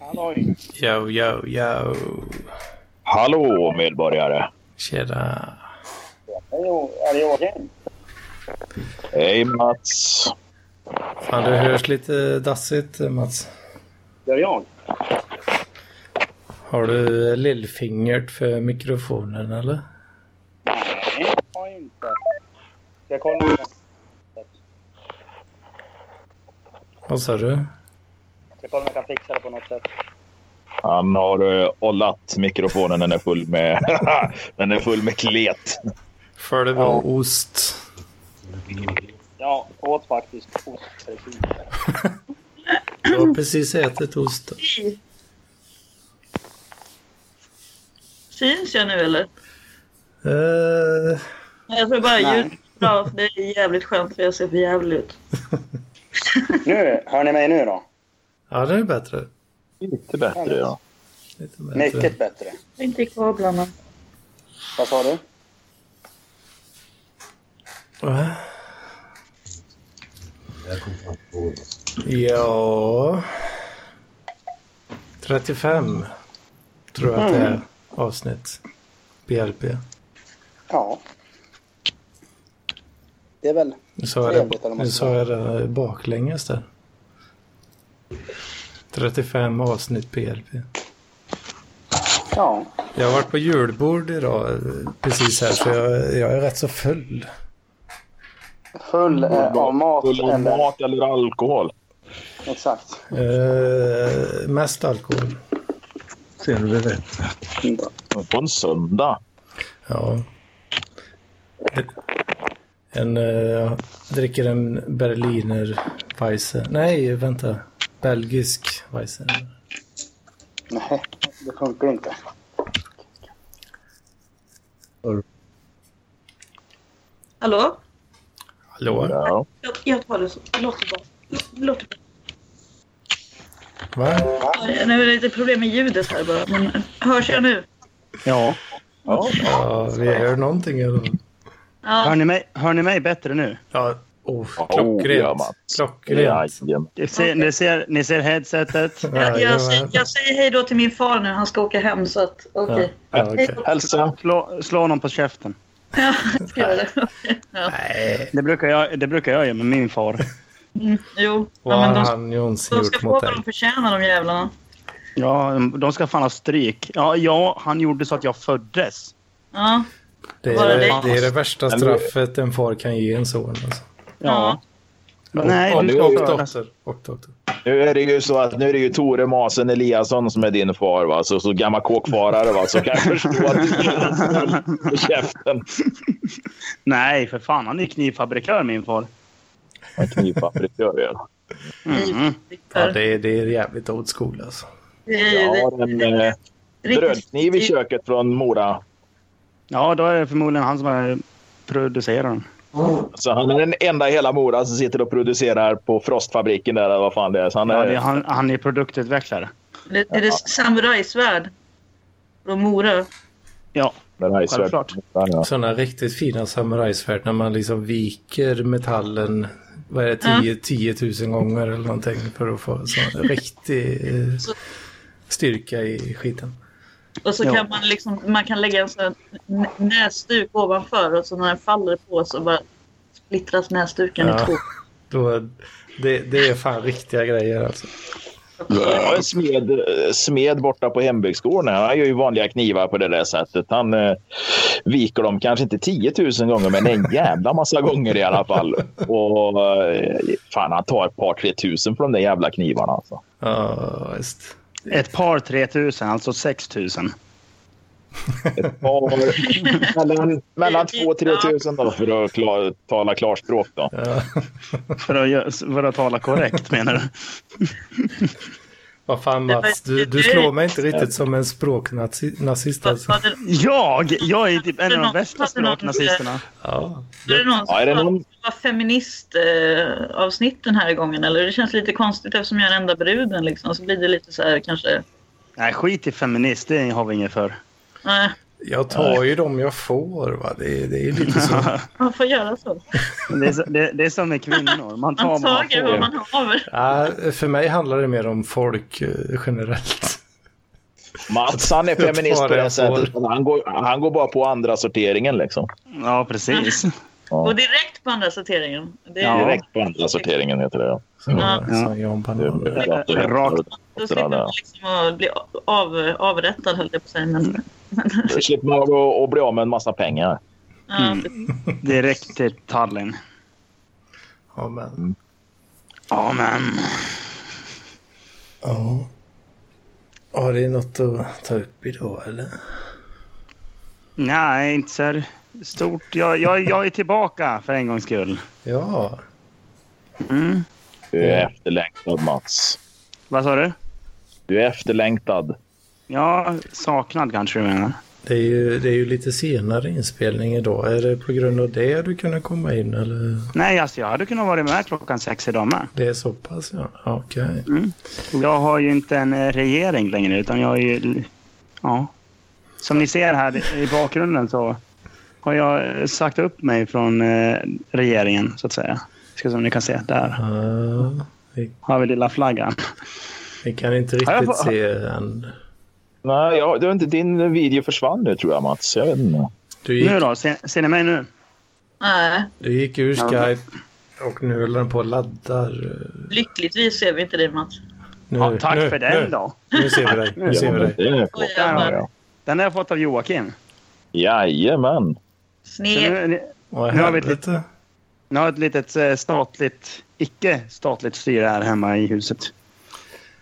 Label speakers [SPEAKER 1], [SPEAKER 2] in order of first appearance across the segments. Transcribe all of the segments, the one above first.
[SPEAKER 1] Halloj!
[SPEAKER 2] Yo, yo, yo.
[SPEAKER 3] Hallå medborgare!
[SPEAKER 2] Tjena.
[SPEAKER 1] Hej, är det Jörgen?
[SPEAKER 3] Hej Mats!
[SPEAKER 2] Fan, du hörs lite dassigt Mats.
[SPEAKER 1] Det är jag.
[SPEAKER 2] Har du lillfingert för mikrofonen eller?
[SPEAKER 1] Nej, det har jag inte. Ska jag kolla?
[SPEAKER 2] Vad sa du?
[SPEAKER 1] Ska jag kolla om jag kan fixa det på något sätt?
[SPEAKER 3] Han har eh, ollat mikrofonen. Den är full med, den är full med klet.
[SPEAKER 2] För det var ost.
[SPEAKER 1] Ja, åt faktiskt ost precis.
[SPEAKER 2] Du har precis ätit ost.
[SPEAKER 4] Hej. Syns jag nu eller?
[SPEAKER 2] Eh,
[SPEAKER 4] Nej, Jag tror bara
[SPEAKER 1] Nej.
[SPEAKER 4] ljudet är bra för det är jävligt skönt för jag ser för jävligt ut.
[SPEAKER 1] Nu, hör ni mig nu då?
[SPEAKER 2] ja, det är bättre.
[SPEAKER 3] Lite bättre ja.
[SPEAKER 2] Lite bättre.
[SPEAKER 1] Mycket bättre.
[SPEAKER 4] Jag är Inte i kablarna.
[SPEAKER 1] Vad sa du?
[SPEAKER 2] Va? Ja... 35 tror jag att det är avsnitt. BLP.
[SPEAKER 1] Ja. Det är väl...
[SPEAKER 2] Nu sa jag
[SPEAKER 1] Trevligt,
[SPEAKER 2] det,
[SPEAKER 1] eller
[SPEAKER 2] nu
[SPEAKER 1] måste
[SPEAKER 2] sa jag det baklänges där. 35 avsnitt BLP.
[SPEAKER 1] Ja.
[SPEAKER 2] Jag har varit på julbord idag eh, precis här så jag, jag är rätt så full.
[SPEAKER 1] Full eh, av mat.
[SPEAKER 3] Full av
[SPEAKER 1] eller-
[SPEAKER 3] mat eller alkohol.
[SPEAKER 1] Exakt.
[SPEAKER 2] Eh, mest alkohol.
[SPEAKER 3] På en söndag.
[SPEAKER 2] Ja. En, eh, dricker en Berliner Weisse. Nej, vänta. Belgisk Weisse.
[SPEAKER 1] Nej, det funkar inte.
[SPEAKER 4] Hallå?
[SPEAKER 2] Hallå?
[SPEAKER 3] Ja.
[SPEAKER 4] Jag, jag tar det så. Låt det bara. Låt- Låt det bara.
[SPEAKER 2] Va?
[SPEAKER 4] Nu är det lite problem med ljudet här bara. Men hörs jag nu?
[SPEAKER 1] Ja.
[SPEAKER 3] ja.
[SPEAKER 2] Ja, vi hör någonting i alla fall.
[SPEAKER 4] Ja.
[SPEAKER 1] Hör ni mig, hör ni mig bättre nu?
[SPEAKER 2] Ja, oh,
[SPEAKER 3] ja,
[SPEAKER 2] klockrent.
[SPEAKER 3] Mats.
[SPEAKER 2] klockrent.
[SPEAKER 3] Jajamän.
[SPEAKER 1] Ni ser, ni ser, ni ser headsetet?
[SPEAKER 4] Jag, jag, säger,
[SPEAKER 2] Jajamän.
[SPEAKER 4] jag säger hej då till min far nu. Han ska åka hem så att okej.
[SPEAKER 2] Ja, okej.
[SPEAKER 3] Hälsa!
[SPEAKER 1] Slå, slå någon på käften.
[SPEAKER 4] Ja, jag ska göra det. Ja.
[SPEAKER 2] Nej,
[SPEAKER 1] Det brukar jag, det brukar jag göra med min far.
[SPEAKER 4] Mm, jo, ja,
[SPEAKER 2] vad
[SPEAKER 4] men
[SPEAKER 2] har
[SPEAKER 4] de,
[SPEAKER 2] han någonsin
[SPEAKER 4] de ska
[SPEAKER 2] gjort
[SPEAKER 4] få
[SPEAKER 2] mot dig?
[SPEAKER 4] vad de förtjänar de jävlarna.
[SPEAKER 1] Ja, de- de ska fan ha stryk. Ja, ja, han gjorde så att jag föddes.
[SPEAKER 4] Ja.
[SPEAKER 2] Det
[SPEAKER 4] Bara
[SPEAKER 2] är,
[SPEAKER 4] det.
[SPEAKER 2] det är det värsta
[SPEAKER 3] Men-
[SPEAKER 2] straffet en far kan ge en son. Alltså.
[SPEAKER 1] Ja. Men
[SPEAKER 2] och,
[SPEAKER 1] Nej, du
[SPEAKER 2] och,
[SPEAKER 1] ska
[SPEAKER 2] och
[SPEAKER 1] födas.
[SPEAKER 2] dotter. Och dotter.
[SPEAKER 3] Nu är det ju så att nu är det ju Tore Masen Eliasson som är din far va. Så, så gammal kåkfarare va. Så kan jag förstå att du ger honom full på käften.
[SPEAKER 1] Nej, för fan. Han är knivfabrikör, min far.
[SPEAKER 3] En knivfabrikör ja.
[SPEAKER 1] Mm.
[SPEAKER 2] Ja, det, är- det är jävligt old school alltså.
[SPEAKER 4] Det är ju
[SPEAKER 3] Jag har
[SPEAKER 4] det-
[SPEAKER 3] en eh,
[SPEAKER 4] riktigt-
[SPEAKER 3] brödkniv i köket från Mora.
[SPEAKER 1] Ja, då är det förmodligen han som är producerar den.
[SPEAKER 3] Så han är den enda i hela Mora som sitter och producerar på Frostfabriken där eller vad fan det är. Så han
[SPEAKER 1] Ja,
[SPEAKER 3] är,
[SPEAKER 1] det är han, han är produktutvecklare.
[SPEAKER 4] Det, är det samurajsvärd? Från Mora?
[SPEAKER 1] Ja,
[SPEAKER 3] den här är
[SPEAKER 1] Självklart.
[SPEAKER 3] svärd- Ja.
[SPEAKER 2] Sådana riktigt fina samurajsvärd när man liksom viker metallen vad är det, 10, 10 000 gånger eller någonting för att få sån riktig eh,
[SPEAKER 4] Så-
[SPEAKER 2] styrka i skiten.
[SPEAKER 4] Och så
[SPEAKER 1] Ja.
[SPEAKER 4] kan man liksom, man kan lägga en sån här nä- näsduk ovanför och så när den faller på så bara splittras näsduken
[SPEAKER 2] Ja.
[SPEAKER 4] i två.
[SPEAKER 2] Då, det, det är fan riktiga grejer alltså.
[SPEAKER 3] Jag har en smed, eh, smed borta på hembygdsgården. här. Han gör ju vanliga knivar på det där sättet. Han eh, viker dem kanske inte 10 000 gånger, men en jävla massa gånger i alla fall. Och eh, fan, han tar ett par, tre tusen från de där jävla knivarna. Alltså.
[SPEAKER 2] Ja, visst.
[SPEAKER 1] ett par 3000, alltså 6000.
[SPEAKER 3] Ett par, mellan, mellan 2 och 3 tusen då, för att klar, tala klarspråk. Då.
[SPEAKER 2] Ja.
[SPEAKER 1] För att, gö- för att tala korrekt, menar du?
[SPEAKER 2] Vad fan
[SPEAKER 4] Det var-
[SPEAKER 2] Mats, du, du slår mig inte riktigt som en språknazist alltså.
[SPEAKER 4] Var det,
[SPEAKER 1] Jag? Jag är typ en av de värsta
[SPEAKER 4] Hade någon-
[SPEAKER 1] språknazisterna.
[SPEAKER 2] Ja.
[SPEAKER 4] var det någon som
[SPEAKER 3] Ja, är det någon-
[SPEAKER 4] sa att det var feministavsnitt eh, avsnitt den här gången? Eller det känns lite konstigt eftersom jag är den enda bruden liksom. Så blir det lite så här kanske...
[SPEAKER 1] Nej, skit i feminist. Det har vi inget för.
[SPEAKER 4] Nej,
[SPEAKER 2] Jag tar ju dem jag får. Va? Det, är- det är lite så.
[SPEAKER 4] Man får göra så.
[SPEAKER 1] Det är, så- det, det är som med kvinnor. Man tar
[SPEAKER 4] Man
[SPEAKER 1] vad man
[SPEAKER 4] tager vad
[SPEAKER 1] får.
[SPEAKER 4] man har.
[SPEAKER 2] Ja, för mig handlar det mer om folk eh, generellt.
[SPEAKER 3] Mats han är
[SPEAKER 2] Jag
[SPEAKER 3] feminist
[SPEAKER 2] tar
[SPEAKER 3] på
[SPEAKER 2] det
[SPEAKER 3] det
[SPEAKER 2] jag
[SPEAKER 3] sättet. Han går, han går bara på andra sorteringen liksom.
[SPEAKER 1] Ja, precis.
[SPEAKER 4] Och direkt på andra sorteringen. Det är,
[SPEAKER 1] Ja.
[SPEAKER 3] Direkt på andra sorteringen heter det. ja.
[SPEAKER 2] Så, eh,
[SPEAKER 4] Ja.
[SPEAKER 2] Som Jan Banan.
[SPEAKER 3] Det är rakt-
[SPEAKER 1] Rakt.
[SPEAKER 4] Då slipper man liksom att bli av, avrättad, höll jag på att säga. Men,
[SPEAKER 3] Då slipper man att- att bli av med en massa pengar.
[SPEAKER 4] ja,
[SPEAKER 1] Mm. Direkt till Tallinn.
[SPEAKER 2] Ja, men.
[SPEAKER 1] Amen.
[SPEAKER 2] Ja. Har det något att ta upp idag eller?
[SPEAKER 1] Nej, inte så här stort. Jag, jag, jag är tillbaka för en gångs skull.
[SPEAKER 2] Ja.
[SPEAKER 1] Mm.
[SPEAKER 3] Du är efterlängtad Mats.
[SPEAKER 1] Vad sa du?
[SPEAKER 3] Du är efterlängtad.
[SPEAKER 1] Ja, saknad kanske du menar.
[SPEAKER 2] Det är, ju, det är ju lite senare inspelning idag. Är det på grund av det du kunde komma in eller?
[SPEAKER 1] Nej, alltså jag hade kunnat vara med klockan sex idag med.
[SPEAKER 2] Det är så pass ja. Okej.
[SPEAKER 1] Jag har ju inte en eh, regering längre utan jag är ju... Ja. Som ni ser här i bakgrunden så har jag eh, sagt upp mig från eh, regeringen så att säga. Ska som ni kan se. Där
[SPEAKER 2] Ja, vi,
[SPEAKER 1] har vi lilla flaggan.
[SPEAKER 2] Eh, vi kan inte
[SPEAKER 1] Ja, jag
[SPEAKER 2] riktigt
[SPEAKER 1] får-
[SPEAKER 2] se än.
[SPEAKER 3] Nej, jag, det var inte, din video försvann nu tror jag Mats. Jag vet inte.
[SPEAKER 2] Du gick,
[SPEAKER 1] Nu då? Ser, ser ni mig nu?
[SPEAKER 4] nej,
[SPEAKER 2] du gick ur
[SPEAKER 1] Ja.
[SPEAKER 2] Skype och nu håller den på och laddar.
[SPEAKER 4] lyckligtvis ser vi inte det, Mats.
[SPEAKER 2] Nu,
[SPEAKER 1] Ja, tack
[SPEAKER 2] nu,
[SPEAKER 1] för den
[SPEAKER 2] nu.
[SPEAKER 1] då.
[SPEAKER 2] Nu ser vi dig. Nu ser vi dig.
[SPEAKER 3] Ja, men det är
[SPEAKER 4] Oj,
[SPEAKER 3] klart.
[SPEAKER 1] jävlar.
[SPEAKER 4] jävlar.
[SPEAKER 3] Ja,
[SPEAKER 1] Den har jag fått av Joakim.
[SPEAKER 3] ja. Jajamän.
[SPEAKER 1] Så
[SPEAKER 4] Sned.
[SPEAKER 1] nu,
[SPEAKER 2] Vad
[SPEAKER 1] Nu har vi ett
[SPEAKER 2] helvete.
[SPEAKER 1] nu har jag ett litet eh, statligt, icke-statligt styre här hemma i huset.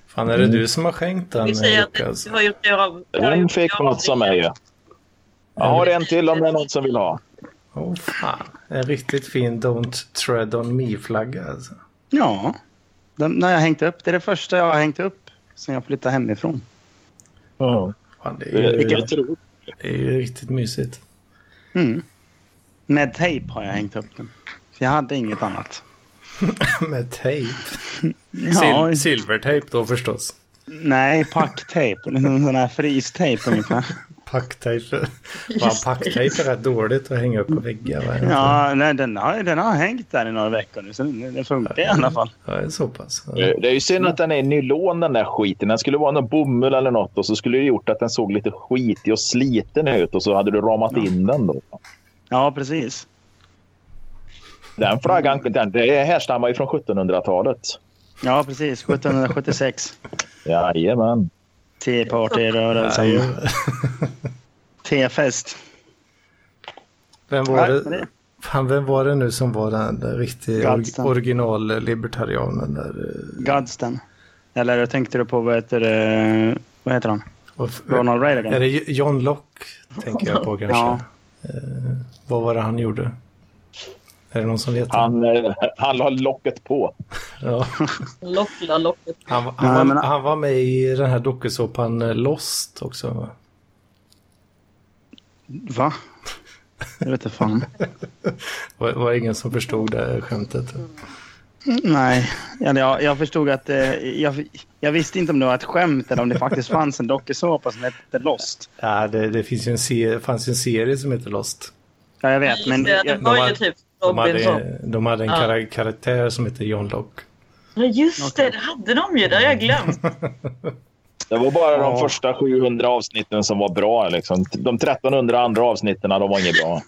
[SPEAKER 2] Fan är det
[SPEAKER 1] Mm.
[SPEAKER 2] du som har skänkt den
[SPEAKER 4] Vi säger att
[SPEAKER 2] Lukas?
[SPEAKER 4] du har gjort det av. du har
[SPEAKER 3] Den
[SPEAKER 4] gjort
[SPEAKER 3] fick
[SPEAKER 4] det av-
[SPEAKER 3] Mats av mig. Jag har en till om det är någon som vill ha.
[SPEAKER 2] Åh fan. En riktigt fin Don't Tread On Me-flagga alltså.
[SPEAKER 1] Ja. Den har jag hängt upp. Det är det första jag har hängt upp sen jag flyttade hemifrån.
[SPEAKER 2] Fan, det, är ju,
[SPEAKER 3] Eh, Vilka tror
[SPEAKER 2] det är ju riktigt mysigt.
[SPEAKER 1] Mm. Med tejp har jag hängt upp den. För Jag hade inget annat.
[SPEAKER 2] Med tejp.
[SPEAKER 1] Ja,
[SPEAKER 2] Sil- silvertejp då förstås.
[SPEAKER 1] nej, packtejp. Liksom Sån här fristejp ungefär.
[SPEAKER 2] Packtejp. Fan, packtejp är rätt dåligt att hänga upp på väggar. va?
[SPEAKER 1] Ja, nej, den, har, den har hängt där i några veckor nu. Så den, den funkar i alla fall.
[SPEAKER 2] Ja, det är så pass.
[SPEAKER 3] du? Eh, Det är ju synd att den är i nylon den där skiten. Den skulle vara någon bomull eller något och så skulle det gjort att den såg lite skitig och sliten ut och så hade du ramat in den då.
[SPEAKER 1] Ja, precis.
[SPEAKER 3] Den flaggan den, det härstammar ju från 1700-talet.
[SPEAKER 1] Ja, precis. 1776.
[SPEAKER 3] Jajamän.
[SPEAKER 2] ju-
[SPEAKER 1] T-partyrörelsen. T-fest.
[SPEAKER 2] Vem var
[SPEAKER 1] Nej,
[SPEAKER 2] det?
[SPEAKER 1] det-
[SPEAKER 2] Fan, vem var det nu som var den där riktiga or-
[SPEAKER 1] Gadsden.
[SPEAKER 2] original-libertarianen där? eh,
[SPEAKER 1] Godsten. Eller tänkte du på vad heter, det- vad heter han?
[SPEAKER 2] och-
[SPEAKER 1] Ronald
[SPEAKER 2] Är
[SPEAKER 1] Reagan?
[SPEAKER 2] det John Locke? Tänker jag på kanske.
[SPEAKER 1] Ja.
[SPEAKER 2] Eh, vad var det han gjorde? Är det någon som vet?
[SPEAKER 3] Han, eh, han la locket på.
[SPEAKER 2] Ja.
[SPEAKER 4] Lockla locket.
[SPEAKER 2] Han, han,
[SPEAKER 1] Nej,
[SPEAKER 2] var,
[SPEAKER 1] men-
[SPEAKER 2] han var med i den här dokusåpan eh, Lost också. va?
[SPEAKER 1] Va? Jag vet inte fan.
[SPEAKER 2] Var, var det ingen som förstod det skämtet?
[SPEAKER 1] Nej, eller jag, jag förstod att... Eh, jag, jag visste inte om det var ett skämt eller om det faktiskt fanns en dokusåpa som hette Lost.
[SPEAKER 2] Ja, det, det finns ju en se- fanns ju en serie som heter Lost.
[SPEAKER 1] Ja, jag vet, men...
[SPEAKER 4] det, det
[SPEAKER 1] jag,
[SPEAKER 4] var
[SPEAKER 2] de
[SPEAKER 4] ju
[SPEAKER 2] hade-
[SPEAKER 4] typ
[SPEAKER 2] De
[SPEAKER 4] Robinson.
[SPEAKER 2] hade, de hade en
[SPEAKER 4] Ja.
[SPEAKER 2] kara- karaktär som hette John Locke.
[SPEAKER 4] Ja, just det. Det hade de ju. Det har jag glömt.
[SPEAKER 3] Det var bara de
[SPEAKER 1] Ja.
[SPEAKER 3] första 700 avsnitten som var bra. Liksom. De 1300 andra avsnitten de var inget bra.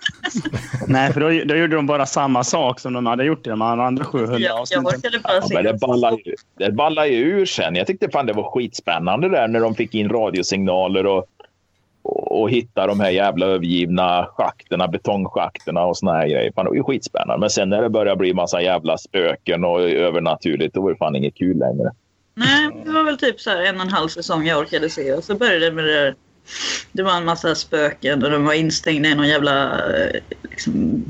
[SPEAKER 1] nej, för då, då gjorde de bara samma sak som de hade gjort i de andra 700
[SPEAKER 4] Jag, jag
[SPEAKER 1] avsnitten.
[SPEAKER 4] orkade bara
[SPEAKER 3] Ja, men det
[SPEAKER 4] se.
[SPEAKER 3] ballar, ju, det ballar ju ur sen. Jag tyckte fan det var skitspännande där när de fick in radiosignaler och, och, och hitta de här jävla övergivna schakterna, betongschakterna och såna här grejer. Fan, det var ju skitspännande. Men sen när det började bli massa jävla spöken och övernaturligt, då var det fan inget kul längre.
[SPEAKER 4] Nej, det var väl typ så här en och en halv säsong jag orkade se. Och så började det med det där. Det var en massa spöken och de var instängda i någon jävla eh, liksom,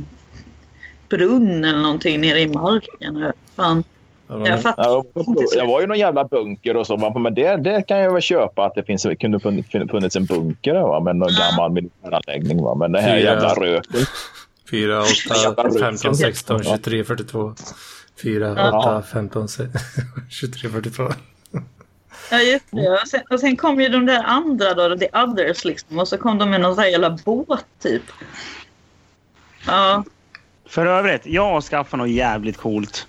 [SPEAKER 4] brunn eller någonting nere i marken. Och Fan,
[SPEAKER 2] Ja, de,
[SPEAKER 4] jag fattar
[SPEAKER 3] Ja,
[SPEAKER 4] inte.
[SPEAKER 3] Jag var ju någon jävla bunker och så. Man bara, Men det, det kan jag väl köpa att det finns, kunde fun- funnits en bunker där, va? med någon gammal militäranläggning. Va? Men det här
[SPEAKER 2] Fyra.
[SPEAKER 3] jävla röken.
[SPEAKER 2] 4, 8, 15, 16, 23, 42. 4,
[SPEAKER 4] Ja.
[SPEAKER 2] 8, 15, 23, 42.
[SPEAKER 4] Ja, just det. Och sen, och sen kom ju de där andra då, the others liksom. Och så kom de med någon sån här jävla båt typ. Ja,
[SPEAKER 1] För övrigt, jag skaffade något jävligt coolt.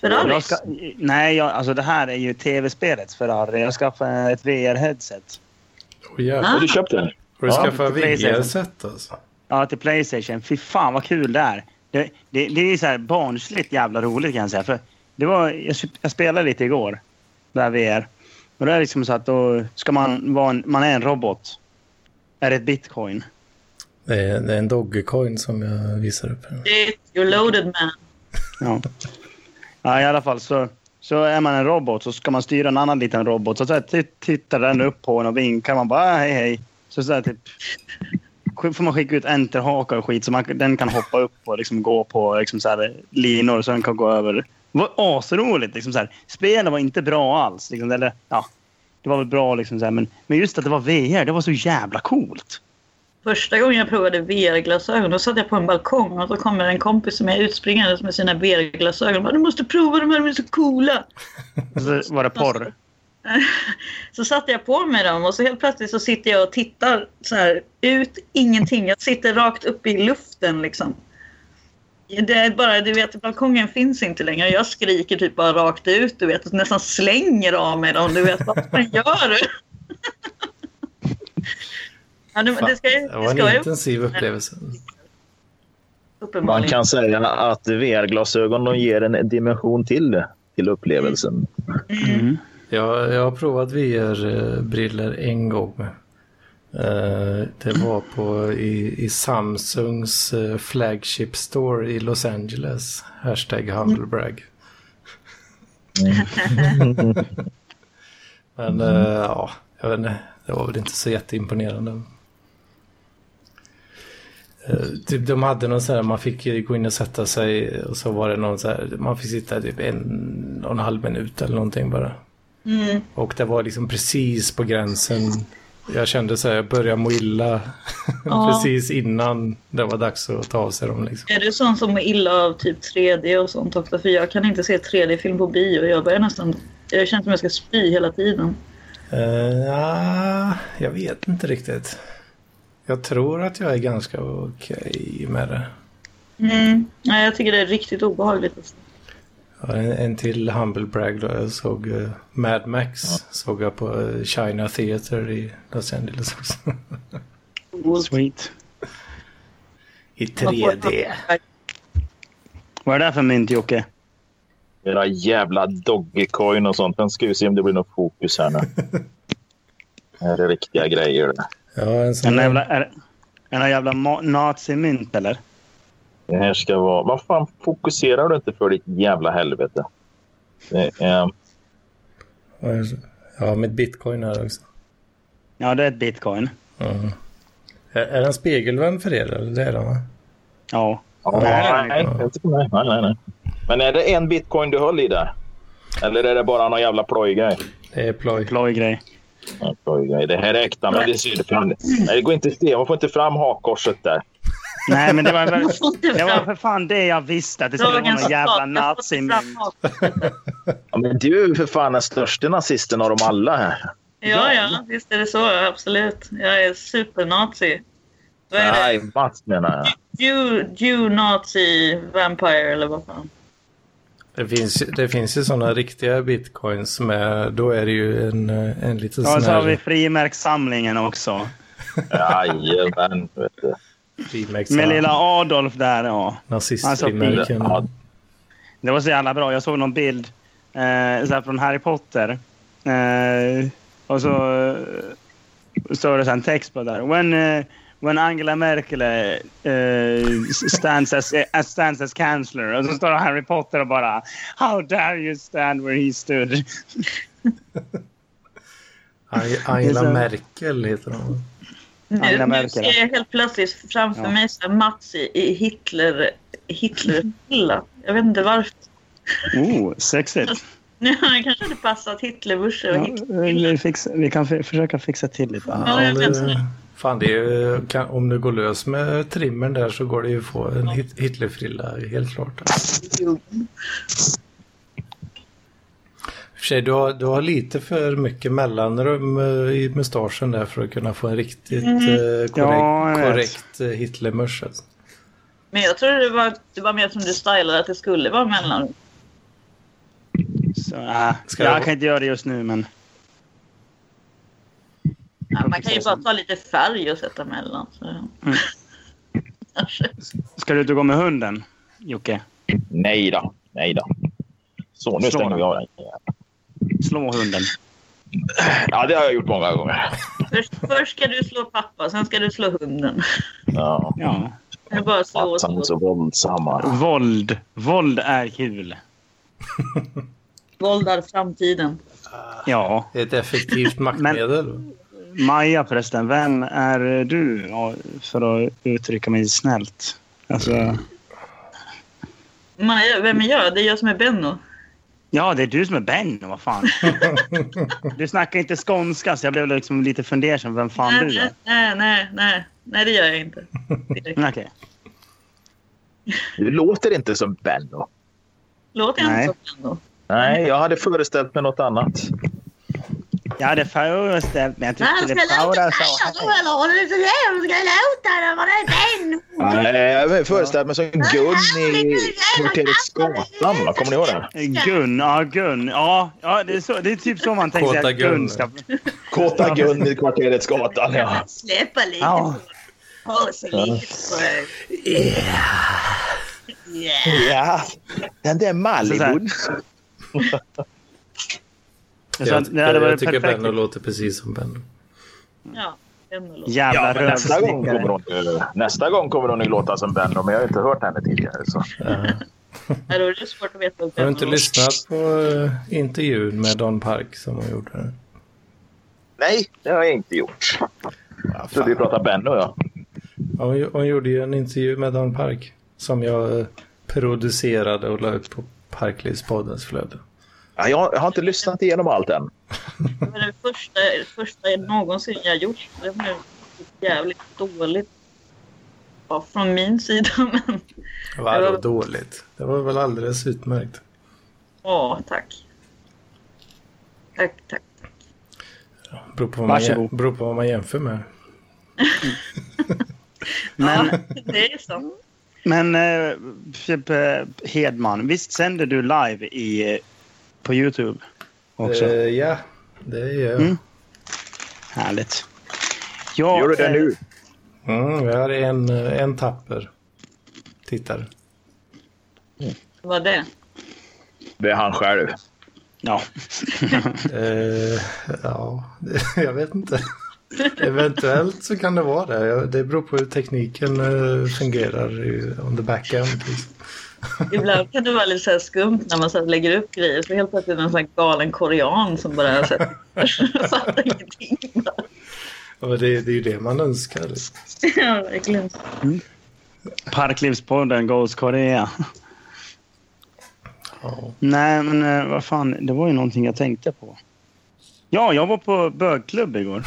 [SPEAKER 4] för
[SPEAKER 1] Jag
[SPEAKER 4] övrigt.
[SPEAKER 1] ska, nej, jag, alltså det här är ju tv-spelets Ferrari. Jag skaffade ett VR-headset.
[SPEAKER 2] Åh, jävlar.
[SPEAKER 3] Och du köpte den?
[SPEAKER 2] Har du
[SPEAKER 3] Ja,
[SPEAKER 2] skaffat
[SPEAKER 1] till Playstation.
[SPEAKER 2] VR-set alltså?
[SPEAKER 1] Ja, till Playstation. Fy fan vad kul det är. Det, det, det är så här barnsligt jävla roligt kan jag säga. För det var, jag, jag spelade lite igår, där VR. Och det är liksom så att då ska man vara en, man är en robot. Är det ett bitcoin?
[SPEAKER 2] Det är, det är en Dogecoin som jag visar upp. här.
[SPEAKER 4] Shit, You're loaded man.
[SPEAKER 1] Ja. ja, i alla fall så, så är man en robot så ska man styra en annan liten robot. Så, så här, t- tittar den upp på en och vinkar. Man bara "Ah, hej hej. Så, så här, typ, sk- får man skicka ut enterhakar och skit så man, den kan hoppa upp och liksom gå på liksom, så här, linor så den kan gå över. Det var asroligt. Liksom, så här. Spelen var inte bra alls. Liksom, eller, ja, det var väl bra liksom, så här, men, men just att det var VR, det var så jävla coolt.
[SPEAKER 4] Första gången jag provade VR-glasögon då satt jag på en balkong och så kommer en kompis som är utspringandes med sina VR-glasögon. och bara, Du måste prova de här, de är så coola.
[SPEAKER 1] Och så var det porr.
[SPEAKER 4] Så satte jag på mig dem och så helt plötsligt så sitter jag och tittar så här ut ingenting. Jag sitter rakt upp i luften liksom. Det är bara, du vet, balkongen finns inte längre. Jag skriker typ bara rakt ut, du vet, och nästan slänger av mig dem. Du vet, vad fan gör du? ja, det, det ska ju,
[SPEAKER 2] Det
[SPEAKER 4] det
[SPEAKER 2] var
[SPEAKER 4] ska
[SPEAKER 2] en
[SPEAKER 4] ju
[SPEAKER 2] intensiv upplevelse.
[SPEAKER 4] uppenbarligen.
[SPEAKER 3] Man kan säga att VR-glasögon de ger en dimension till, till upplevelsen.
[SPEAKER 1] Mm.
[SPEAKER 2] Jag, jag har provat VR-briller en gång. Eh, Det var på, i, i Samsungs eh, flagship store i Los Angeles. Hashtag humblebrag. Men eh, ja, jag vet inte. Det var väl inte så jätteimponerande. Eh, Typ de hade någon sån här, man fick ju gå in och sätta sig och så var det någon så här, man fick sitta typ en och en halv minut eller någonting bara. Och det var liksom precis på gränsen. Jag kände så här, jag började må illa
[SPEAKER 4] Ja.
[SPEAKER 2] precis innan det var dags att ta av sig dem. Liksom.
[SPEAKER 4] Är du sån som mår illa av typ 3D och sånt ofta? För jag kan inte se 3D-film på bio. Jag börjar nästan... Jag känner som jag ska spy hela tiden.
[SPEAKER 2] Eh, ja, jag vet inte riktigt. Jag tror att jag är ganska okej med det.
[SPEAKER 4] Mm. Nej, jag tycker det är riktigt obehagligt. Alltså.
[SPEAKER 2] Ja, En, en till Humble Brag då. Jag såg eh, Mad Max. Såg jag på eh, China Theater i Los Angeles också.
[SPEAKER 1] Sweet.
[SPEAKER 2] I
[SPEAKER 4] Man får-
[SPEAKER 2] 3D.
[SPEAKER 1] Vad är det där för mynt, Jocke?
[SPEAKER 3] Era jävla Dogecoin och sånt. Den ska vi se om det blir något fokus här nu. Det här är riktiga grejer. det.
[SPEAKER 2] Ja, en sån
[SPEAKER 1] En
[SPEAKER 2] där-
[SPEAKER 1] jävla, är, en jävla ma- nazimynt eller?
[SPEAKER 3] Det här ska vara... Vad fan fokuserar du inte för ditt jävla helvete? Det är...
[SPEAKER 2] Ja, med bitcoin här också.
[SPEAKER 1] Ja, det är ett bitcoin.
[SPEAKER 2] Mm. Är, är den spegelvänd för er? Eller det är den va?
[SPEAKER 1] Ja.
[SPEAKER 3] Ja,
[SPEAKER 1] Nej.
[SPEAKER 3] nej, nej, inte för mig. nej, nej, nej. Men är det en bitcoin du höll i där? Eller är det bara någon jävla plojgrej?
[SPEAKER 2] Det är ploj.
[SPEAKER 1] Plojgrej.
[SPEAKER 3] Ja, plojgrej. Det här är äkta medicin. Fan, Nej, det går inte att se. Man får inte fram hakkorset där.
[SPEAKER 1] Nej, men det var, väl,
[SPEAKER 4] får inte
[SPEAKER 1] det var
[SPEAKER 4] fram-
[SPEAKER 1] för fan det jag visste. Att det skulle vara
[SPEAKER 4] Dagens
[SPEAKER 1] någon jävla
[SPEAKER 4] stat, jag får inte fram
[SPEAKER 1] nazimynt.
[SPEAKER 4] hakan.
[SPEAKER 3] Ja, men du är ju för fan den största nazisten av dem alla här.
[SPEAKER 4] Ja, ja, visst är det så. ja, Absolut. Jag är supernazi. Vad är det?
[SPEAKER 3] Nej, Mats menar jag.
[SPEAKER 4] Jew, Jew nazi vampire eller vad fan.
[SPEAKER 2] Det finns, ju- det finns ju sådana riktiga bitcoins med, då är det ju en, eh, en liten
[SPEAKER 1] Ja,
[SPEAKER 2] sån
[SPEAKER 1] så har vi
[SPEAKER 2] här
[SPEAKER 1] frimärkssamlingen också.
[SPEAKER 3] Jajamän, vet du.
[SPEAKER 1] Med lilla Alltså,
[SPEAKER 2] frimärksfrimärken.
[SPEAKER 1] Adolf där, ja.
[SPEAKER 2] Nazistfrimärken.
[SPEAKER 3] Ja,
[SPEAKER 1] Det var så jävla bra. Jag såg någon bild eh, så här från Harry Potter. Eh, och så eh, står det så här en text på där. When, eh, when Angela Merkel eh, stands, as, eh, stands as chancellor. Och så står det Harry Potter och bara How dare you stand where he stood.
[SPEAKER 2] Ang-
[SPEAKER 1] Det är så-
[SPEAKER 2] Angela Merkel heter hon.
[SPEAKER 1] Angela
[SPEAKER 4] Nu, nu
[SPEAKER 1] Merkel.
[SPEAKER 4] ser jag helt plötsligt framför
[SPEAKER 1] Ja.
[SPEAKER 4] mig så här Mats i, i Hitler, Hitlerfylla. Jag vet inte varför.
[SPEAKER 1] Oh, sexigt.
[SPEAKER 4] Nu har jag kanske inte passat Hitlerbursar och
[SPEAKER 1] Ja, eh,
[SPEAKER 4] Hitler.
[SPEAKER 1] vi, fix, vi kan f- försöka fixa till lite.
[SPEAKER 4] Ja, jag
[SPEAKER 2] Fan,
[SPEAKER 4] vet
[SPEAKER 2] det- eh, Fan, det är, ju- kan, om du går lös med trimmern där så går det ju att få en hit, Hitlerfrilla, helt klart. I och för sig, sig, du har, du har lite för mycket mellanrum eh, i mustaschen där för att kunna få en riktigt
[SPEAKER 4] Mm.
[SPEAKER 2] eh, korrekt,
[SPEAKER 1] Ja, jag vet.
[SPEAKER 2] korrekt eh, Hitlermusch. Alltså.
[SPEAKER 4] Men jag tror det var, det var mer som du stylade att det skulle vara mellanrum.
[SPEAKER 1] Så, äh,
[SPEAKER 2] Ska
[SPEAKER 1] jag
[SPEAKER 2] jag-
[SPEAKER 1] kan inte göra det just nu, men...
[SPEAKER 4] Ja, man kan ju bara ta lite färg och sätta mellan. Så.
[SPEAKER 1] Ska du ut och gå med hunden, Jocke?
[SPEAKER 3] Nej då. Nej då. Så,
[SPEAKER 1] Slå
[SPEAKER 3] nu stänger
[SPEAKER 1] den.
[SPEAKER 3] vi av den.
[SPEAKER 1] Slå hunden.
[SPEAKER 3] Ja, det har jag gjort många gånger.
[SPEAKER 4] Först, först ska du slå pappa, sen ska du slå hunden.
[SPEAKER 3] Ja.
[SPEAKER 1] Ja.
[SPEAKER 4] Det är bara slå och
[SPEAKER 3] Att han är
[SPEAKER 4] slå.
[SPEAKER 3] så våldsamma.
[SPEAKER 1] Våld. Våld är kul.
[SPEAKER 4] Våld är framtiden.
[SPEAKER 1] Ja.
[SPEAKER 2] Ett effektivt maktmedel.
[SPEAKER 1] Maja förresten, vem är du? Ja, För att uttrycka mig snällt.
[SPEAKER 2] Mm.
[SPEAKER 1] Alltså,
[SPEAKER 4] Maja, vem är jag? Det är jag som är Benno.
[SPEAKER 1] ja, det är du som är Benno, vad fan. Du snackar inte skånska, så jag blev liksom lite fundersam. Vem fan
[SPEAKER 4] nej,
[SPEAKER 1] du är?
[SPEAKER 4] nej, nej, nej, nej, det gör jag inte. Direkt.
[SPEAKER 1] Mm, Okej.
[SPEAKER 3] Du låter inte som Benno.
[SPEAKER 4] Låter jag
[SPEAKER 1] Nej.
[SPEAKER 4] inte som Benno?
[SPEAKER 3] Nej, jag hade föreställt mig något annat.
[SPEAKER 1] Ja, det föreställt mig. Jag tyckte det Paula sa. här.
[SPEAKER 3] Nej, jag hade föreställt mig som Gunn i kvarteret Skatan. va? Kommer ni ihåg det?
[SPEAKER 1] Eh, Gun, ja Gun. Ja, ja det, är så, det är typ så man tänker sig
[SPEAKER 2] Kåta
[SPEAKER 1] att Gun
[SPEAKER 2] Gun.
[SPEAKER 1] ska...
[SPEAKER 3] Kåta Gun i kvarteret Skatan, ja.
[SPEAKER 4] Släppa lite
[SPEAKER 1] Ja.
[SPEAKER 4] på oh, så lite på yeah.
[SPEAKER 3] ja. Den där Malibu.
[SPEAKER 1] Så
[SPEAKER 2] Jag,
[SPEAKER 1] att det hade
[SPEAKER 2] jag, jag
[SPEAKER 1] varit
[SPEAKER 2] tycker
[SPEAKER 1] perfekt.
[SPEAKER 2] Benno låter precis som Benno.
[SPEAKER 4] Ja, Benno låter.
[SPEAKER 1] Jävla
[SPEAKER 3] men nästa, gång kommer
[SPEAKER 1] rövsnickare.
[SPEAKER 3] hon, ju- nästa gång kommer hon ju låta som Benno, men jag har inte hört henne tidigare. Så.
[SPEAKER 4] Ja, då är det svårt att veta
[SPEAKER 2] Har
[SPEAKER 4] vad
[SPEAKER 2] du
[SPEAKER 4] Benno
[SPEAKER 2] inte
[SPEAKER 4] låter.
[SPEAKER 2] lyssnat på eh, intervjun med Don Park som hon gjorde?
[SPEAKER 3] Nej, det har jag inte gjort.
[SPEAKER 2] Ja,
[SPEAKER 3] Så vi
[SPEAKER 2] fan.
[SPEAKER 3] pratar Benno, ja.
[SPEAKER 2] Ja, hon, hon gjorde ju en intervju med Don Park som jag eh, producerade och la ut på Parklivspoddens flöde.
[SPEAKER 3] ja. Jag har inte lyssnat igenom allt än.
[SPEAKER 4] Det var det första, det första jag någonsin jag gjort. Det blev jävligt dåligt. Ja, från min sida, men
[SPEAKER 2] Vadå dåligt? Det var väl alldeles utmärkt.
[SPEAKER 4] ja, tack. Tack, tack.
[SPEAKER 2] Beror på vad man,
[SPEAKER 1] Varsågod.
[SPEAKER 2] jä- beror på vad man jämför med.
[SPEAKER 1] Men
[SPEAKER 4] Det är sant.
[SPEAKER 1] Men eh, typ, eh, Hedman, visst sänder du live i, eh, på Youtube också?
[SPEAKER 2] Eh, ja, det gör jag.
[SPEAKER 1] Mm. Härligt. Ja,
[SPEAKER 3] Gör du det
[SPEAKER 1] eh,
[SPEAKER 3] nu?
[SPEAKER 2] Mm, jag har en, en tapper tittare.
[SPEAKER 4] Vad det?
[SPEAKER 3] Det är han själv.
[SPEAKER 1] Ja.
[SPEAKER 2] Eh, ja, jag vet inte. Eventuellt så kan det vara det. Jag- Det beror på hur tekniken eh, fungerar i- on the back-end. liksom.
[SPEAKER 4] Ibland kan det vara lite så här skumt när man så här lägger upp grejer så helt plötsligt är det en sån här galen korean som bara så här, fattar ingenting. bara.
[SPEAKER 2] Ja, men det, det är ju det man önskar. liksom.
[SPEAKER 4] Ja, verkligen.
[SPEAKER 1] Parklivspodden Goes Korea.
[SPEAKER 2] Ja.
[SPEAKER 1] Nej, men eh, vad fan, det var ju någonting jag tänkte på. Ja, jag var på bögklubb igår.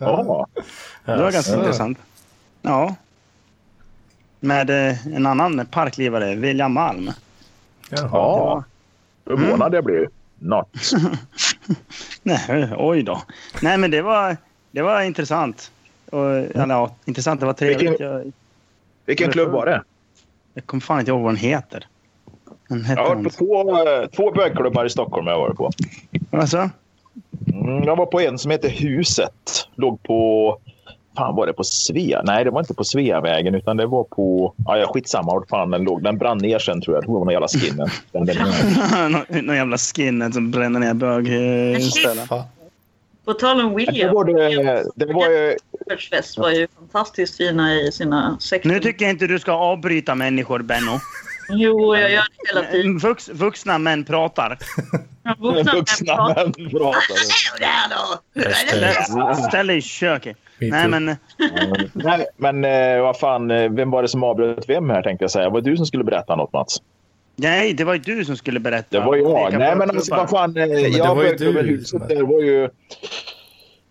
[SPEAKER 3] Ja.
[SPEAKER 1] Det var ganska intressant. Ja. Med eh, en annan parklivare, William Malm.
[SPEAKER 2] Jaha.
[SPEAKER 3] ja. Mm. Förvånad jag blir. Not.
[SPEAKER 1] Nej, oj då. Nej, men det var, det var intressant. Och, eller, ja, intressant, det var trevligt.
[SPEAKER 3] Mm. Vilken-
[SPEAKER 1] Jag,
[SPEAKER 3] Vilken klubb var det?
[SPEAKER 1] jag kommer fan inte ihåg vad den heter. Den hette
[SPEAKER 3] Jag har varit på
[SPEAKER 1] något.
[SPEAKER 3] två, eh, två bögklubbar i Stockholm. Jag har varit på.
[SPEAKER 1] Alltså?
[SPEAKER 3] Mm, jag var på en som heter Huset. Låg på... Fan, var det på Svea? Nej, det var inte på Sveavägen, utan det var på... Ja, ja, skitsamma vart fan den låg. Den brann ner sen, tror jag. Det var någon jävla skinhead. Den där-
[SPEAKER 1] Nå- Någon jävla skinhead som bränner ner eh, bögställen.
[SPEAKER 2] Fan.
[SPEAKER 4] På tal om
[SPEAKER 3] Det
[SPEAKER 4] William,
[SPEAKER 3] var, det, det var ju...
[SPEAKER 4] Fest var ju fantastiskt fina i sina sekter.
[SPEAKER 1] Nu tycker jag inte du ska avbryta människor, Benno. Eh,
[SPEAKER 4] Jo, jag gör det hela tiden.
[SPEAKER 1] Vux, vuxna män
[SPEAKER 3] Eh,
[SPEAKER 1] pratar.
[SPEAKER 3] Vuxna män pratade.
[SPEAKER 1] Ställ- Ställ dig i köket.
[SPEAKER 2] Me
[SPEAKER 1] Nej,
[SPEAKER 2] too.
[SPEAKER 1] men
[SPEAKER 3] Nej, men eh, vad fan, eh, vem var det som avbröt vem här tänkte jag säga? Var det du som skulle berätta något Mats? nej
[SPEAKER 1] nej, det var ju du som skulle berätta.
[SPEAKER 3] Det var
[SPEAKER 1] Vilka
[SPEAKER 3] jag. Nej men
[SPEAKER 1] bögklubbar.
[SPEAKER 3] alltså vad fan, eh,
[SPEAKER 2] det
[SPEAKER 3] jag
[SPEAKER 2] var ju
[SPEAKER 3] bögklubben
[SPEAKER 2] du.
[SPEAKER 3] huset där var ju...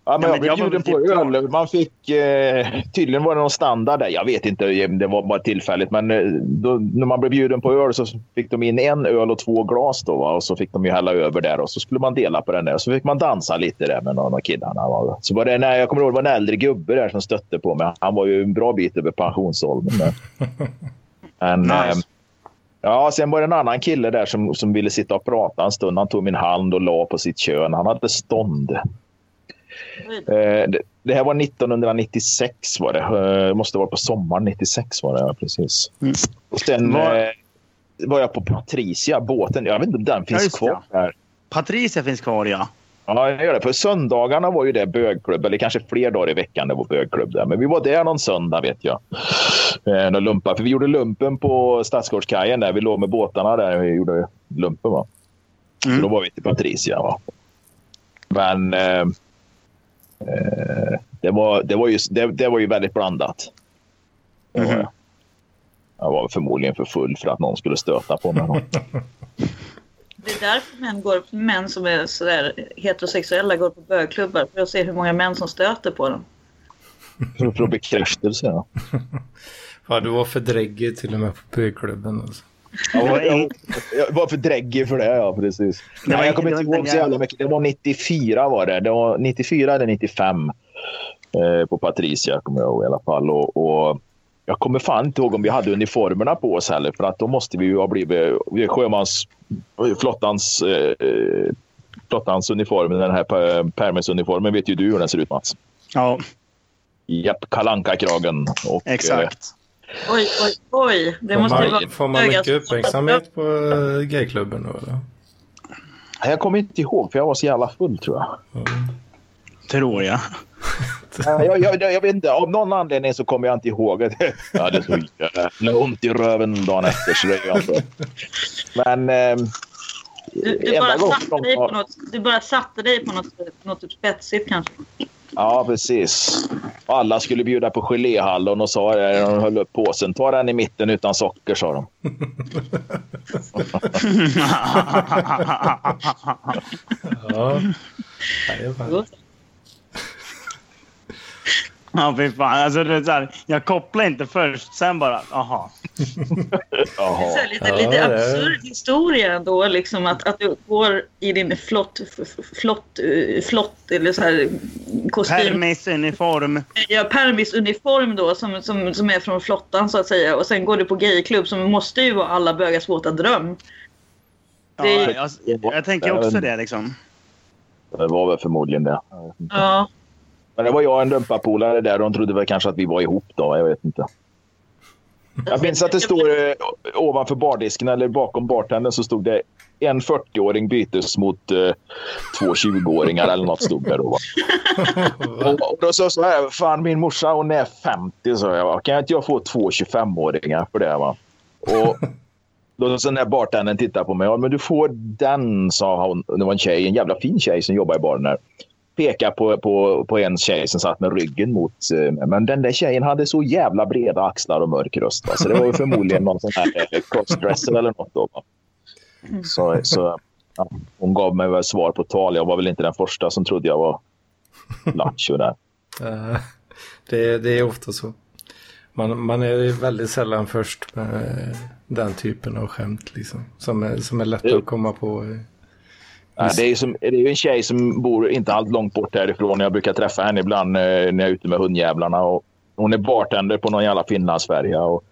[SPEAKER 3] Ja, men
[SPEAKER 1] Ja, men
[SPEAKER 3] jag
[SPEAKER 1] jag
[SPEAKER 3] blev
[SPEAKER 1] var
[SPEAKER 3] bjuden
[SPEAKER 1] väl
[SPEAKER 3] på
[SPEAKER 1] typ
[SPEAKER 3] öl. Man fick, eh, tydligen var det någon standard där. Jag vet inte, eh, det var bara tillfälligt. Men eh, då, när man blev bjuden på öl så fick de in en öl och två glas. Då, va? Och så fick de ju hälla över där och så skulle man dela på den där. Så fick man dansa lite där med någon av killarna. Va? Så var det, nej, jag kommer ihåg det var en äldre gubbe där som stötte på mig. Han var ju en bra bit över pensionsåldern. Men, men,
[SPEAKER 1] Nice.
[SPEAKER 3] eh, Ja, sen var det en annan kille där som, som ville sitta och prata en stund. Han tog min hand och la på sitt kön. Han hade stånd. Eh, det, det här var 1996 var det. Eh, måste vara på sommaren 96 var det, ja, precis.
[SPEAKER 1] Mm.
[SPEAKER 3] Och sen
[SPEAKER 1] Var-
[SPEAKER 3] eh, var jag på Patricia, båten. Jag vet inte om den
[SPEAKER 1] Ja,
[SPEAKER 3] finns
[SPEAKER 1] just
[SPEAKER 3] kvar där.
[SPEAKER 1] Patricia finns kvar, ja.
[SPEAKER 3] Ja, jag gör det. För söndagarna var ju det bögklubb, eller kanske fler dagar i veckan det var bögklubb där. Men vi var där någon söndag vet jag. Eh, någon lumpa. För vi gjorde lumpen på Stadsgårdskajen där. Vi låg med båtarna där vi gjorde lumpen. Va? Så
[SPEAKER 1] Mm.
[SPEAKER 3] då var vi till Patricia. Va? Men eh, eh, det, var, det, var ju, det, det var ju väldigt blandat. Det var
[SPEAKER 1] Mhm.
[SPEAKER 3] jag. jag var förmodligen för full för att någon skulle stöta på mig.
[SPEAKER 4] Det är därför män, går, män som är sådär heterosexuella går på bögklubbar. För att se hur många män som stöter på dem.
[SPEAKER 3] För, för bekräftelse. Ja.
[SPEAKER 2] Ja, du var för dräggig till och med på bögklubben. Alltså.
[SPEAKER 3] Jag var,
[SPEAKER 1] Det var
[SPEAKER 3] jag,
[SPEAKER 1] ing-
[SPEAKER 3] jag var för dräggig för det, ja precis.
[SPEAKER 1] Det var
[SPEAKER 3] Nej, jag
[SPEAKER 1] ing-
[SPEAKER 3] kommer
[SPEAKER 1] det
[SPEAKER 3] inte
[SPEAKER 1] var
[SPEAKER 3] ihåg
[SPEAKER 1] inte
[SPEAKER 3] så
[SPEAKER 1] en
[SPEAKER 3] jävla mycket. Det var 94 var det. Det var 94 eller 95 eh, på Patricia kommer jag ihåg i alla fall. Och, och jag kommer fan inte ihåg om vi hade uniformerna på oss heller för att då måste vi ju ha blivit vi är sjömans, flottans, eh, eh, flottans uniform, den här per- permisuniformen vet ju du hur den ser ut Mats.
[SPEAKER 1] Ja,
[SPEAKER 3] Japp, kalanka-kragen. Och, eh,
[SPEAKER 1] exakt.
[SPEAKER 4] Oj, oj, oj. Det
[SPEAKER 2] Får
[SPEAKER 4] måste ju vara
[SPEAKER 2] man, får man mycket
[SPEAKER 4] bögar som-
[SPEAKER 2] uppmärksamhet på eh, gayklubben då? Eller?
[SPEAKER 3] eh, jag kommer inte ihåg för jag var så jävla full tror jag.
[SPEAKER 1] Tror jag.
[SPEAKER 3] Ja, Jag, jag, jag vet inte, av någon anledning så kommer jag inte ihåg. det. Jag hade så jävla ont i röven dagen efter. Så det alltså- gör jag inte. Men... ehm,
[SPEAKER 4] Du, du,
[SPEAKER 3] enda
[SPEAKER 4] bara
[SPEAKER 3] gången
[SPEAKER 4] satte
[SPEAKER 3] de
[SPEAKER 4] dig på
[SPEAKER 3] har-
[SPEAKER 4] något, du bara satte dig på något, något typ spetsigt kanske.
[SPEAKER 3] Ja, precis. Och Alla skulle bjuda på geléhallon och sa det när de höll upp påsen. Ta den i mitten utan socker, sa de.
[SPEAKER 2] Ja. Jajamän.
[SPEAKER 1] ja, fy fan. Alltså, det är så här, jag kopplar inte först, sen bara, aha.
[SPEAKER 4] Det är så
[SPEAKER 3] Jaha.
[SPEAKER 4] här lite,
[SPEAKER 2] Ja, det
[SPEAKER 4] lite
[SPEAKER 2] är-
[SPEAKER 4] absurd historia ändå, liksom att, att du går i din flott, f- f- flott, eh, flott eller så här kostym,
[SPEAKER 1] Permisuniform.
[SPEAKER 4] ja, permisuniform då som, som, som är från flottan så att säga och sen går du på gayklubb som måste ju vara alla bögars våta dröm.
[SPEAKER 1] Ja,
[SPEAKER 4] Det-
[SPEAKER 1] jag, jag tänker också det liksom.
[SPEAKER 3] Det var väl förmodligen det.
[SPEAKER 4] Ja,
[SPEAKER 3] Men det var jag och en lumparpolare där. De trodde väl kanske att vi var ihop då. Jag vet inte. Jag minns att det står eh, ovanför bardisken eller bakom bartendern så stod det en 40-åring bytes mot eh, två 20-åringar eller något stod det då. Va? Och, och då sa jag så här, fan min morsa hon är 50 så jag. va. Kan jag inte jag få två 25-åringar för det? Va? Och då så när bartendern tittade på mig. Ja, men du får den, sa hon. Det var en tjej, en jävla fin tjej som jobbar i baren där. Pekade på, på, på en tjej som satt med ryggen mot eh, mig. Men den där tjejen hade så jävla breda axlar och mörk röst. va. Så det var ju förmodligen någon sån här eh, crossdresser eller något. Då, va. så, så ja, hon gav mig väl svar på tal. Jag var väl inte den första som trodde jag var lattjo där.
[SPEAKER 2] Eh, Det, det är ofta så. Man, man är väldigt sällan först med den typen av skämt liksom. Som är, som är lätt att komma på.
[SPEAKER 3] Ja, det, är ju som, det är ju en tjej som bor inte allt långt bort härifrån. Jag brukar träffa henne ibland eh, när jag är ute med hundjävlarna. Och hon är bartender på någon jävla Finlandsfärja. Och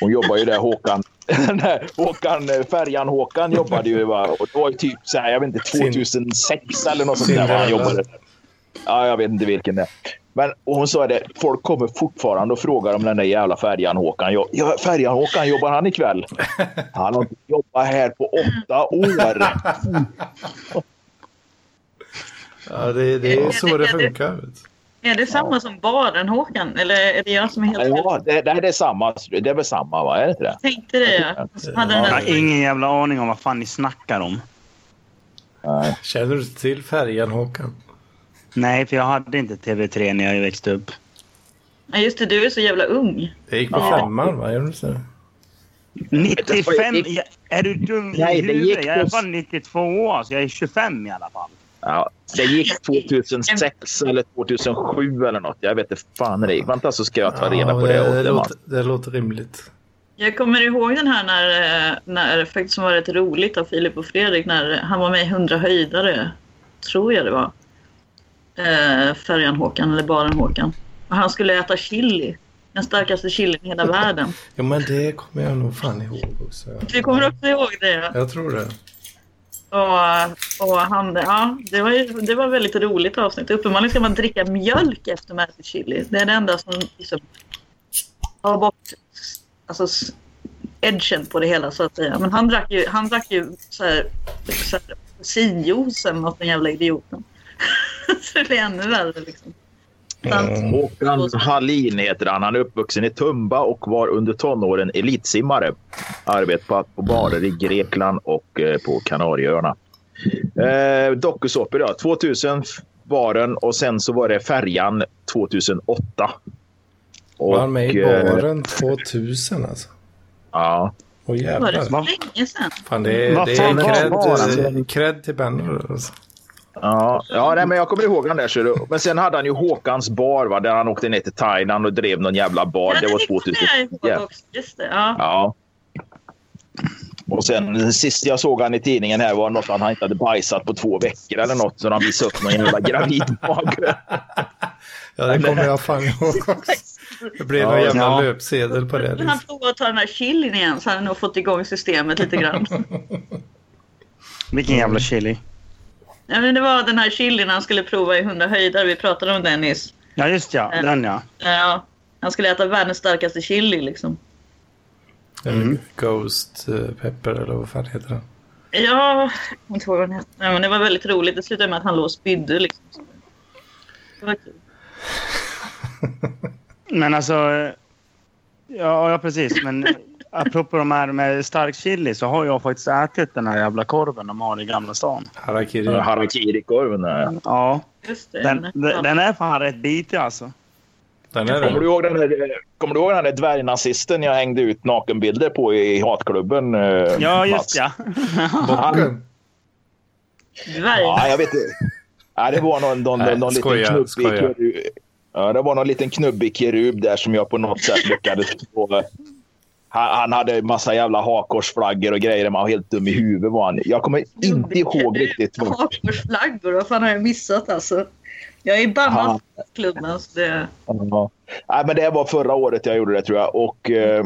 [SPEAKER 3] hon jobbar ju där Håkan. den där Håkan eh, färjan Håkan jobbade ju. Va? Och det var ju typ så här, jag vet inte,
[SPEAKER 2] Sin-
[SPEAKER 3] 2006 eller något sånt där. va? Han
[SPEAKER 2] Cinderella.
[SPEAKER 3] jobbade där. Ja, jag vet inte vilken det är. Men och hon sa det, folk kommer fortfarande och frågar om den där jävla färjan Håkan. Jo- Ja, färjan Håkan, jobbar han ikväll? Han har inte jobbat här på åtta år.
[SPEAKER 2] Ja, det, det är så det funkar. Vet. du.
[SPEAKER 4] är det samma som baren Håkan eller är det jag som är helt
[SPEAKER 3] Ja, det, det, det är samma. Det är väl samma, va? Är det inte det?
[SPEAKER 4] Tänkte det ja. Som Hade den
[SPEAKER 1] Jag
[SPEAKER 4] där,
[SPEAKER 1] har ingen jävla aning om vad fan ni snackar om.
[SPEAKER 3] Nej.
[SPEAKER 2] Känner du inte till färjan Håkan?
[SPEAKER 1] Nej, för jag hade inte TV3 när jag växte upp.
[SPEAKER 4] ja, just det, du är så jävla ung.
[SPEAKER 2] Det gick på
[SPEAKER 4] Ja.
[SPEAKER 2] femman va? Gör du inte det?
[SPEAKER 1] 95? Jag, är du dum i
[SPEAKER 3] Nej, det gick
[SPEAKER 1] huvudet? Jag är
[SPEAKER 3] på-
[SPEAKER 1] bara 92 år, så jag är 25 i alla fall.
[SPEAKER 3] Ja, Det gick 2006 eller 2007 eller något. Jag vet inte fan när det gick. Vänta så ska jag ta reda på det.
[SPEAKER 2] det,
[SPEAKER 3] åt dig,
[SPEAKER 2] låter, det låter rimligt.
[SPEAKER 4] Jag kommer ihåg den här när, eh, när faktiskt som var rätt roligt av Filip och Fredrik när han var med i 100 höjdare. Tror jag det var. Eh, färjan Håkan eller baren Håkan. Och han skulle äta chili. Den starkaste chilin i hela världen.
[SPEAKER 2] Jo, men det kommer jag nog fan ihåg också.
[SPEAKER 4] Vi kommer också ihåg det.
[SPEAKER 2] Jag tror det.
[SPEAKER 4] Och, och han, ja, det, var ju, det var ett väldigt roligt avsnitt. Uppenbarligen ska man dricka mjölk efter man äter chili. Det är det enda som liksom tar bort alltså, s- edgen på det hela så att säga. Men han drack ju, han drack ju så här, så här apelsinjuice eller något, den jävla idioten. så det blir ännu värre liksom. Så han-
[SPEAKER 3] Mm. Håkan Hallin heter han. Han är uppvuxen i Tumba och var under tonåren elitsimmare. Arbetat på barer i Grekland och eh, på Kanarieöarna. Eh, Dokusåpor, ja. 2000 var den och sen så var det Färjan 2008.
[SPEAKER 2] Var han med i
[SPEAKER 3] eh,
[SPEAKER 2] baren 2000 alltså?
[SPEAKER 3] Ja.
[SPEAKER 2] Åh
[SPEAKER 4] var det
[SPEAKER 2] jävlar.
[SPEAKER 4] så länge sedan?
[SPEAKER 2] Fan, det är,
[SPEAKER 1] Vad
[SPEAKER 2] det
[SPEAKER 1] fan
[SPEAKER 2] är
[SPEAKER 1] var baren?
[SPEAKER 2] cred, cred till Benner. Alltså.
[SPEAKER 3] Ja, ja nej, men jag kommer ihåg han där. ser du. Men sen hade han ju Håkans bar va, där han åkte ner till Thailand och drev någon jävla bar.
[SPEAKER 4] Ja,
[SPEAKER 3] det var
[SPEAKER 4] kommer jag
[SPEAKER 3] 2010.
[SPEAKER 4] ihåg också. Just det, ja.
[SPEAKER 3] Ja. Och sen sist jag såg han i tidningen här var något att han inte hade bajsat på två veckor eller något. Så han visade upp någon jävla gravidmage.
[SPEAKER 2] Ja, det kommer jag fan ihåg också. Det blev någon
[SPEAKER 3] Ja,
[SPEAKER 2] jävla
[SPEAKER 1] ja.
[SPEAKER 2] löpsedel på det.
[SPEAKER 4] Men han
[SPEAKER 2] Liksom.
[SPEAKER 4] provar att ta den här chilin igen så han har nog fått igång systemet lite grann.
[SPEAKER 1] Vilken jävla chili.
[SPEAKER 4] Ja, men det var den här chilin han skulle prova i 100 höjder. Vi pratade om den nyss.
[SPEAKER 1] Ja, just ja.
[SPEAKER 4] Ja.
[SPEAKER 1] Den ja.
[SPEAKER 4] Ja, han skulle äta världens starkaste chili liksom.
[SPEAKER 3] Mm.
[SPEAKER 2] Eller Ghost eh, Pepper eller vad fan heter den?
[SPEAKER 4] Ja, jag kommer inte ihåg vad den hette. Nej, men det var väldigt roligt. Det slutade med att han låg och spydde liksom. Det var kul.
[SPEAKER 1] Men alltså... eh, Ja, ja precis. Men eh, apropå de här med stark chili så har jag faktiskt ätit den här jävla korven de har i Gamla stan.
[SPEAKER 2] Harakiri.
[SPEAKER 3] Harakiri-korven. ja.
[SPEAKER 1] Ja,
[SPEAKER 4] Just det.
[SPEAKER 1] den, den, den är fan rätt bitig alltså.
[SPEAKER 2] Den är
[SPEAKER 3] Kommer du
[SPEAKER 2] det.
[SPEAKER 3] ihåg den där, kommer du ihåg den där dvärgnazisten jag hängde ut nakenbilder på i hatklubben? eh,
[SPEAKER 1] Ja,
[SPEAKER 3] Mats?
[SPEAKER 1] just ja.
[SPEAKER 2] Bocken.
[SPEAKER 4] Dvärg.
[SPEAKER 3] Ja, jag vet inte. Ja, det var någon, någon,
[SPEAKER 2] Nej,
[SPEAKER 3] någon
[SPEAKER 2] skoja,
[SPEAKER 3] liten knubbig
[SPEAKER 2] skoja.
[SPEAKER 3] kerub. Ja, det var någon liten knubbig kerub där som jag på något sätt lyckades få. eh, Han, han hade massa jävla hakorsflaggor och grejer. Man var helt dum i huvudet var han. Jag kommer inte ihåg riktigt. vad-
[SPEAKER 4] Hakkorsflaggor, vad fan har jag missat alltså? Jag är i bamman klubben så det...
[SPEAKER 3] Ja. Nej, men det var förra året jag gjorde det tror jag. Och, eh,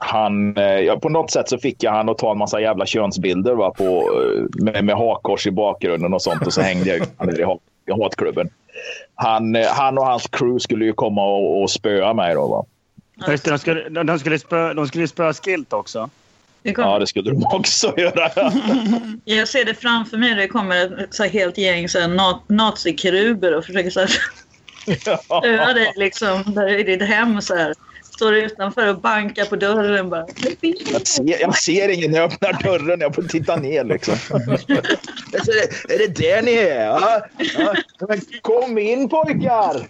[SPEAKER 3] han, eh, ja, på något sätt så fick jag han att ta en massa jävla könsbilder va, på, eh, med, med hakkors i bakgrunden och sånt. Och så hängde jag ut han där i hat- i hatklubben. Han, eh, han och hans crew skulle ju komma och, och spöa mig. Då, va?
[SPEAKER 1] Ja, Just det, de skulle, de, de skulle spö, de skulle spöa Skilt också.
[SPEAKER 4] det kom...
[SPEAKER 3] Ja, det skulle de också göra.
[SPEAKER 4] Jag ser det framför mig. Det kommer ett så här helt gäng så här na- nazikeruber och försöker så här spöa dig liksom, där i ditt hem. Så här. Står utanför och bankar på dörren bara.
[SPEAKER 3] Jag ser, jag ser ingen när jag öppnar dörren. Jag får titta ner liksom. Jag säger, är det där ni är? Ja, ja. Men Kom in pojkar!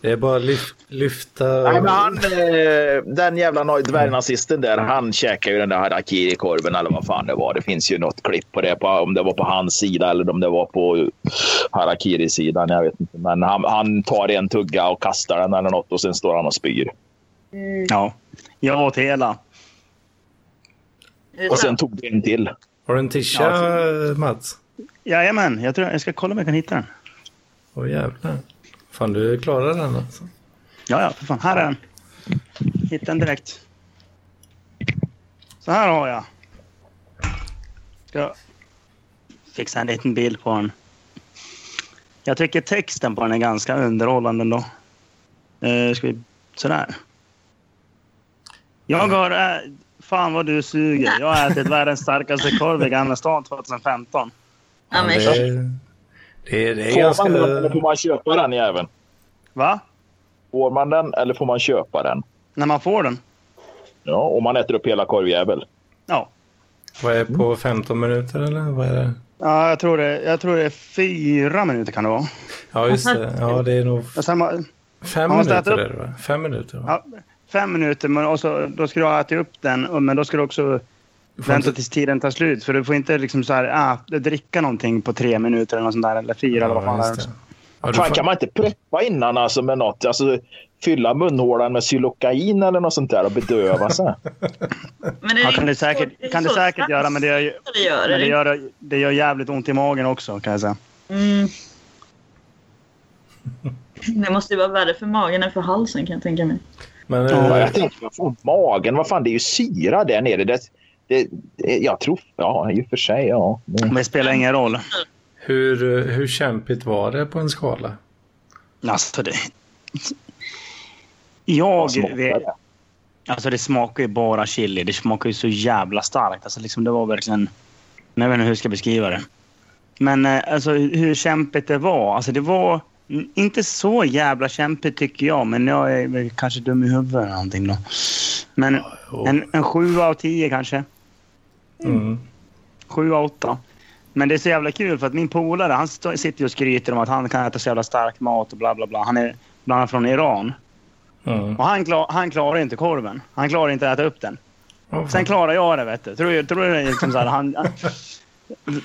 [SPEAKER 2] Det är bara lyf, lyfta.
[SPEAKER 3] Nej, men han, eh, den jävla noj- dvärgnazisten där, han käkar ju den där harakiri-korven eller vad fan det var. Det finns ju något klipp på det, på, om det var på hans sida eller om det var på harakiri-sidan. Jag vet inte. Men han, han tar en tugga och kastar den eller något och sen står han och spyr.
[SPEAKER 1] Ja. Jag åt hela.
[SPEAKER 3] Och sen tog det en till.
[SPEAKER 2] Har du en tisha
[SPEAKER 1] Ja,
[SPEAKER 2] Mats?
[SPEAKER 1] Jajamän, jag, tror, jag ska kolla om jag kan hitta den.
[SPEAKER 2] Åh jävlar. Fan du klarar den alltså.
[SPEAKER 1] Ja, ja, för fan. Här är den. Hitta den direkt. Så här har jag. Ska fixa en liten bild på den. Jag tycker texten på den är ganska underhållande ändå. Eh, ska vi... Sådär. Jag har... Ä... Fan vad du suger. Jag har ätit världens starkaste korv i Gamla stan 2015.
[SPEAKER 4] Ja, men,
[SPEAKER 2] det, är, det, är, det är
[SPEAKER 3] Får
[SPEAKER 2] ganska...
[SPEAKER 3] man den eller får man köpa den jäveln?
[SPEAKER 1] Va?
[SPEAKER 3] Får man den eller får man köpa den?
[SPEAKER 1] När man får den?
[SPEAKER 3] Ja, om man äter upp hela korvjävel.
[SPEAKER 1] Ja.
[SPEAKER 2] Vad är på 15 minuter eller vad är det?
[SPEAKER 1] Ja, jag tror det, jag tror det är fyra minuter kan det vara.
[SPEAKER 2] Ja just det. Ja det är nog
[SPEAKER 1] Och sen, var-
[SPEAKER 2] fem
[SPEAKER 1] Man måste
[SPEAKER 2] minuter
[SPEAKER 1] äta upp-
[SPEAKER 2] är det va? Fem minuter va?
[SPEAKER 1] Ja, fem minuter, men och så, då ska du ha ätit upp den. och- Men då ska du också Vänta tills tiden tar slut. För du får inte liksom så här, äh, dricka någonting på tre minuter eller något sånt där. Eller fyra eller vad fan det
[SPEAKER 2] just
[SPEAKER 1] är.
[SPEAKER 2] det. Ja, du
[SPEAKER 3] Fan,
[SPEAKER 2] får-
[SPEAKER 3] kan man inte preppa innan alltså, med något? Alltså, fylla munhålan med Xylokain eller något sånt där och bedöva sig?
[SPEAKER 4] Men är
[SPEAKER 1] Ja, kan
[SPEAKER 4] inte
[SPEAKER 1] det
[SPEAKER 4] så-
[SPEAKER 1] säkert,
[SPEAKER 4] är
[SPEAKER 1] kan det
[SPEAKER 4] så
[SPEAKER 1] säkert göra, men det gör, ju-
[SPEAKER 4] det gör,
[SPEAKER 1] men
[SPEAKER 4] är
[SPEAKER 1] det
[SPEAKER 4] det
[SPEAKER 1] gör, det gör jävligt ont i magen också kan jag säga.
[SPEAKER 4] Mm. Det måste ju vara värre för magen än för halsen kan jag tänka mig.
[SPEAKER 2] Men,
[SPEAKER 3] Ja,
[SPEAKER 2] eh,
[SPEAKER 3] jag tänkte, vad fan, magen, vad fan, det är ju syra där nere. Det, det, det, jag tror, ja i och för sig, ja. Mm. Men-
[SPEAKER 1] Men det spelar ingen roll.
[SPEAKER 2] hur, eh, hur kämpigt var det på en skala?
[SPEAKER 1] Alltså det... Jag...
[SPEAKER 3] smakar
[SPEAKER 1] vet-
[SPEAKER 3] det?
[SPEAKER 1] Alltså det smakar ju bara chili. Det smakar ju så jävla starkt. Alltså liksom det var verkligen... Jag vet inte hur jag ska beskriva det. Men eh, alltså hur kämpigt det var. Alltså det var mm, inte så jävla kämpigt tycker jag. Men jag är väl kanske dum i huvudet eller någonting då. Men
[SPEAKER 2] jo.
[SPEAKER 1] en, en sju av tio kanske.
[SPEAKER 2] Mm.
[SPEAKER 1] Sju av åtta. Men det är så jävla kul för att min polare han stå- sitter ju och skryter om att han kan äta så jävla stark mat och bla bla bla. Han är bland annat från Iran.
[SPEAKER 2] Mm.
[SPEAKER 1] Och han, klar, han klarar inte korven. Han klarar inte att äta upp den.
[SPEAKER 2] Oh,
[SPEAKER 1] Sen klarar jag det, vet du. Tror, jag- tror jag liksom så här, han,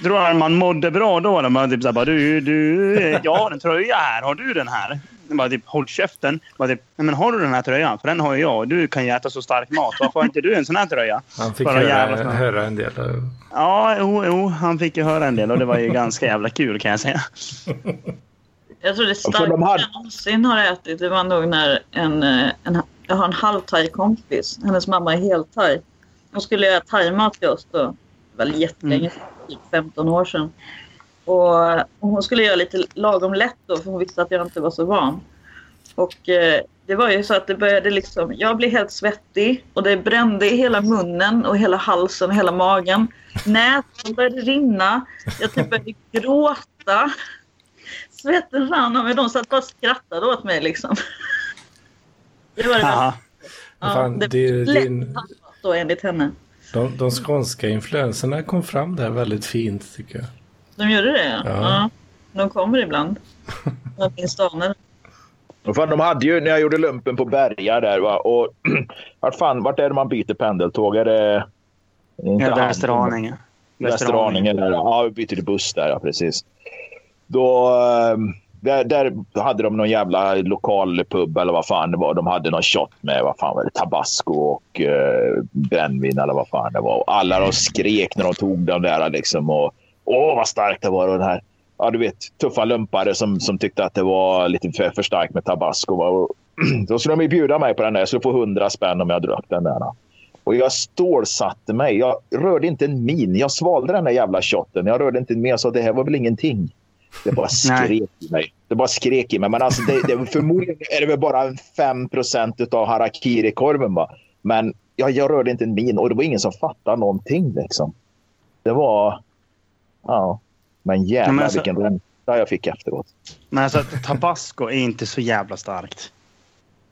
[SPEAKER 1] tror han man mådde bra då? När man typ så här, bara, du, du, jag har en tröja här. Har du den här? Jag Bara, typ, håll käften. Jag Bara, typ, "Nej, men har du den här tröjan? För den har ju jag. Du kan ju äta så stark mat. Varför har inte du en sån här tröja?
[SPEAKER 2] han fick
[SPEAKER 1] bara
[SPEAKER 2] höra,
[SPEAKER 1] jävla snabbt.
[SPEAKER 2] höra en del. eh,
[SPEAKER 1] Ja, jo, jo, han fick ju höra en del och det var ju ganska jävla kul kan jag säga.
[SPEAKER 4] Jag tror det
[SPEAKER 3] för de
[SPEAKER 4] starkaste
[SPEAKER 3] hade-
[SPEAKER 4] jag någonsin har ätit det var nog när en, eh, en jag har en halvthai-kompis. Hennes mamma är helthai. Hon skulle göra thaimat till oss då. Det var jättelänge sedan, typ 15 år sedan. Och och hon skulle göra lite lagom lätt då för hon visste att jag inte var så van. Och eh, det var ju så att det började liksom, jag blev helt svettig och det brände i hela munnen och hela halsen och hela magen. Näsan började rinna. Jag typ började gråta. Svetten rann av mig. De satt bara och skrattade åt mig liksom. Det var det
[SPEAKER 1] Haha.
[SPEAKER 4] Ja,
[SPEAKER 2] Fan,
[SPEAKER 4] det
[SPEAKER 2] det är
[SPEAKER 4] lätt
[SPEAKER 2] din-
[SPEAKER 4] handlat då enligt henne.
[SPEAKER 2] De, de skånska influenserna kom fram där väldigt fint tycker jag.
[SPEAKER 4] De gjorde det?
[SPEAKER 2] Ja.
[SPEAKER 4] Ja. De kommer ibland. Jag minns aner.
[SPEAKER 3] Vad Fan, de hade ju, när jag gjorde lumpen på Berga där, va? och vart, fan, vart är det man byter pendeltåg? Är det... det är inte
[SPEAKER 1] Ja,
[SPEAKER 3] Hamburg.
[SPEAKER 1] Västerhaninge.
[SPEAKER 3] Västerhaninge. där, Ja, vi bytte till buss där, ja precis. Då, eh, där, där hade de någon jävla lokal pub eller vad fan det var. De hade någon shot med vad fan var det, tabasco och eh, brännvin eller vad fan det var. Och alla de skrek när de tog den där liksom. Och, Åh, vad starkt det var. Och den här, ja, du vet, tuffa lumpare som, som tyckte att det var lite för, för starkt med tabasco. va. Och, då skulle de ju bjuda mig på den där. Jag skulle få 100 spänn om jag drack den där. då. Och jag stålsatte mig. Jag rörde inte en min. Jag svalde den där jävla shotten. Jag rörde inte en min. Jag sa det här var väl ingenting. Det bara skrek i mig. Det bara skrek i mig. Men alltså, det, det, förmodligen är det väl bara 5 av harakiri-korven. va. Men jag, jag rörde inte en min och det var ingen som fattade någonting. Liksom. Det var... Ja. Men jävlar
[SPEAKER 1] Ja, men alltså-
[SPEAKER 3] vilken ränta jag fick efteråt.
[SPEAKER 1] Men alltså tabasco är inte så jävla starkt.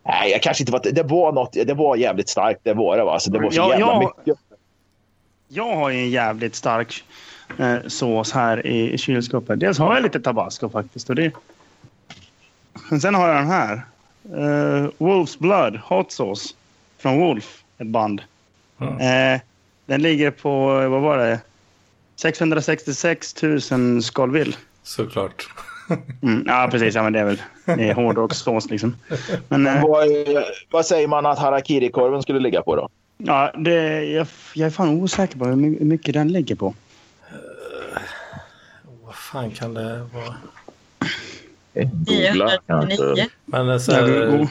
[SPEAKER 3] Nej, jag kanske inte var... Det var något... Det var jävligt starkt. Det var det. Va? Alltså, det var så
[SPEAKER 1] Ja,
[SPEAKER 3] jävla
[SPEAKER 1] ja.
[SPEAKER 3] mycket.
[SPEAKER 1] Jag har ju en jävligt stark eh, sås här i kylskåpet. Dels har jag lite tabasco faktiskt. Och det... Men sen har jag den här. Eh, Wolf's Blood Hot Sauce. Från Wolf, ett band. Eh, den ligger på, eh, vad var det? 666 000 skalvill.
[SPEAKER 2] Såklart.
[SPEAKER 1] Mm, ja, precis. Ja, men det är väl det är hårdrockssås liksom. Men, eh,
[SPEAKER 3] Vad, eh, vad säger man att harakiri-korven skulle ligga på då?
[SPEAKER 1] ja, det, jag, jag är fan osäker på hur my- hur mycket den ligger på.
[SPEAKER 2] Vad fan kan det vara?
[SPEAKER 3] Eh, Googla kanske.
[SPEAKER 4] 999.
[SPEAKER 2] Men alltså,
[SPEAKER 1] Ja, det är god.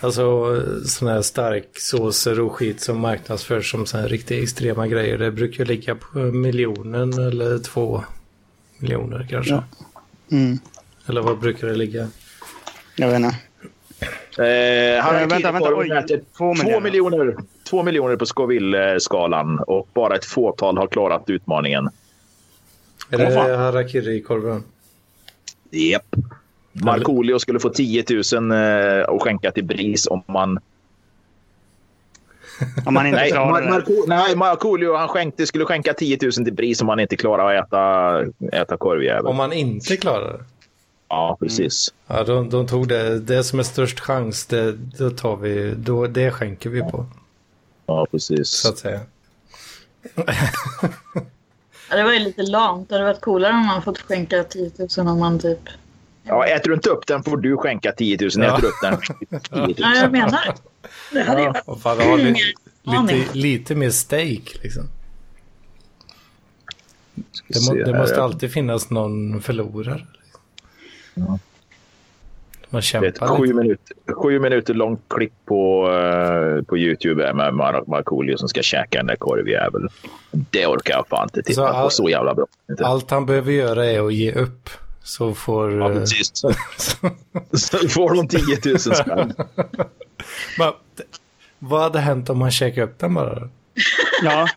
[SPEAKER 2] alltså sådana här starksåser och skit som marknadsförs som så här riktigt extrema grejer. Det brukar ligga på miljonen eller två miljoner kanske.
[SPEAKER 1] Ja. Mm,
[SPEAKER 2] Eller vad brukar det ligga?
[SPEAKER 1] jag vet inte.
[SPEAKER 3] Eh,
[SPEAKER 1] Eh, vänta, vänta,
[SPEAKER 3] harakiri-korven
[SPEAKER 1] oj.
[SPEAKER 3] äter
[SPEAKER 1] Två
[SPEAKER 3] två
[SPEAKER 1] miljoner.
[SPEAKER 3] miljoner. Två miljoner på Scoville-skalan och bara ett fåtal har klarat utmaningen.
[SPEAKER 2] Är
[SPEAKER 1] Åh, fan.
[SPEAKER 2] det harakiri-korven?
[SPEAKER 3] Japp. Markoolio skulle få 10 000 eh, och skänka till BRIS om man...
[SPEAKER 1] Om man inte
[SPEAKER 3] Nej,
[SPEAKER 1] klarar
[SPEAKER 3] Mar-
[SPEAKER 1] det.
[SPEAKER 3] Marco- nej Markoolio han skänkte, skulle skänka 10 000 till BRIS om man inte klarar att äta, äta korvjävel.
[SPEAKER 2] Om man inte klarar det?
[SPEAKER 3] Ja, precis.
[SPEAKER 2] Ja, de, de tog det. Det som är störst chans, det, det tar vi. Då, det skänker vi på,
[SPEAKER 3] Ja,
[SPEAKER 2] så
[SPEAKER 3] precis.
[SPEAKER 2] att säga.
[SPEAKER 4] Ja, det var ju lite lamt. Det hade varit coolare om man fått skänka 10 000 om man typ...
[SPEAKER 3] Ja, äter du inte upp den får du skänka 10 000.
[SPEAKER 2] Ja.
[SPEAKER 3] Äter du upp den 10 000.
[SPEAKER 4] Ja, jag menar det. det. hade ju varit...
[SPEAKER 2] Och fan, ha lite, lite,
[SPEAKER 4] Aning.
[SPEAKER 2] lite mer steak liksom. Det, må,
[SPEAKER 3] se
[SPEAKER 2] det
[SPEAKER 3] här,
[SPEAKER 2] måste
[SPEAKER 3] ja.
[SPEAKER 2] alltid finnas någon förlorare. Man
[SPEAKER 3] Det är ett
[SPEAKER 2] kämpar
[SPEAKER 3] sju,
[SPEAKER 2] lite.
[SPEAKER 3] minuter, sju minuter långt klipp på, eh, på YouTube här med Mar- Markoolio som ska käka den där korvjäveln. Det orkar jag fan inte
[SPEAKER 2] Så
[SPEAKER 3] titta på.
[SPEAKER 2] all-
[SPEAKER 3] Så jävla bra. Inte.
[SPEAKER 2] Allt han behöver göra är att ge upp. Så får...
[SPEAKER 3] Ja,
[SPEAKER 2] eh,
[SPEAKER 3] precis. Så får de 10 000 spänn.
[SPEAKER 2] Men, d- vad hade hänt om han käkade upp den bara?
[SPEAKER 1] Ja.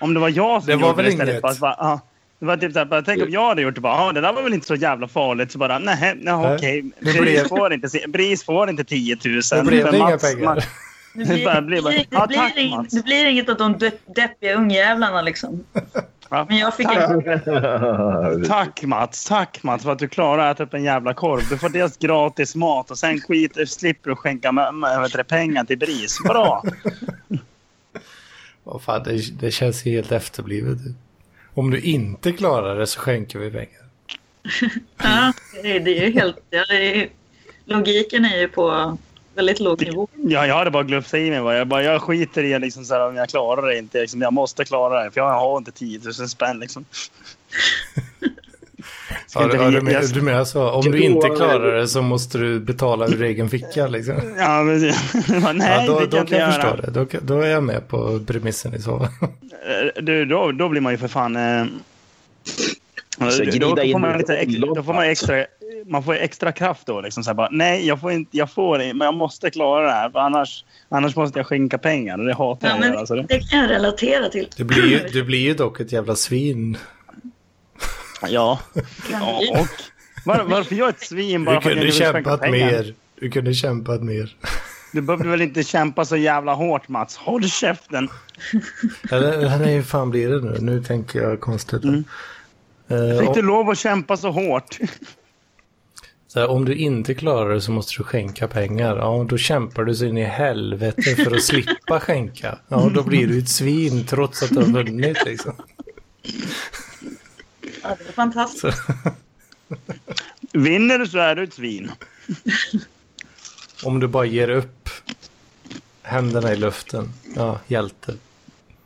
[SPEAKER 1] Om det var jag som
[SPEAKER 2] Det var
[SPEAKER 1] gjorde
[SPEAKER 2] väl
[SPEAKER 1] det istället.
[SPEAKER 2] inget.
[SPEAKER 1] för att bara, ja. Det var typ så här, bara, tänk om jag hade gjort det. Bara, ja, det där var väl inte så jävla farligt. Så bara, nej, nej
[SPEAKER 2] Nej.
[SPEAKER 1] okej.
[SPEAKER 2] Det
[SPEAKER 1] Bris,
[SPEAKER 2] blev-
[SPEAKER 1] får inte, se- Bris får inte 10 000.
[SPEAKER 2] Då blev
[SPEAKER 1] för
[SPEAKER 2] det inga
[SPEAKER 1] Mats-
[SPEAKER 2] pengar.
[SPEAKER 1] Mats-
[SPEAKER 4] Det
[SPEAKER 1] Det bara blir bara,
[SPEAKER 4] blir,
[SPEAKER 1] "Ja,
[SPEAKER 4] det
[SPEAKER 1] tack,
[SPEAKER 4] blir,
[SPEAKER 1] Mats."
[SPEAKER 4] inget, det blir inget av de de- deppiga ungjävlarna liksom.
[SPEAKER 1] Ja.
[SPEAKER 4] Men jag fick
[SPEAKER 1] Tack.
[SPEAKER 4] en...
[SPEAKER 1] Tack Mats, tack Mats för att du klarar att äta upp en jävla korv. Du får dels gratis mat och sen skit, slipper du skänka med, med, vet du, pengar till BRIS. Bra!
[SPEAKER 2] Vad fan, det, det känns ju helt efterblivet. Om du inte klarar det så skänker vi pengar.
[SPEAKER 4] Ja, det, är- det är ju helt... Ja, det är, logiken är ju på väldigt låg nivå.
[SPEAKER 1] Ja, jag hade bara glufsat i mig. va. Jag, bara, jag skiter i liksom, så här, om jag klarar det inte. Liksom, jag måste klara det för jag har inte 10 000 spänn. Liksom.
[SPEAKER 2] Ja,
[SPEAKER 1] inte
[SPEAKER 2] du, ja,
[SPEAKER 1] vi-
[SPEAKER 2] du, menar,
[SPEAKER 1] jag-
[SPEAKER 2] du menar så? Om du
[SPEAKER 3] Då-
[SPEAKER 2] inte klarar det så måste du betala ur egen ficka liksom?
[SPEAKER 1] Ja, men, jag bara, nej,
[SPEAKER 2] ja, då,
[SPEAKER 1] det
[SPEAKER 2] då
[SPEAKER 1] kan
[SPEAKER 2] kan jag
[SPEAKER 1] jag inte
[SPEAKER 2] förstå
[SPEAKER 1] göra.
[SPEAKER 2] det. Då, kan- då är jag med på premissen i så fall.
[SPEAKER 1] Eh, Du, då, då blir man ju för fan... Eh,
[SPEAKER 3] Så
[SPEAKER 1] då,
[SPEAKER 3] gnida in
[SPEAKER 1] får man
[SPEAKER 3] en
[SPEAKER 1] lite ex,
[SPEAKER 3] lång
[SPEAKER 1] då får man
[SPEAKER 3] lapp,
[SPEAKER 1] extra, man får extra kraft då. Liksom, så här, bara, nej, jag får inte, jag får det, men jag måste klara det här. För annars, annars måste jag skänka pengar och det hatar jag.
[SPEAKER 4] Ja,
[SPEAKER 1] att
[SPEAKER 4] men
[SPEAKER 1] göra, så det,
[SPEAKER 4] det kan jag relatera till.
[SPEAKER 2] Du blir, ju, du blir ju dock ett jävla svin.
[SPEAKER 1] ja. ja och, var, varför jag är ett svin bara
[SPEAKER 2] Du
[SPEAKER 1] för att jag
[SPEAKER 2] kunde
[SPEAKER 1] vill skänka
[SPEAKER 2] kämpat
[SPEAKER 1] pengar?
[SPEAKER 2] mer. Du kunde kämpat mer.
[SPEAKER 1] Du behövde väl inte kämpa så jävla hårt Mats? Håll käften!
[SPEAKER 2] Eller nej, hur fan blir det nu? Nu tänker jag konstigt. Eh,
[SPEAKER 1] Mm. Fick
[SPEAKER 2] om-
[SPEAKER 1] du lov att kämpa så hårt?
[SPEAKER 2] Så här, om du inte klarar det så måste du skänka pengar. Ja, då kämpar du så in i helvete för att slippa skänka. Ja, då blir du ett svin trots att du har vunnit liksom.
[SPEAKER 4] Ja, det är fantastiskt.
[SPEAKER 1] Vinner du så är du ett svin.
[SPEAKER 2] Om du bara ger upp händerna i luften. Ja, hjälte.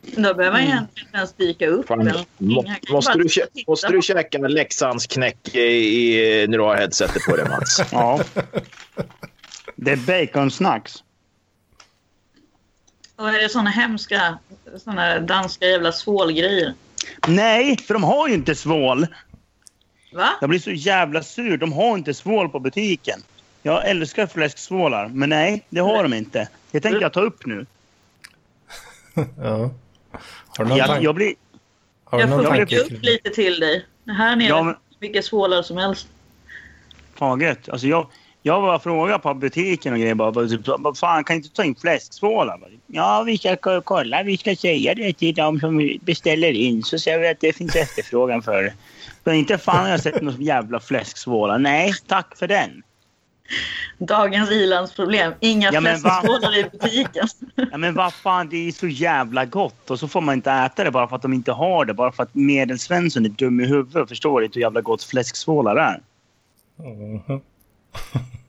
[SPEAKER 4] Då behöver
[SPEAKER 1] Mm.
[SPEAKER 4] man egentligen inte ens dyka upp.
[SPEAKER 3] Fan,
[SPEAKER 4] eller någonting.
[SPEAKER 3] må-
[SPEAKER 4] Han kan
[SPEAKER 3] måste,
[SPEAKER 4] bara
[SPEAKER 3] du, kä-
[SPEAKER 4] titta
[SPEAKER 3] måste
[SPEAKER 4] på-
[SPEAKER 3] du käka Leksands knäck i, i, när du har headsetet på dig, Mats?
[SPEAKER 1] Ja. Det är baconsnacks.
[SPEAKER 4] Och är det såna hemska såna danska jävla svålgrejer?
[SPEAKER 1] Nej, för de har ju inte svål.
[SPEAKER 4] Va?
[SPEAKER 1] Jag blir så jävla sur. De har inte svål på butiken. Jag älskar fläsksvålar, men nej, det har de inte. Det tänker jag ta upp nu.
[SPEAKER 2] Ja. Har du någon,
[SPEAKER 1] Jag,
[SPEAKER 2] tan-
[SPEAKER 1] jag blir...
[SPEAKER 2] har du
[SPEAKER 4] Jag
[SPEAKER 2] någon
[SPEAKER 4] får
[SPEAKER 2] tanke
[SPEAKER 4] skicka
[SPEAKER 2] kring
[SPEAKER 4] upp
[SPEAKER 2] det?
[SPEAKER 4] lite till dig. Det Här nere
[SPEAKER 1] Ja,
[SPEAKER 4] ja,
[SPEAKER 1] men-
[SPEAKER 4] mycket svålare som helst.
[SPEAKER 1] Fan gött. Alltså jag, jag bara frågade på butiken och grejer. Bara, bara, typ, vad fan, kan inte ta in fläsksvålar? Bara, Ja, vi ska ko- kolla. Vi ska säga det till dem som beställer in. Så ser vi att det finns efterfrågan för det. Men inte fan har jag sett någon jävla fläsksvålar. Nej, tack för den.
[SPEAKER 4] Dagens ilandsproblem. Inga
[SPEAKER 1] Ja, men va?
[SPEAKER 4] fläsksvålar i butiken.
[SPEAKER 1] Ja, men vad fan, det är så jävla gott. Och så får man inte äta det bara för att de inte har det. Bara för att Medelsvensson är dum i huvudet och förstår inte hur jävla gott fläsksvålar är.
[SPEAKER 2] Mhm.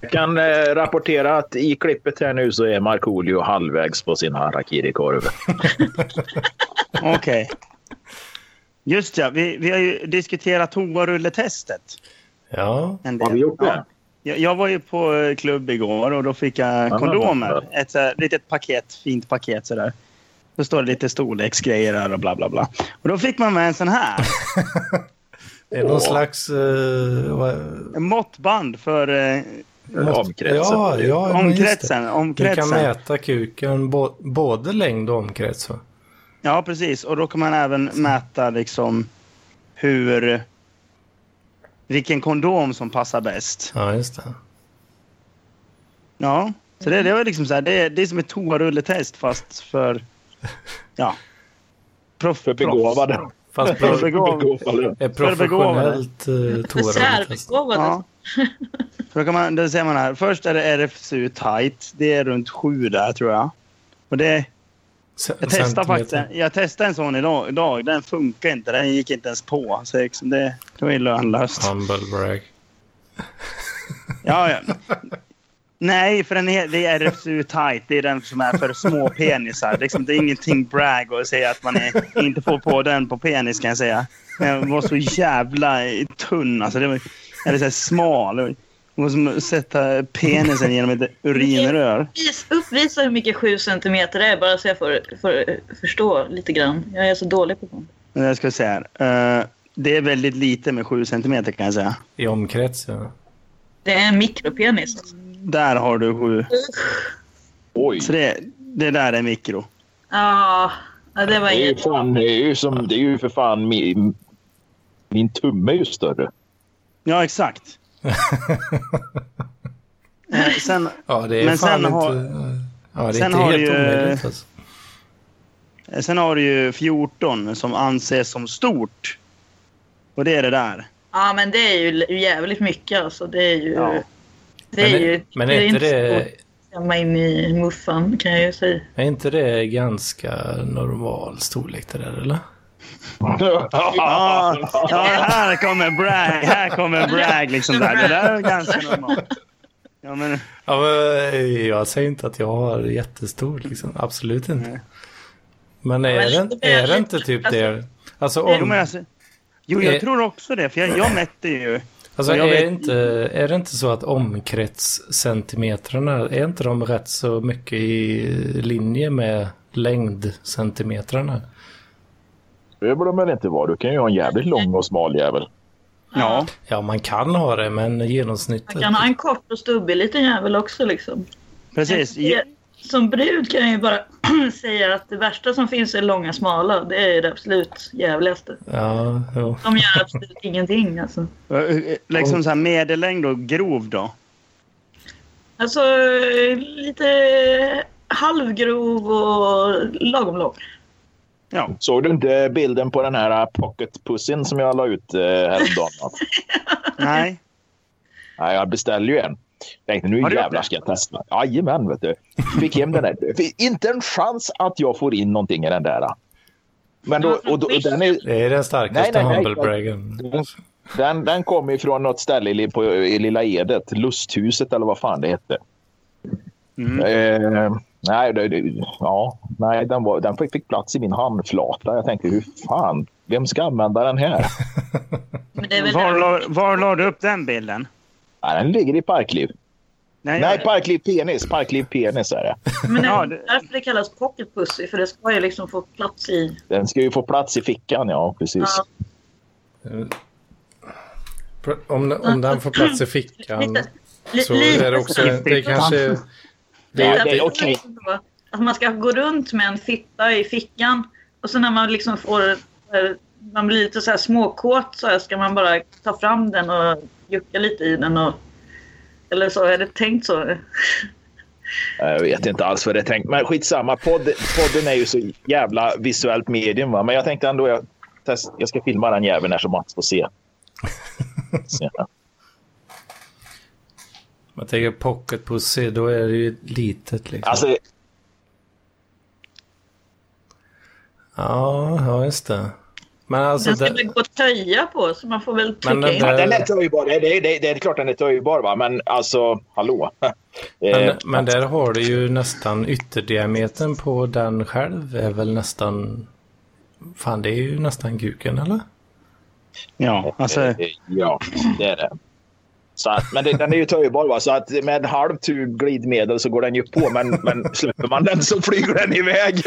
[SPEAKER 3] Jag kan eh, rapportera att i klippet här nu så är Markoolio halvvägs på sin harakiri-korv.
[SPEAKER 1] Okej. Just ja, vi, vi har ju diskuterat toarulletestet.
[SPEAKER 2] Ja.
[SPEAKER 1] en del.
[SPEAKER 3] Har vi gjort det?
[SPEAKER 1] Ja. Jag, jag var ju på eh, klubb igår och då fick jag
[SPEAKER 3] Ja,
[SPEAKER 1] kondomer.
[SPEAKER 3] ja.
[SPEAKER 1] Ett så här, litet paket, fint paket sådär. Då står det lite storleksgrejer där och bla bla bla. Och då fick man med en sån här.
[SPEAKER 2] Det är någon slags... eh, vad-
[SPEAKER 1] En måttband för eh,
[SPEAKER 3] Omkretsen.
[SPEAKER 2] Ja, ja, men just det.
[SPEAKER 1] omkretsen.
[SPEAKER 2] Du kan
[SPEAKER 1] omkretsen.
[SPEAKER 2] mäta kuken bo- både längd och omkrets va?
[SPEAKER 1] Ja, precis. Och då kan man även mäta liksom hur... Vilken kondom som passar bäst.
[SPEAKER 2] Ja, just det.
[SPEAKER 1] Ja, så det, det var liksom så här, det, det är som ett toarulletest fast för... Ja. Proff,
[SPEAKER 3] För begåvade.
[SPEAKER 2] Fast
[SPEAKER 1] För
[SPEAKER 2] bra,
[SPEAKER 1] begåvade.
[SPEAKER 3] Begåvade.
[SPEAKER 2] Är professionellt eh,
[SPEAKER 4] För
[SPEAKER 2] toarulletest.
[SPEAKER 4] särbegåvade.
[SPEAKER 1] Ja. För då, kan man, då ser man här. Först är det RFSU tight. Det är runt sju där tror jag. Och det,
[SPEAKER 2] se-
[SPEAKER 1] Jag testade, faktiskt,
[SPEAKER 2] centimeter.
[SPEAKER 1] jag testade en sån idag, idag. Den funkar inte. Den gick inte ens på. Så liksom det, det var ju lönlöst.
[SPEAKER 2] Humble brag.
[SPEAKER 1] Ja, ja. Nej, för den är, det är RFSU tight. Det är den som är för små penisar. Liksom, det är ingenting brag att säga att man är, inte får på den på penis kan jag säga. Den var så jävla tunn. Alltså, det var, eller så här smal. Det var- det var som att sätta penisen genom ett urinrör.
[SPEAKER 4] Vis, uppvisa hur mycket 7 cm är bara så jag får, får eh, förstå lite grann. Jag är så dålig på sånt.
[SPEAKER 1] Men Jag ska säga här. eh, det är väldigt lite med 7 centimeter kan jag säga.
[SPEAKER 2] I omkrets, ja.
[SPEAKER 4] Det är en mikropenis. alltså.
[SPEAKER 1] Där har du 7.
[SPEAKER 3] Oj.
[SPEAKER 1] Så det, det där är mikro.
[SPEAKER 4] Ja, ja, det var
[SPEAKER 3] Det är ju,
[SPEAKER 4] ju...
[SPEAKER 3] fan, det är ju, som, det är ju för fan min, min tumme är ju större.
[SPEAKER 1] Ja, exakt. Eh, sen,
[SPEAKER 2] Ja, det är
[SPEAKER 1] Men
[SPEAKER 2] fan
[SPEAKER 1] sen
[SPEAKER 2] inte... eh,
[SPEAKER 1] har-
[SPEAKER 2] ja, det är
[SPEAKER 1] sen
[SPEAKER 2] inte
[SPEAKER 1] har du
[SPEAKER 2] helt
[SPEAKER 1] ju-
[SPEAKER 2] omöjligt alltså.
[SPEAKER 1] Eh, sen har du ju 14 som anses som stort. Och det är det där.
[SPEAKER 4] Ja, men det är ju jävligt mycket alltså. Det är ju...
[SPEAKER 1] Ja.
[SPEAKER 4] Det är
[SPEAKER 2] men,
[SPEAKER 4] ju...
[SPEAKER 2] men är, inte det,
[SPEAKER 4] svårt att komma in i muffan kan jag ju säga.
[SPEAKER 2] är inte det ganska normal storlek det där, eller?
[SPEAKER 1] Ja, ja här kommer brag. Här kommer brag. Liksom där. Det där är ganska normalt. Ja, men,
[SPEAKER 2] Ja, men eh, jag säger inte att jag har jättestor, liksom. absolut inte. Men är,
[SPEAKER 4] men
[SPEAKER 2] det,
[SPEAKER 4] det är
[SPEAKER 2] är det
[SPEAKER 4] lite-
[SPEAKER 2] inte typ det? Alltså,
[SPEAKER 1] jo, men
[SPEAKER 2] om,
[SPEAKER 1] alltså, jo, jag
[SPEAKER 2] Eh.
[SPEAKER 1] tror också det. För jag, jag mätte ju.
[SPEAKER 2] alltså
[SPEAKER 1] och jag
[SPEAKER 2] är, det
[SPEAKER 1] vet-
[SPEAKER 2] inte, är det inte så att omkretscentimetrarna, är inte de rätt så mycket i linje med längdcentimetrarna?
[SPEAKER 3] Det borde de väl inte vara? Du kan ju ha en jävligt lång och smal jävel.
[SPEAKER 1] Ja,
[SPEAKER 2] Ja, man kan ha det, men
[SPEAKER 4] Man
[SPEAKER 2] genomsnittet...
[SPEAKER 4] kan ha en kort och stubbig liten jävel också liksom.
[SPEAKER 1] precis.
[SPEAKER 4] Jag- Som brud kan jag ju bara säga att det värsta som finns är långa smala. Det är ju det absolut jävligaste.
[SPEAKER 2] Ja, jo.
[SPEAKER 4] De gör absolut ingenting alltså.
[SPEAKER 1] Eh, Liksom så här medellängd och grov då.
[SPEAKER 4] Alltså eh, lite halvgrov och lagom lång.
[SPEAKER 1] Ja,
[SPEAKER 3] Såg du inte bilden på den här pocketpussin som jag la ut eh, häromdagen? va?
[SPEAKER 1] nej.
[SPEAKER 3] Nej, jag beställde ju en. Tänkte nu
[SPEAKER 1] Har du gjort
[SPEAKER 3] jävlar
[SPEAKER 1] det?
[SPEAKER 3] ska jag testa. Jajamän, vet du. Fick hem den där. Fick Inte en chans att jag får in någonting i den där. Men då, och, då, och den är,
[SPEAKER 2] Det är den starkaste
[SPEAKER 3] Nej, nej, nej.
[SPEAKER 2] humblebraggen.
[SPEAKER 3] Den, den kom ifrån något ställe i, Li- på, i Lilla Edet, Lusthuset eller vad fan det hette.
[SPEAKER 1] Mm.
[SPEAKER 3] Eh, nej, det, det, ja, nej den, var, den fick, fick plats i min handflata. Jag tänkte, hur fan, vem ska använda den här?
[SPEAKER 4] Men det är väl
[SPEAKER 1] Var, la- var la du upp den bilden?
[SPEAKER 3] nej, den ligger i Parkliv.
[SPEAKER 1] Nej,
[SPEAKER 3] Nej, Parkliv Penis. Parkliv Penis är det.
[SPEAKER 4] men det
[SPEAKER 1] Ja,
[SPEAKER 4] är
[SPEAKER 1] det-
[SPEAKER 4] därför det kallas pocket pussy. För det ska ju liksom få plats i.
[SPEAKER 3] Den ska ju få plats i fickan, ja precis.
[SPEAKER 4] Ja.
[SPEAKER 2] Om, om den får plats i fickan
[SPEAKER 4] Lite, li,
[SPEAKER 2] så är det också... Det kanske...
[SPEAKER 3] Det,
[SPEAKER 4] Lite-
[SPEAKER 3] är- det är okej.
[SPEAKER 4] Att man ska gå runt med en fitta i fickan. Och så när man liksom får... eh, Man blir lite så här småkåt så här ska man bara ta fram den och jucka lite i den. Och, eller så, är det tänkt så?
[SPEAKER 3] Jag vet inte alls vad det är tänkt. Men skitsamma, podd, podden är ju så jävla visuellt medium. Va? Men jag tänkte ändå jag, test, jag ska filma den jäveln här så Mats får se. se.
[SPEAKER 2] Man tänker pocket pussy, då är det ju litet liksom.
[SPEAKER 3] Alltså,
[SPEAKER 2] Ja, ja, just det. Men alltså...
[SPEAKER 4] Den ska
[SPEAKER 2] Det,
[SPEAKER 4] väl gå att töja på så man får väl
[SPEAKER 2] Men den
[SPEAKER 4] trycka in.
[SPEAKER 2] där-
[SPEAKER 4] den.
[SPEAKER 3] den är töjbar. Det, det, det, det är klart den är töjbar, va? men alltså hallå. Eh,
[SPEAKER 2] men, men där har du ju nästan ytterdiametern på den själv är väl nästan... Fan, det är ju nästan kuken, eller?
[SPEAKER 1] Ja, alltså.
[SPEAKER 3] eh, Ja, det är det. Så att, men det, den är ju töjbar, va? så att med en halv tub glidmedel så går den ju på. Men, men släpper man den så flyger den iväg.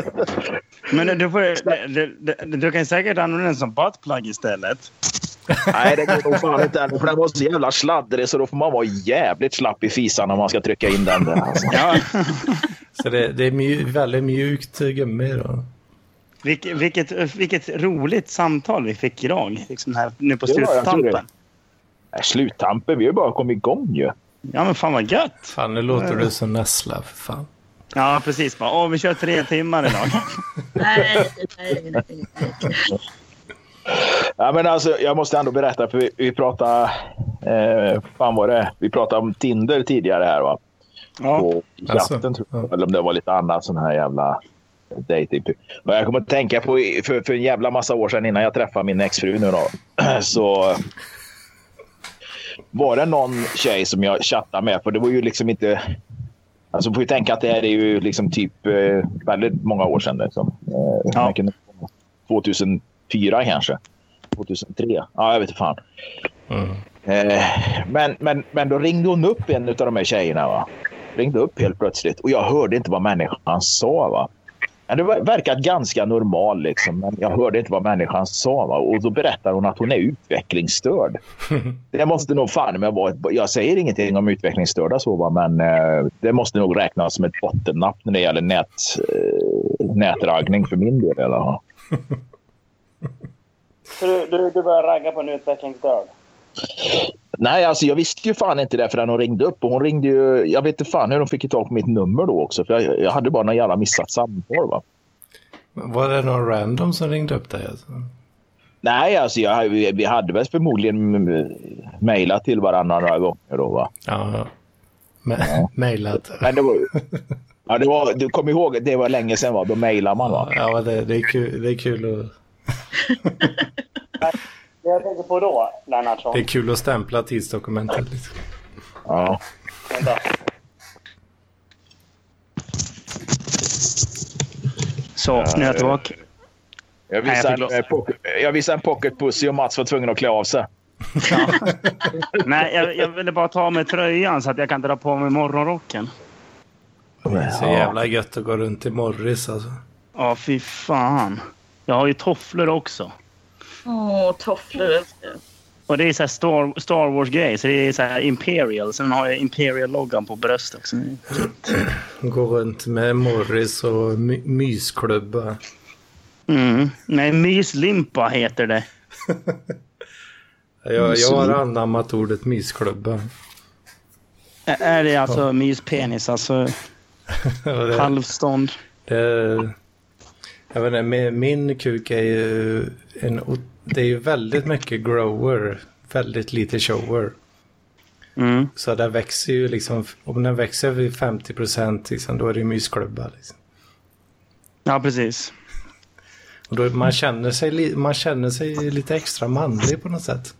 [SPEAKER 1] Men du, får, du, du, du kan säkert använda den som buttplug istället.
[SPEAKER 3] Nej, det går nog fan inte än. För den var så jävla sladdrig så då får man vara jävligt slapp i fisan om man ska trycka in den där. Alltså.
[SPEAKER 1] Ja.
[SPEAKER 2] Så det, det är mju- väldigt mjukt gummi då.
[SPEAKER 1] Vilk, vilket, vilket roligt samtal vi fick idag. Liksom här, nu på
[SPEAKER 3] Det var jag, tror
[SPEAKER 1] sluttampen.
[SPEAKER 3] det. Nej, Sluttampen, vi har ju bara kommit igång ju.
[SPEAKER 1] Ja, men fan vad gött.
[SPEAKER 2] Fan, nu låter du som Nessla, för fan.
[SPEAKER 1] Ja, precis. Bara, åh, vi kör tre timmar idag.
[SPEAKER 4] Nej, nej, nej.
[SPEAKER 3] Ja, men alltså, jag måste ändå berätta, för vi, vi pratade... Eh, fan var det? Vi pratade om Tinder tidigare här va?
[SPEAKER 1] Ja,
[SPEAKER 3] På chatten
[SPEAKER 2] Alltså,
[SPEAKER 3] tror
[SPEAKER 2] ja.
[SPEAKER 3] jag. Eller om det var lite annat sån här jävla... dating. Och jag kommer att tänka på för, för en jävla massa år sedan innan jag träffade min exfru nu då. Så var det någon tjej som jag chattade med. För det var ju liksom inte... Alltså får ju tänka att det här är ju liksom typ eh, väldigt många år sedan. Liksom. Eh,
[SPEAKER 1] Ja.
[SPEAKER 3] man kunde- 2004 kanske. 2003. Ja, jag vet inte fan.
[SPEAKER 2] Mm.
[SPEAKER 3] Eh, men, men, men då ringde hon upp en av de här tjejerna. Va? Ringde upp helt plötsligt och jag hörde inte vad människan sa. Va? Men det var- verkade ganska normal, liksom, men jag hörde inte vad människan sa. Va? Och då berättar hon att hon är utvecklingsstörd. Det måste nog fan med vara ett, Jag säger ingenting om utvecklingsstörda så, va? men eh, det måste nog räknas som ett bottennapp när det gäller nät, eh, nätraggning för min del. Eller? va?
[SPEAKER 5] Så du, du, du börjar ragga på en utvecklingsstörd?
[SPEAKER 3] Nej, alltså jag visste ju fan inte det förrän hon ringde upp. Och hon ringde ju, jag vet inte fan hur hon fick tag på mitt nummer då också. För jag, jag hade bara någon jävla missat samtal. Va?
[SPEAKER 2] Var det någon random som ringde upp dig? Alltså?
[SPEAKER 3] Nej, alltså jag, vi, vi hade väl förmodligen m- m- mejlat till varandra några gånger då. Va?
[SPEAKER 2] Ja, ja. Me- Mejlat.
[SPEAKER 3] Men det var, ja, det var, du kommer ihåg, det var länge sedan va? Då mejlade man va?
[SPEAKER 2] Ja, det, det, är kul, det, är kul att,
[SPEAKER 5] Det jag tänker på då, Lennartsson.
[SPEAKER 2] det är kul att stämpla tidsdokumentet. Liksom.
[SPEAKER 3] Ja.
[SPEAKER 5] Vänta.
[SPEAKER 1] Så, nu
[SPEAKER 3] eh.
[SPEAKER 1] är jag tillbaka.
[SPEAKER 3] Jag
[SPEAKER 1] Nej, jag
[SPEAKER 3] visade,
[SPEAKER 1] fick
[SPEAKER 3] en, eh, pocket, jag visade en pocketpussy och Mats var tvungen att klä av sig.
[SPEAKER 1] Nej, jag, jag ville bara ta av mig tröjan så att jag kan dra på mig morgonrocken.
[SPEAKER 2] Det är så jävla gött att gå runt i Morris alltså.
[SPEAKER 1] Ja, fy fan. Jag har ju tofflor också.
[SPEAKER 4] Åh, tofflor älskar jag.
[SPEAKER 1] Och det är så här Star, Star Wars-grej, så det är så här Imperial. Sen har jag Imperial-loggan på bröstet också.
[SPEAKER 2] Gå runt med Morris och my- mysklubba.
[SPEAKER 1] Mm. Nej, myslimpa heter det.
[SPEAKER 2] Jag, jag har anammat ordet mysklubba.
[SPEAKER 1] Ä- Är det alltså myspenis, alltså
[SPEAKER 2] Och det-
[SPEAKER 1] halvstånd?
[SPEAKER 2] Det, jag vet inte, min, min kuk är ju en... o- Det är ju väldigt mycket grower, väldigt lite shower.
[SPEAKER 1] Mm.
[SPEAKER 2] Så där växer ju liksom, om den växer vid 50 procent, liksom, då är det ju mysklubba. Liksom.
[SPEAKER 1] Ja, precis.
[SPEAKER 2] Och då, man, känner sig, li- man känner sig lite extra manlig på något sätt.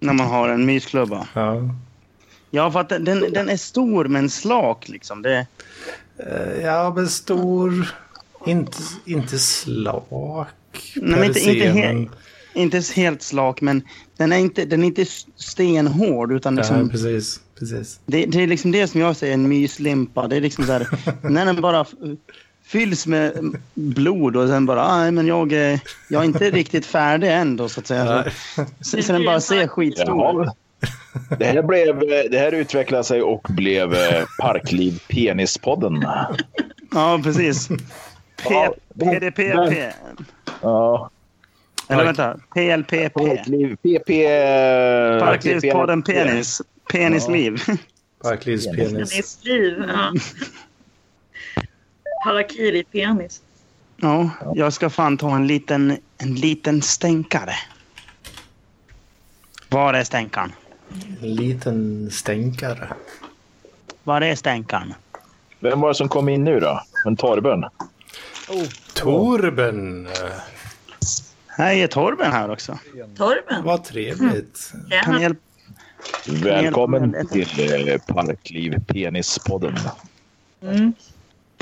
[SPEAKER 1] När man har en mysklubba.
[SPEAKER 2] Ja,
[SPEAKER 1] Ja, för att den, den, den är stor men slak liksom. Det,
[SPEAKER 2] Eh, ja men stor, inte, inte slak.
[SPEAKER 1] Nej,
[SPEAKER 2] per
[SPEAKER 1] men inte-
[SPEAKER 2] se,
[SPEAKER 1] inte he-
[SPEAKER 2] men-
[SPEAKER 1] inte helt slak, men den är inte, den är inte s- stenhård. Utan liksom,
[SPEAKER 2] Ja, precis. precis.
[SPEAKER 1] det, det är liksom det som jag säger, en myslimpa. Det är liksom så här, när den bara f- fylls med blod och sen bara, nej men jag, eh, jag är inte riktigt färdig än då så att säga.
[SPEAKER 2] Ja.
[SPEAKER 1] Så, så den bara ser skitstor ut.
[SPEAKER 3] Jaha. Det här, blev, eh, det här utvecklade sig och blev eh, Parkliv Penispodden.
[SPEAKER 1] Ja, precis. P-
[SPEAKER 3] Ja,
[SPEAKER 1] PDPP.
[SPEAKER 3] Ja.
[SPEAKER 1] Eller vänta, PLPP.
[SPEAKER 3] Parkliv, PP...
[SPEAKER 1] Parklivspodden Penis. Penisliv.
[SPEAKER 2] Parklivspenis.
[SPEAKER 4] Penis liv. Ja. Harakiri-penis.
[SPEAKER 1] Ja, jag ska fan ta en liten, en liten stänkare. Var är stänkaren?
[SPEAKER 2] En liten stänkare.
[SPEAKER 1] Var är stänkaren?
[SPEAKER 3] Vem var det som kom in nu då? En Torben?
[SPEAKER 2] Torben! eh,
[SPEAKER 1] Här är Torben här också.
[SPEAKER 4] Torben.
[SPEAKER 2] Vad trevligt.
[SPEAKER 1] Kan ni
[SPEAKER 4] Ja.
[SPEAKER 1] hjälpa?
[SPEAKER 3] Välkommen
[SPEAKER 1] Välkommen.
[SPEAKER 3] till eh, Parkliv Penispodden.
[SPEAKER 4] Mm.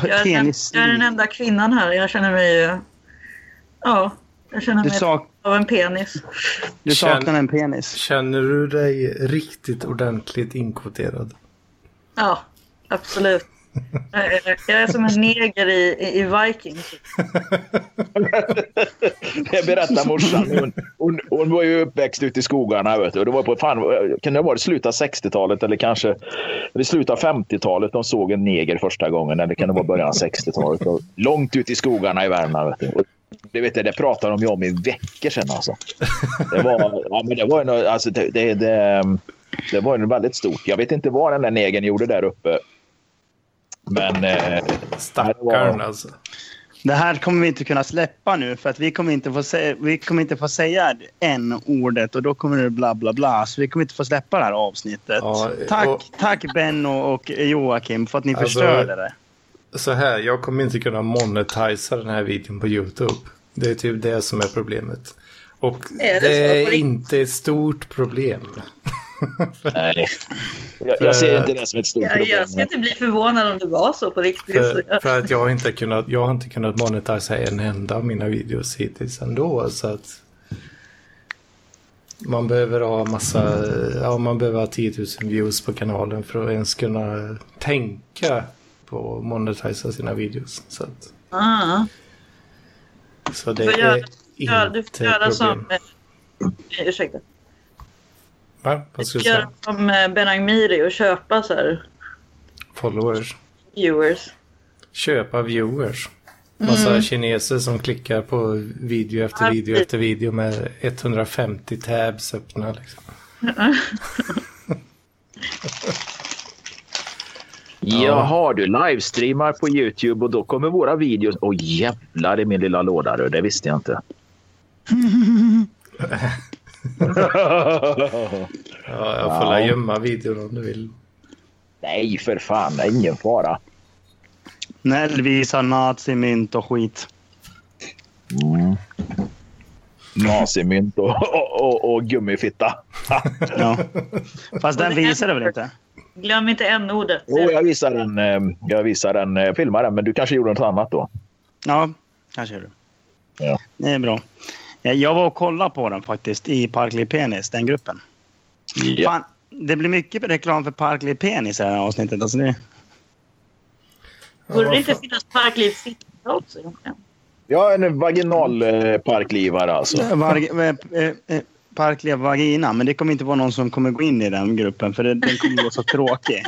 [SPEAKER 1] P-
[SPEAKER 4] Jag, är den,
[SPEAKER 1] Penis.
[SPEAKER 4] jag är den enda kvinnan här. Jag känner mig... eh, Ja, jag känner
[SPEAKER 1] Du,
[SPEAKER 4] mig
[SPEAKER 1] sak,
[SPEAKER 4] av en penis.
[SPEAKER 1] du
[SPEAKER 2] Känn-
[SPEAKER 1] saknar en penis.
[SPEAKER 2] Känner du dig riktigt ordentligt inkvoterad?
[SPEAKER 4] Ja, absolut. Jag är- Jag är som en neger i, i- i Vikings.
[SPEAKER 3] Det berättar morsan. Hon, hon, hon var ju uppväxt ute i skogarna. Vet du. Och Det var på, fan, kan det ha varit slutet av 60-talet eller kanske eller slutet av 50-talet de såg en neger första gången. Eller kan det vara början av 60-talet? Och Långt ute i skogarna i Värmland. Vet du. Och Det, vet jag, det pratade de ju om i veckor sedan. Alltså. Det var, ja, men det var, en, alltså, det, det, det, det var en väldigt stort. Jag vet inte vad den där negern gjorde där uppe. Men eh,
[SPEAKER 2] Stackarn alltså.
[SPEAKER 1] Det här kommer vi inte kunna släppa nu för att vi kommer inte få, sä- vi kommer inte få säga en ordet och då kommer det bla bla bla. Så vi kommer inte få släppa det här avsnittet.
[SPEAKER 2] Ja,
[SPEAKER 1] tack,
[SPEAKER 2] och-
[SPEAKER 1] tack Benno och Joakim för att ni
[SPEAKER 2] Alltså-
[SPEAKER 1] förstörde det.
[SPEAKER 2] så här, jag kommer inte kunna monetisa den här videon på YouTube. Det är typ det som är problemet. Och det,
[SPEAKER 4] Är det så? På
[SPEAKER 2] är
[SPEAKER 4] riktigt?
[SPEAKER 2] inte ett stort problem.
[SPEAKER 3] Nej. Jag, jag ser inte det som ett stort
[SPEAKER 4] Jag,
[SPEAKER 3] problem.
[SPEAKER 4] jag ska inte bli förvånad om det var så på riktigt. Så
[SPEAKER 2] För,
[SPEAKER 4] jag,
[SPEAKER 2] för att jag har inte kunnat, jag har inte kunnat monetisa en enda av mina videos hittills ändå. Så att man behöver ha massa, ja man behöver ha 10 000 views på kanalen för att ens kunna tänka på att monetisa sina videos. Så, att,
[SPEAKER 4] ah.
[SPEAKER 2] så det
[SPEAKER 4] Du får göra-
[SPEAKER 2] är
[SPEAKER 4] Ja,
[SPEAKER 2] inte
[SPEAKER 4] du
[SPEAKER 2] ett
[SPEAKER 4] får göra
[SPEAKER 2] problem.
[SPEAKER 4] som... Eh, ursäkta.
[SPEAKER 2] Va? Vad ska
[SPEAKER 4] Du
[SPEAKER 2] du
[SPEAKER 4] får
[SPEAKER 2] säga?
[SPEAKER 4] göra som eh, Ben Aghmiri och köpa så här
[SPEAKER 2] Followers.
[SPEAKER 4] viewers.
[SPEAKER 2] Köpa viewers.
[SPEAKER 1] Mm.
[SPEAKER 2] Massa kineser som klickar på video efter
[SPEAKER 4] Ja,
[SPEAKER 2] video
[SPEAKER 1] typ.
[SPEAKER 4] precis.
[SPEAKER 2] efter video med 150 tabs öppna. Liksom.
[SPEAKER 3] Jaha, du livestreamar på Youtube och då kommer våra videos. Åh jävlar i min lilla låda, du. det visste jag inte.
[SPEAKER 2] Ja, jag får
[SPEAKER 3] Ja.
[SPEAKER 2] ja. gömma videon om du vill.
[SPEAKER 3] Nej, för fan. Det är ingen fara.
[SPEAKER 1] När visar nazimynt och skit.
[SPEAKER 3] Nazimynt och, och, och, och gummifitta.
[SPEAKER 1] Ja. Fast den visar det väl inte?
[SPEAKER 4] Glöm inte n-ordet.
[SPEAKER 2] Oh,
[SPEAKER 3] Jo, jag visar den. eh, Jag visar den. eh, Filmar den, men du kanske gjorde något annat då?
[SPEAKER 1] Ja, kanske gör du.
[SPEAKER 3] Ja.
[SPEAKER 1] Det är bra. Ja, Jag var och kollade på den faktiskt i Parkly Penis, den gruppen. Fan, det blir mycket reklam för Parkly Penis i det här avsnittet. Alltså det...
[SPEAKER 4] Borde det inte finnas parkliv fitta också? egentligen?
[SPEAKER 3] Ja, en vaginal eh, parklivare alltså.
[SPEAKER 1] Var... eh, eh, eh, Parkly Vagina, men det kommer inte vara någon som kommer gå in i den gruppen för det, den kommer vara så tråkig.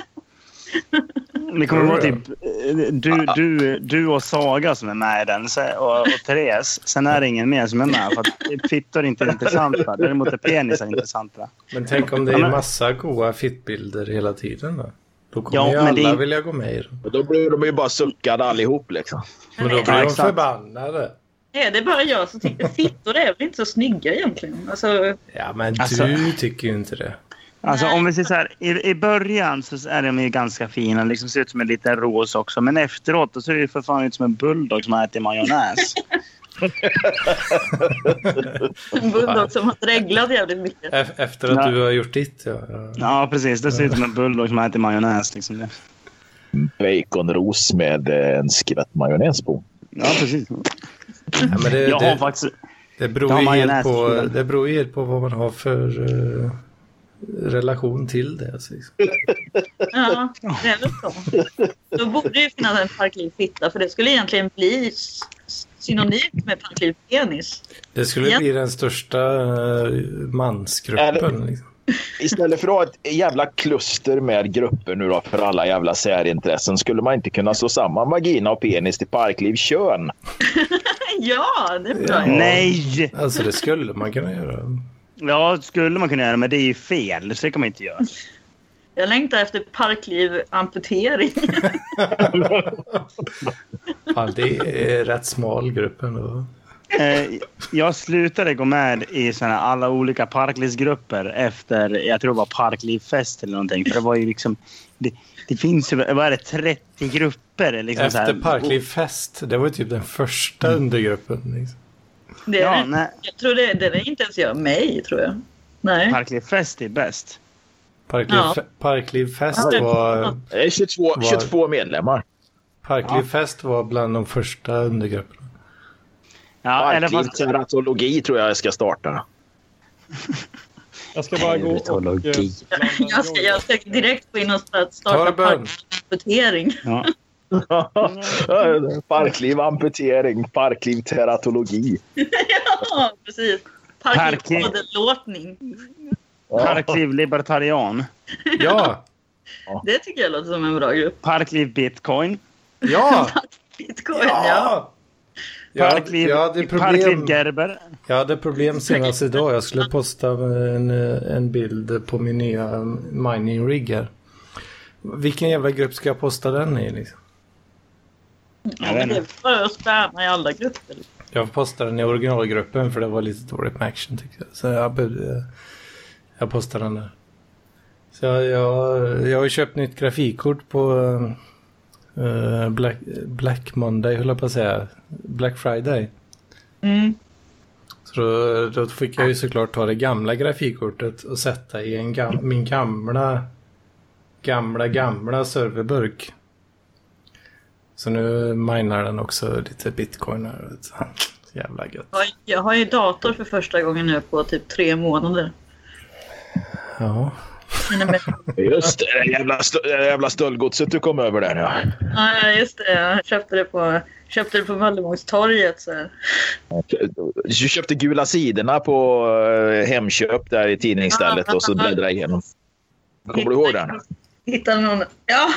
[SPEAKER 1] Det kommer vara typ eh, du, du, du och Saga som är med i den så- och, och Therese. Sen är det ingen mer som är med för att fittor inte är intressanta. Däremot är penisar intressanta.
[SPEAKER 2] Men tänk om det
[SPEAKER 1] Ja,
[SPEAKER 2] är
[SPEAKER 1] men-
[SPEAKER 2] massa goa fitbilder hela tiden då? Då kommer
[SPEAKER 1] Ja,
[SPEAKER 2] ju
[SPEAKER 1] men det
[SPEAKER 2] alla
[SPEAKER 1] är-
[SPEAKER 2] vilja gå med i den.
[SPEAKER 3] Och Då blir de ju bara suckade allihop liksom.
[SPEAKER 2] Men då
[SPEAKER 4] Nej.
[SPEAKER 2] blir de
[SPEAKER 1] exakt.
[SPEAKER 2] förbannade.
[SPEAKER 4] Är det bara jag som tycker fittor är väl inte så snygga egentligen? Alltså,
[SPEAKER 2] Ja, men
[SPEAKER 1] Alltså-
[SPEAKER 2] du tycker ju inte det.
[SPEAKER 1] Alltså
[SPEAKER 4] Nej.
[SPEAKER 1] om vi säger så här, i, i början så är de ju ganska fina. Liksom ser ut som en liten ros också. Men efteråt då ser det ju för fan ut som en bulldog som har ätit majonnäs.
[SPEAKER 4] en bulldog som har dreglat jävligt mycket.
[SPEAKER 2] E- efter att
[SPEAKER 1] Nej.
[SPEAKER 2] du har gjort ditt, ja. ja.
[SPEAKER 1] Ja, precis. Det ser ut som en bulldog som har ätit majonnäs. Liksom.
[SPEAKER 3] Baconros med eh, en skvätt majonnäs på.
[SPEAKER 1] Ja, precis.
[SPEAKER 2] ja men det,
[SPEAKER 1] Jag har
[SPEAKER 2] det,
[SPEAKER 1] faktiskt...
[SPEAKER 2] det, beror
[SPEAKER 1] Ja,
[SPEAKER 2] ju helt
[SPEAKER 1] majonnäs i
[SPEAKER 2] på,
[SPEAKER 1] den.
[SPEAKER 2] det beror ju helt på vad man har för eh, relation till det. Alltså. liksom.
[SPEAKER 4] Ja, det är väl så. Då borde det ju finnas en parkliv fitta för det skulle egentligen bli s- s- synonymt med parkliv penis.
[SPEAKER 2] Det skulle
[SPEAKER 4] Ja.
[SPEAKER 2] bli den största eh, mansgruppen.
[SPEAKER 3] Eller-
[SPEAKER 2] Liksom.
[SPEAKER 3] Istället för att ha ett jävla kluster med grupper nu då för alla jävla särintressen skulle man inte kunna slå samman vagina och penis till parkliv kön.
[SPEAKER 4] Ja, det är bra.
[SPEAKER 2] Ja.
[SPEAKER 1] Nej!
[SPEAKER 2] Alltså det skulle man kunna göra.
[SPEAKER 1] Ja, skulle man kunna göra, men det är ju fel. Så det kan man inte göra.
[SPEAKER 4] Jag längtar efter parkliv-amputering.
[SPEAKER 2] Fan, det är rätt smal grupp ändå.
[SPEAKER 1] Eh, jag slutade gå med i såna här alla olika parklivsgrupper efter, jag tror det var parklivfest eller någonting. För det var ju liksom, det, det finns ju, vad är det, 30 grupper? Liksom så här. Mm.
[SPEAKER 2] Efter Parkliv Fest, det var ju typ den första undergruppen. Liksom.
[SPEAKER 4] Det är
[SPEAKER 1] Ja,
[SPEAKER 4] det.
[SPEAKER 1] nej.
[SPEAKER 4] Jag tror det, det är inte ens jag mig, tror jag. Nej.
[SPEAKER 1] Parklivfest är bäst.
[SPEAKER 2] Parkliv,
[SPEAKER 4] Ja.
[SPEAKER 2] Fe- Parkliv Fest
[SPEAKER 4] Ja.
[SPEAKER 2] var...
[SPEAKER 3] Det är 22,
[SPEAKER 2] Var-
[SPEAKER 3] 22 medlemmar.
[SPEAKER 2] Parkliv Fest var bland de första undergrupperna.
[SPEAKER 1] Ja, eller
[SPEAKER 3] Parkliv
[SPEAKER 1] fast,
[SPEAKER 3] teratologi tror jag jag ska starta.
[SPEAKER 6] Jag ska bara gå och... eh,
[SPEAKER 1] Teratologi.
[SPEAKER 6] blanda
[SPEAKER 4] Jag ska, jag ska direkt gå in och start- starta
[SPEAKER 2] Torben.
[SPEAKER 4] parkliv-amputering.
[SPEAKER 1] ja.
[SPEAKER 3] parkliv amputering, parkliv teratologi.
[SPEAKER 4] Ja, precis.
[SPEAKER 1] Parkliv.
[SPEAKER 4] Parkliv-åderlåtning.
[SPEAKER 1] Parkliv libertarian.
[SPEAKER 2] Ja!
[SPEAKER 4] Det tycker jag låter som en bra grupp.
[SPEAKER 1] Parkliv bitcoin.
[SPEAKER 2] Ja!
[SPEAKER 4] Bitcoin, ja.
[SPEAKER 2] ja! Jag, hade-
[SPEAKER 1] Parkliv,
[SPEAKER 2] jag, hade problem,
[SPEAKER 1] parkliv gerber.
[SPEAKER 2] jag hade problem senast idag. Jag skulle posta en, eh, en bild på min nya mining rig här. Vilken jävla grupp ska jag posta den i? Liksom?
[SPEAKER 4] ja men det är bara att spamma i alla grupper.
[SPEAKER 2] Jag postade den i originalgruppen för det var lite dåligt med action tyckte jag. Så jag, behövde- jag postade den där. Så jag, jag, jag har ju köpt nytt grafikkort på eh, eh, Black, Black Monday höll jag på att säga. Black Friday.
[SPEAKER 4] Mm.
[SPEAKER 2] Så då, då fick jag ju såklart ta det gamla grafikkortet och sätta i en gam, min gamla, gamla, gamla serverburk. Så nu minar den också lite bitcoin här. vet du. Jävla gött.
[SPEAKER 4] Jag har- Jag har ju dator för första gången nu på typ tre månader.
[SPEAKER 2] Ja.
[SPEAKER 4] Mina me-
[SPEAKER 3] Just det, det där jävla, stö- det där jävla stöldgodset du kom över där. Ja.
[SPEAKER 4] Ja, just det. Jag köpte det på, köpte det på Möllevångstorget. Så. här.
[SPEAKER 3] Du köpte gula sidorna på eh, Hemköp där i tidningsstället och så bläddrade igenom. Kommer du ihåg den?
[SPEAKER 4] Hittade någon... Ja!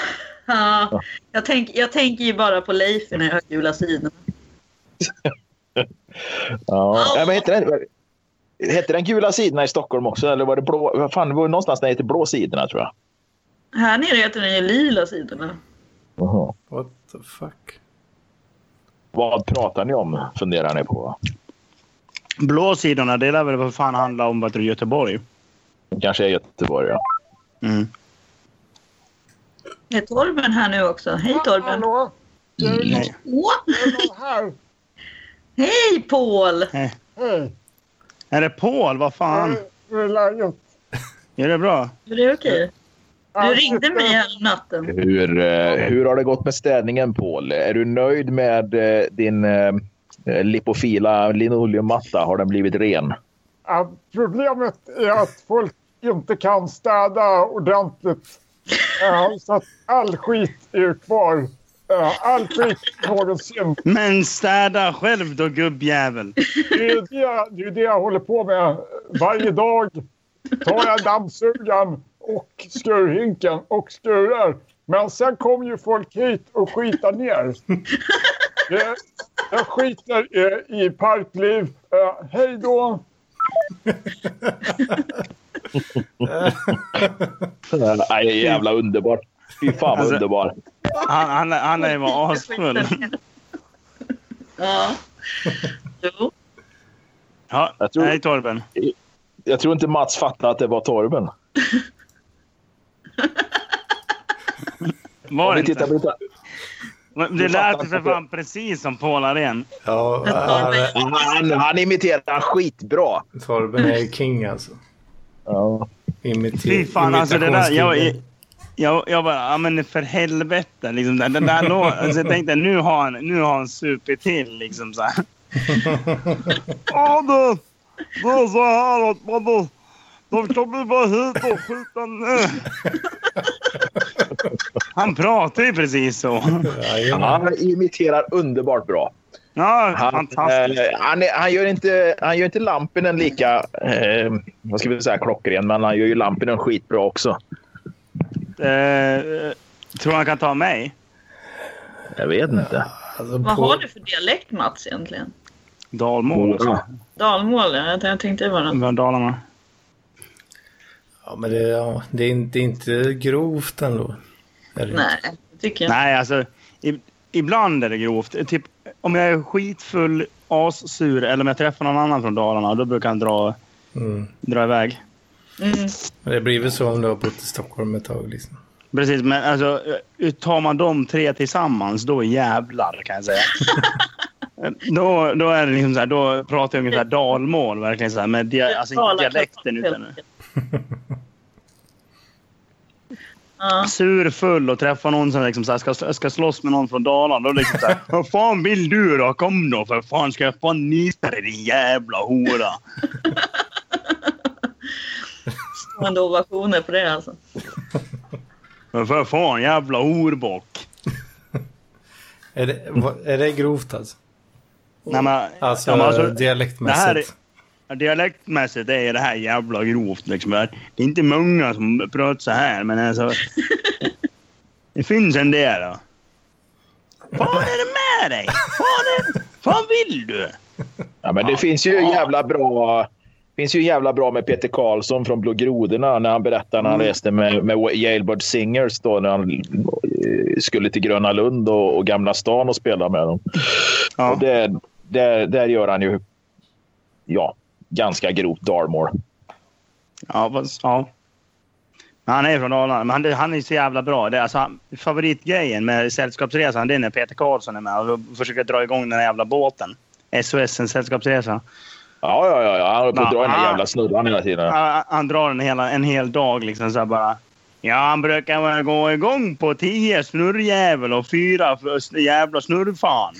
[SPEAKER 4] ja. Jag, tänk, jag tänker ju bara på Leif när jag hör gula sidorna.
[SPEAKER 3] Ja. Nej, men hette, den, hette den gula sidorna i Stockholm också? Eller var det blå? Vad Fan, det var ju någonstans där det hette blå sidorna tror jag.
[SPEAKER 4] Här nere heter den ju lila sidorna.
[SPEAKER 3] Jaha.
[SPEAKER 2] What the fuck?
[SPEAKER 3] Vad pratar ni om? Funderar ni på.
[SPEAKER 1] Blå sidorna, det lär väl för fan handla om att du är i Göteborg.
[SPEAKER 3] Kanske är Göteborg. Ja.
[SPEAKER 1] Mm.
[SPEAKER 4] Det är Torben här nu också. Hej Torben!
[SPEAKER 7] Hallå! Det är
[SPEAKER 1] Nej.
[SPEAKER 4] Åh,
[SPEAKER 7] Jonas här.
[SPEAKER 4] Hej Paul!
[SPEAKER 7] Hej!
[SPEAKER 1] Är det Paul? Vad fan?
[SPEAKER 7] Hur är läget?
[SPEAKER 1] Är det bra?
[SPEAKER 4] Är det okej? Du
[SPEAKER 7] Jag
[SPEAKER 4] ringde
[SPEAKER 7] sitter-
[SPEAKER 4] mig här om natten.
[SPEAKER 3] Hur, eh, hur har det gått med städningen Paul? Är du nöjd med eh, din eh, lipofila linoleummatta? Har den blivit ren?
[SPEAKER 7] Ja, problemet är att folk inte kan städa ordentligt. Ja, så att all skit är kvar. Ja, all skit någonsin.
[SPEAKER 1] Men städa själv då gubbjävel.
[SPEAKER 7] Det är ju det, det, är ju det jag håller på med. Varje dag tar jag dammsugaren och skurhinken och skurar. Men sen kommer ju folk hit och skitar ner. Det, jag skiter i, i parkliv. Eh, hej då!
[SPEAKER 3] Nej, jävla underbart. Fy fan vad
[SPEAKER 1] Alltså-
[SPEAKER 3] underbar.
[SPEAKER 1] Han, han, han är ju bara asfull.
[SPEAKER 4] Ja. Jo.
[SPEAKER 1] Ja,
[SPEAKER 3] Jag tror-
[SPEAKER 1] Hej Torben.
[SPEAKER 3] Jag tror inte Mats fattade att det var Torben.
[SPEAKER 1] Var
[SPEAKER 3] Om
[SPEAKER 1] det
[SPEAKER 3] vi tittar
[SPEAKER 1] inte? Det
[SPEAKER 3] på
[SPEAKER 1] lät ju
[SPEAKER 3] fattar
[SPEAKER 1] för fan precis som Paul Arén.
[SPEAKER 2] Ja, äh,
[SPEAKER 3] han, han imiterar skitbra.
[SPEAKER 2] Torben är ju king alltså.
[SPEAKER 3] Ja.
[SPEAKER 2] Imiter-
[SPEAKER 1] Fy fan alltså det där. Jag,
[SPEAKER 2] imitationskingen.
[SPEAKER 1] jag, jag bara, ja men för helvete. Liksom, den, den där lå- alltså, jag tänkte nu har han, nu har han supit till liksom så här. Ja du, det är så här att man då, de kommer bara hit och skjuta nu. Han pratar ju precis så.
[SPEAKER 2] Jajamän.
[SPEAKER 3] Han imiterar underbart bra.
[SPEAKER 1] Ja,
[SPEAKER 3] Han,
[SPEAKER 1] fantastiskt.
[SPEAKER 3] eh, han, är- han, gör inte, han gör inte Lampinen lika eh, vad ska vi säga, klockren, men han gör ju Lampinen skitbra också.
[SPEAKER 1] Eh, tror han kan ta mig?
[SPEAKER 3] Jag vet inte.
[SPEAKER 2] Alltså,
[SPEAKER 4] Vad
[SPEAKER 2] Paul-
[SPEAKER 4] har du för dialekt Mats egentligen?
[SPEAKER 1] Dalmål.
[SPEAKER 4] Dalmål? ja. Jag tänkte det var något.
[SPEAKER 1] Från Dalarna.
[SPEAKER 2] Ja, men det, ja, det, är inte, det är inte grovt ändå. Är det?
[SPEAKER 4] Nej, det tycker jag
[SPEAKER 1] Nej, alltså. I, ibland är det grovt. Typ, om jag är skitfull, assur eller om jag träffar någon annan från Dalarna, då brukar han dra,
[SPEAKER 2] Mm.
[SPEAKER 1] dra iväg.
[SPEAKER 4] inte. Mm.
[SPEAKER 2] Men det blir väl så om du har bott i Stockholm ett tag. Liksom.
[SPEAKER 1] Precis, men alltså, eh, tar man de tre tillsammans, då jävlar kan jag säga. då, då är det liksom så här, då pratar jag ungefär dalmål, verkligen så här, med dia, alltså, inte
[SPEAKER 4] Talar
[SPEAKER 1] dialekten.
[SPEAKER 4] helt
[SPEAKER 1] Utan,
[SPEAKER 4] enkelt. Ja,
[SPEAKER 1] sur, full och träffar någon som liksom så här, ska, ska slåss med någon från Dalarna. Då liksom så här, Vad fan vill du då? Kom då för fan ska jag fan nita dig din jävla hora.
[SPEAKER 4] stående ovationer på det alltså.
[SPEAKER 1] Men för fan jävla horbock.
[SPEAKER 2] Är, det, vad- är det grovt alltså?
[SPEAKER 1] Nej, men,
[SPEAKER 2] Alltså,
[SPEAKER 1] ja, men alltså,
[SPEAKER 2] dialektmässigt.
[SPEAKER 1] det här dialektmässigt är det här jävla grovt. Liksom. Det är inte många som pratar så här, men alltså. Det finns en del. Då. Fan är det med dig? Fan, är, fan vill du?
[SPEAKER 3] Ja, men det finns ju jävla bra... finns ju jävla bra med Peter Karlsson från Blå grodorna när han berättar när
[SPEAKER 1] Mm.
[SPEAKER 3] han reste med, med Jailbird Singers då när han eh, skulle till Gröna Lund och, och Gamla stan och spela med dem.
[SPEAKER 1] Ja.
[SPEAKER 3] Och där, där, där gör han ju ja, ganska grovt Darmore.
[SPEAKER 1] Ja, fast, ja. Men han är från Dalarna, men han, det- han är så jävla bra. Det, är alltså, han- favoritgrejen med Sällskapsresan det är när Peter Karlsson är med och försöker dra igång den här jävla båten. SOS, en sällskapsresa.
[SPEAKER 3] Ja, ja, ja. ja. Han håller på att dra den där jävla snurran hela tiden.
[SPEAKER 1] Han, han drar den hela, en hel dag liksom så här bara. Ja, han brukar väl gå igång på tio snurrjävel och fyra för- jävla snurrfan.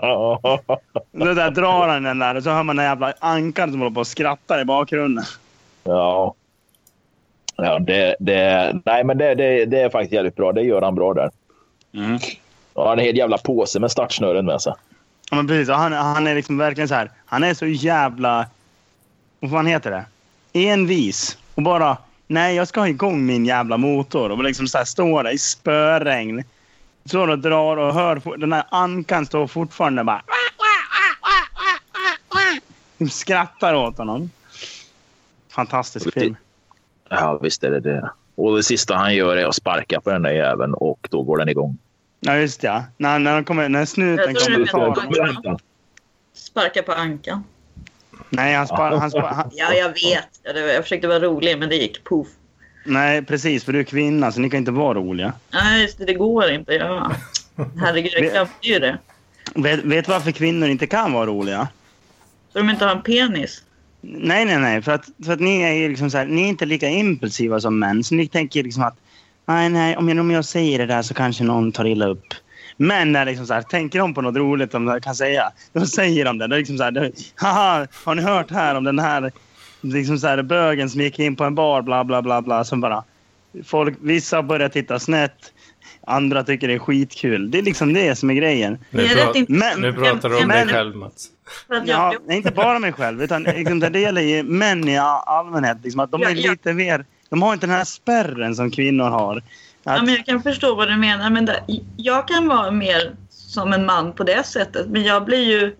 [SPEAKER 1] Då där drar han den där och så hör man den jävla ankaren som håller på och skrattar i bakgrunden.
[SPEAKER 3] Ja. Ja, det, det, nej, men det, det, det är faktiskt jävligt bra. Det gör han bra där.
[SPEAKER 1] Mm.
[SPEAKER 3] Han har en hel jävla påse med startsnören med sig.
[SPEAKER 1] Ja, men precis. Och Han, han är liksom verkligen så här. Han är så jävla... Vad fan heter det? Envis. Och bara... Nej, jag ska ha igång min jävla motor. Och liksom så här står där i spöregn. Står och drar och hör... fort- Den här ankan står fortfarande bara... De skrattar åt honom. Fantastisk film.
[SPEAKER 3] Ja, visst är det det. Och det sista han gör är att sparka på den där jäveln och då går den igång.
[SPEAKER 1] Ja, just det. ja. När, när, de kommer, när snuten
[SPEAKER 4] Jag tror
[SPEAKER 1] kommer
[SPEAKER 4] det är
[SPEAKER 1] fram.
[SPEAKER 4] bättre. Sparka på ankan.
[SPEAKER 1] Nej, han spar, han spar, han,
[SPEAKER 4] Ja, jag vet. Ja, det var, jag försökte vara rolig, men det gick poff.
[SPEAKER 1] nej, precis. För du är kvinna, så ni kan inte vara roliga.
[SPEAKER 4] Nej, just det, det går inte. Ja. Herregud, jag glömde ju det.
[SPEAKER 1] Vet, vet du varför kvinnor inte kan vara roliga?
[SPEAKER 4] Så de inte har en penis.
[SPEAKER 1] Nej, nej, nej. För att, för att ni, är ju liksom så här, ni är inte lika impulsiva som män. Så ni tänker liksom att nej, nej, om jag, om jag säger det där så kanske någon tar illa upp. Män är liksom så här, tänker de på något roligt de kan säga, då säger de det. Det är liksom så här, det, haha, har ni hört här om den här, liksom så här bögen som gick in på en bar, bla, bla, bla, bla. Som bara, folk, vissa börjar titta snett, andra tycker det är skitkul. Det är liksom det som är grejen.
[SPEAKER 2] Nu,
[SPEAKER 4] Det är
[SPEAKER 2] pra-
[SPEAKER 4] rätt int-
[SPEAKER 1] Men-
[SPEAKER 2] nu pratar du om dig
[SPEAKER 1] Men-
[SPEAKER 2] själv Mats.
[SPEAKER 4] För att jag,
[SPEAKER 1] Ja, nej, inte bara mig själv, utan liksom, det gäller ju män i all- allmänhet. Liksom, att de är
[SPEAKER 4] Ja, ja.
[SPEAKER 1] lite mer... De har inte den här spärren som kvinnor har.
[SPEAKER 4] ja, men
[SPEAKER 1] Att,
[SPEAKER 4] jag kan förstå vad du menar, men det, jag kan vara mer som en man på det sättet. Men jag blir ju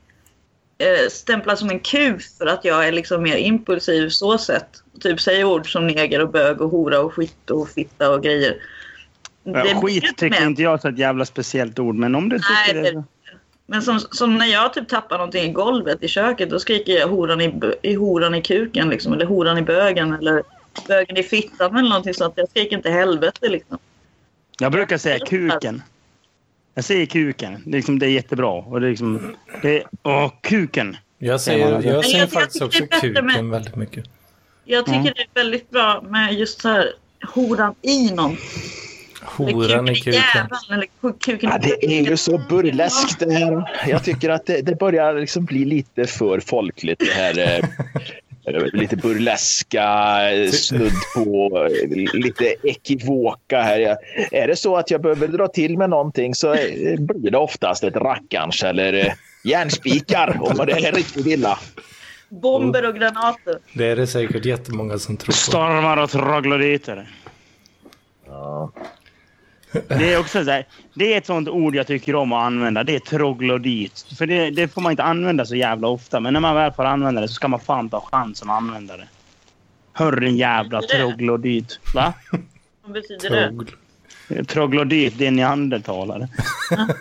[SPEAKER 4] eh, stämplad som en kus för att jag är liksom mer impulsiv så sätt. Typ säger ord som neger och bög och hora och skit och fitta och grejer. blir
[SPEAKER 1] ja, skit
[SPEAKER 4] inte
[SPEAKER 1] tycker
[SPEAKER 4] med.
[SPEAKER 1] inte jag är ett jävla speciellt ord, men om du tycker
[SPEAKER 4] Nej,
[SPEAKER 1] det...
[SPEAKER 4] det- Men som, som när jag typ tappar någonting i golvet i köket, då skriker jag horan i, bö- i, horan i kuken liksom, eller horan i bögen eller bögen i fittan eller någonting sånt. Jag skriker inte helvete liksom.
[SPEAKER 1] Jag brukar säga kuken. Jag säger kuken. Det är, liksom, det är jättebra. Och det är liksom, det är, åh, kuken!
[SPEAKER 2] Jag säger,
[SPEAKER 1] jag
[SPEAKER 2] jag säger
[SPEAKER 4] tycker
[SPEAKER 2] faktiskt
[SPEAKER 4] det är
[SPEAKER 2] också
[SPEAKER 4] bättre
[SPEAKER 2] kuken
[SPEAKER 4] med-
[SPEAKER 2] väldigt mycket.
[SPEAKER 4] Jag tycker
[SPEAKER 2] Mm.
[SPEAKER 4] det är väldigt bra med just så här horan i någon.
[SPEAKER 2] Horan i kuken.
[SPEAKER 4] jäveln eller ku- kuken i
[SPEAKER 3] Ja, det är ju så burleskt det här. Jag tycker att det, det börjar liksom bli lite för folkligt det här. eh, eh, Lite burleska, eh, snudd på eh, lite ekivoka här. Jag- Är det så att jag behöver dra till med någonting så eh, blir det oftast ett rackarns eller eh, järnspikar om det är riktigt illa.
[SPEAKER 4] Bomber och granater.
[SPEAKER 2] Det är det säkert jättemånga som tror på.
[SPEAKER 1] Stormar och troglodyter. Det är också så här, Det är ett sånt ord jag tycker om att använda. Det är troglodyt. För det, det får man inte använda så jävla ofta. Men när man väl får använda det så ska man fan ta chansen att använda det. Hörru din jävla troglodyt. Va?
[SPEAKER 4] Vad betyder det?
[SPEAKER 2] Mm.
[SPEAKER 1] Troglodyt, det är neandertalare.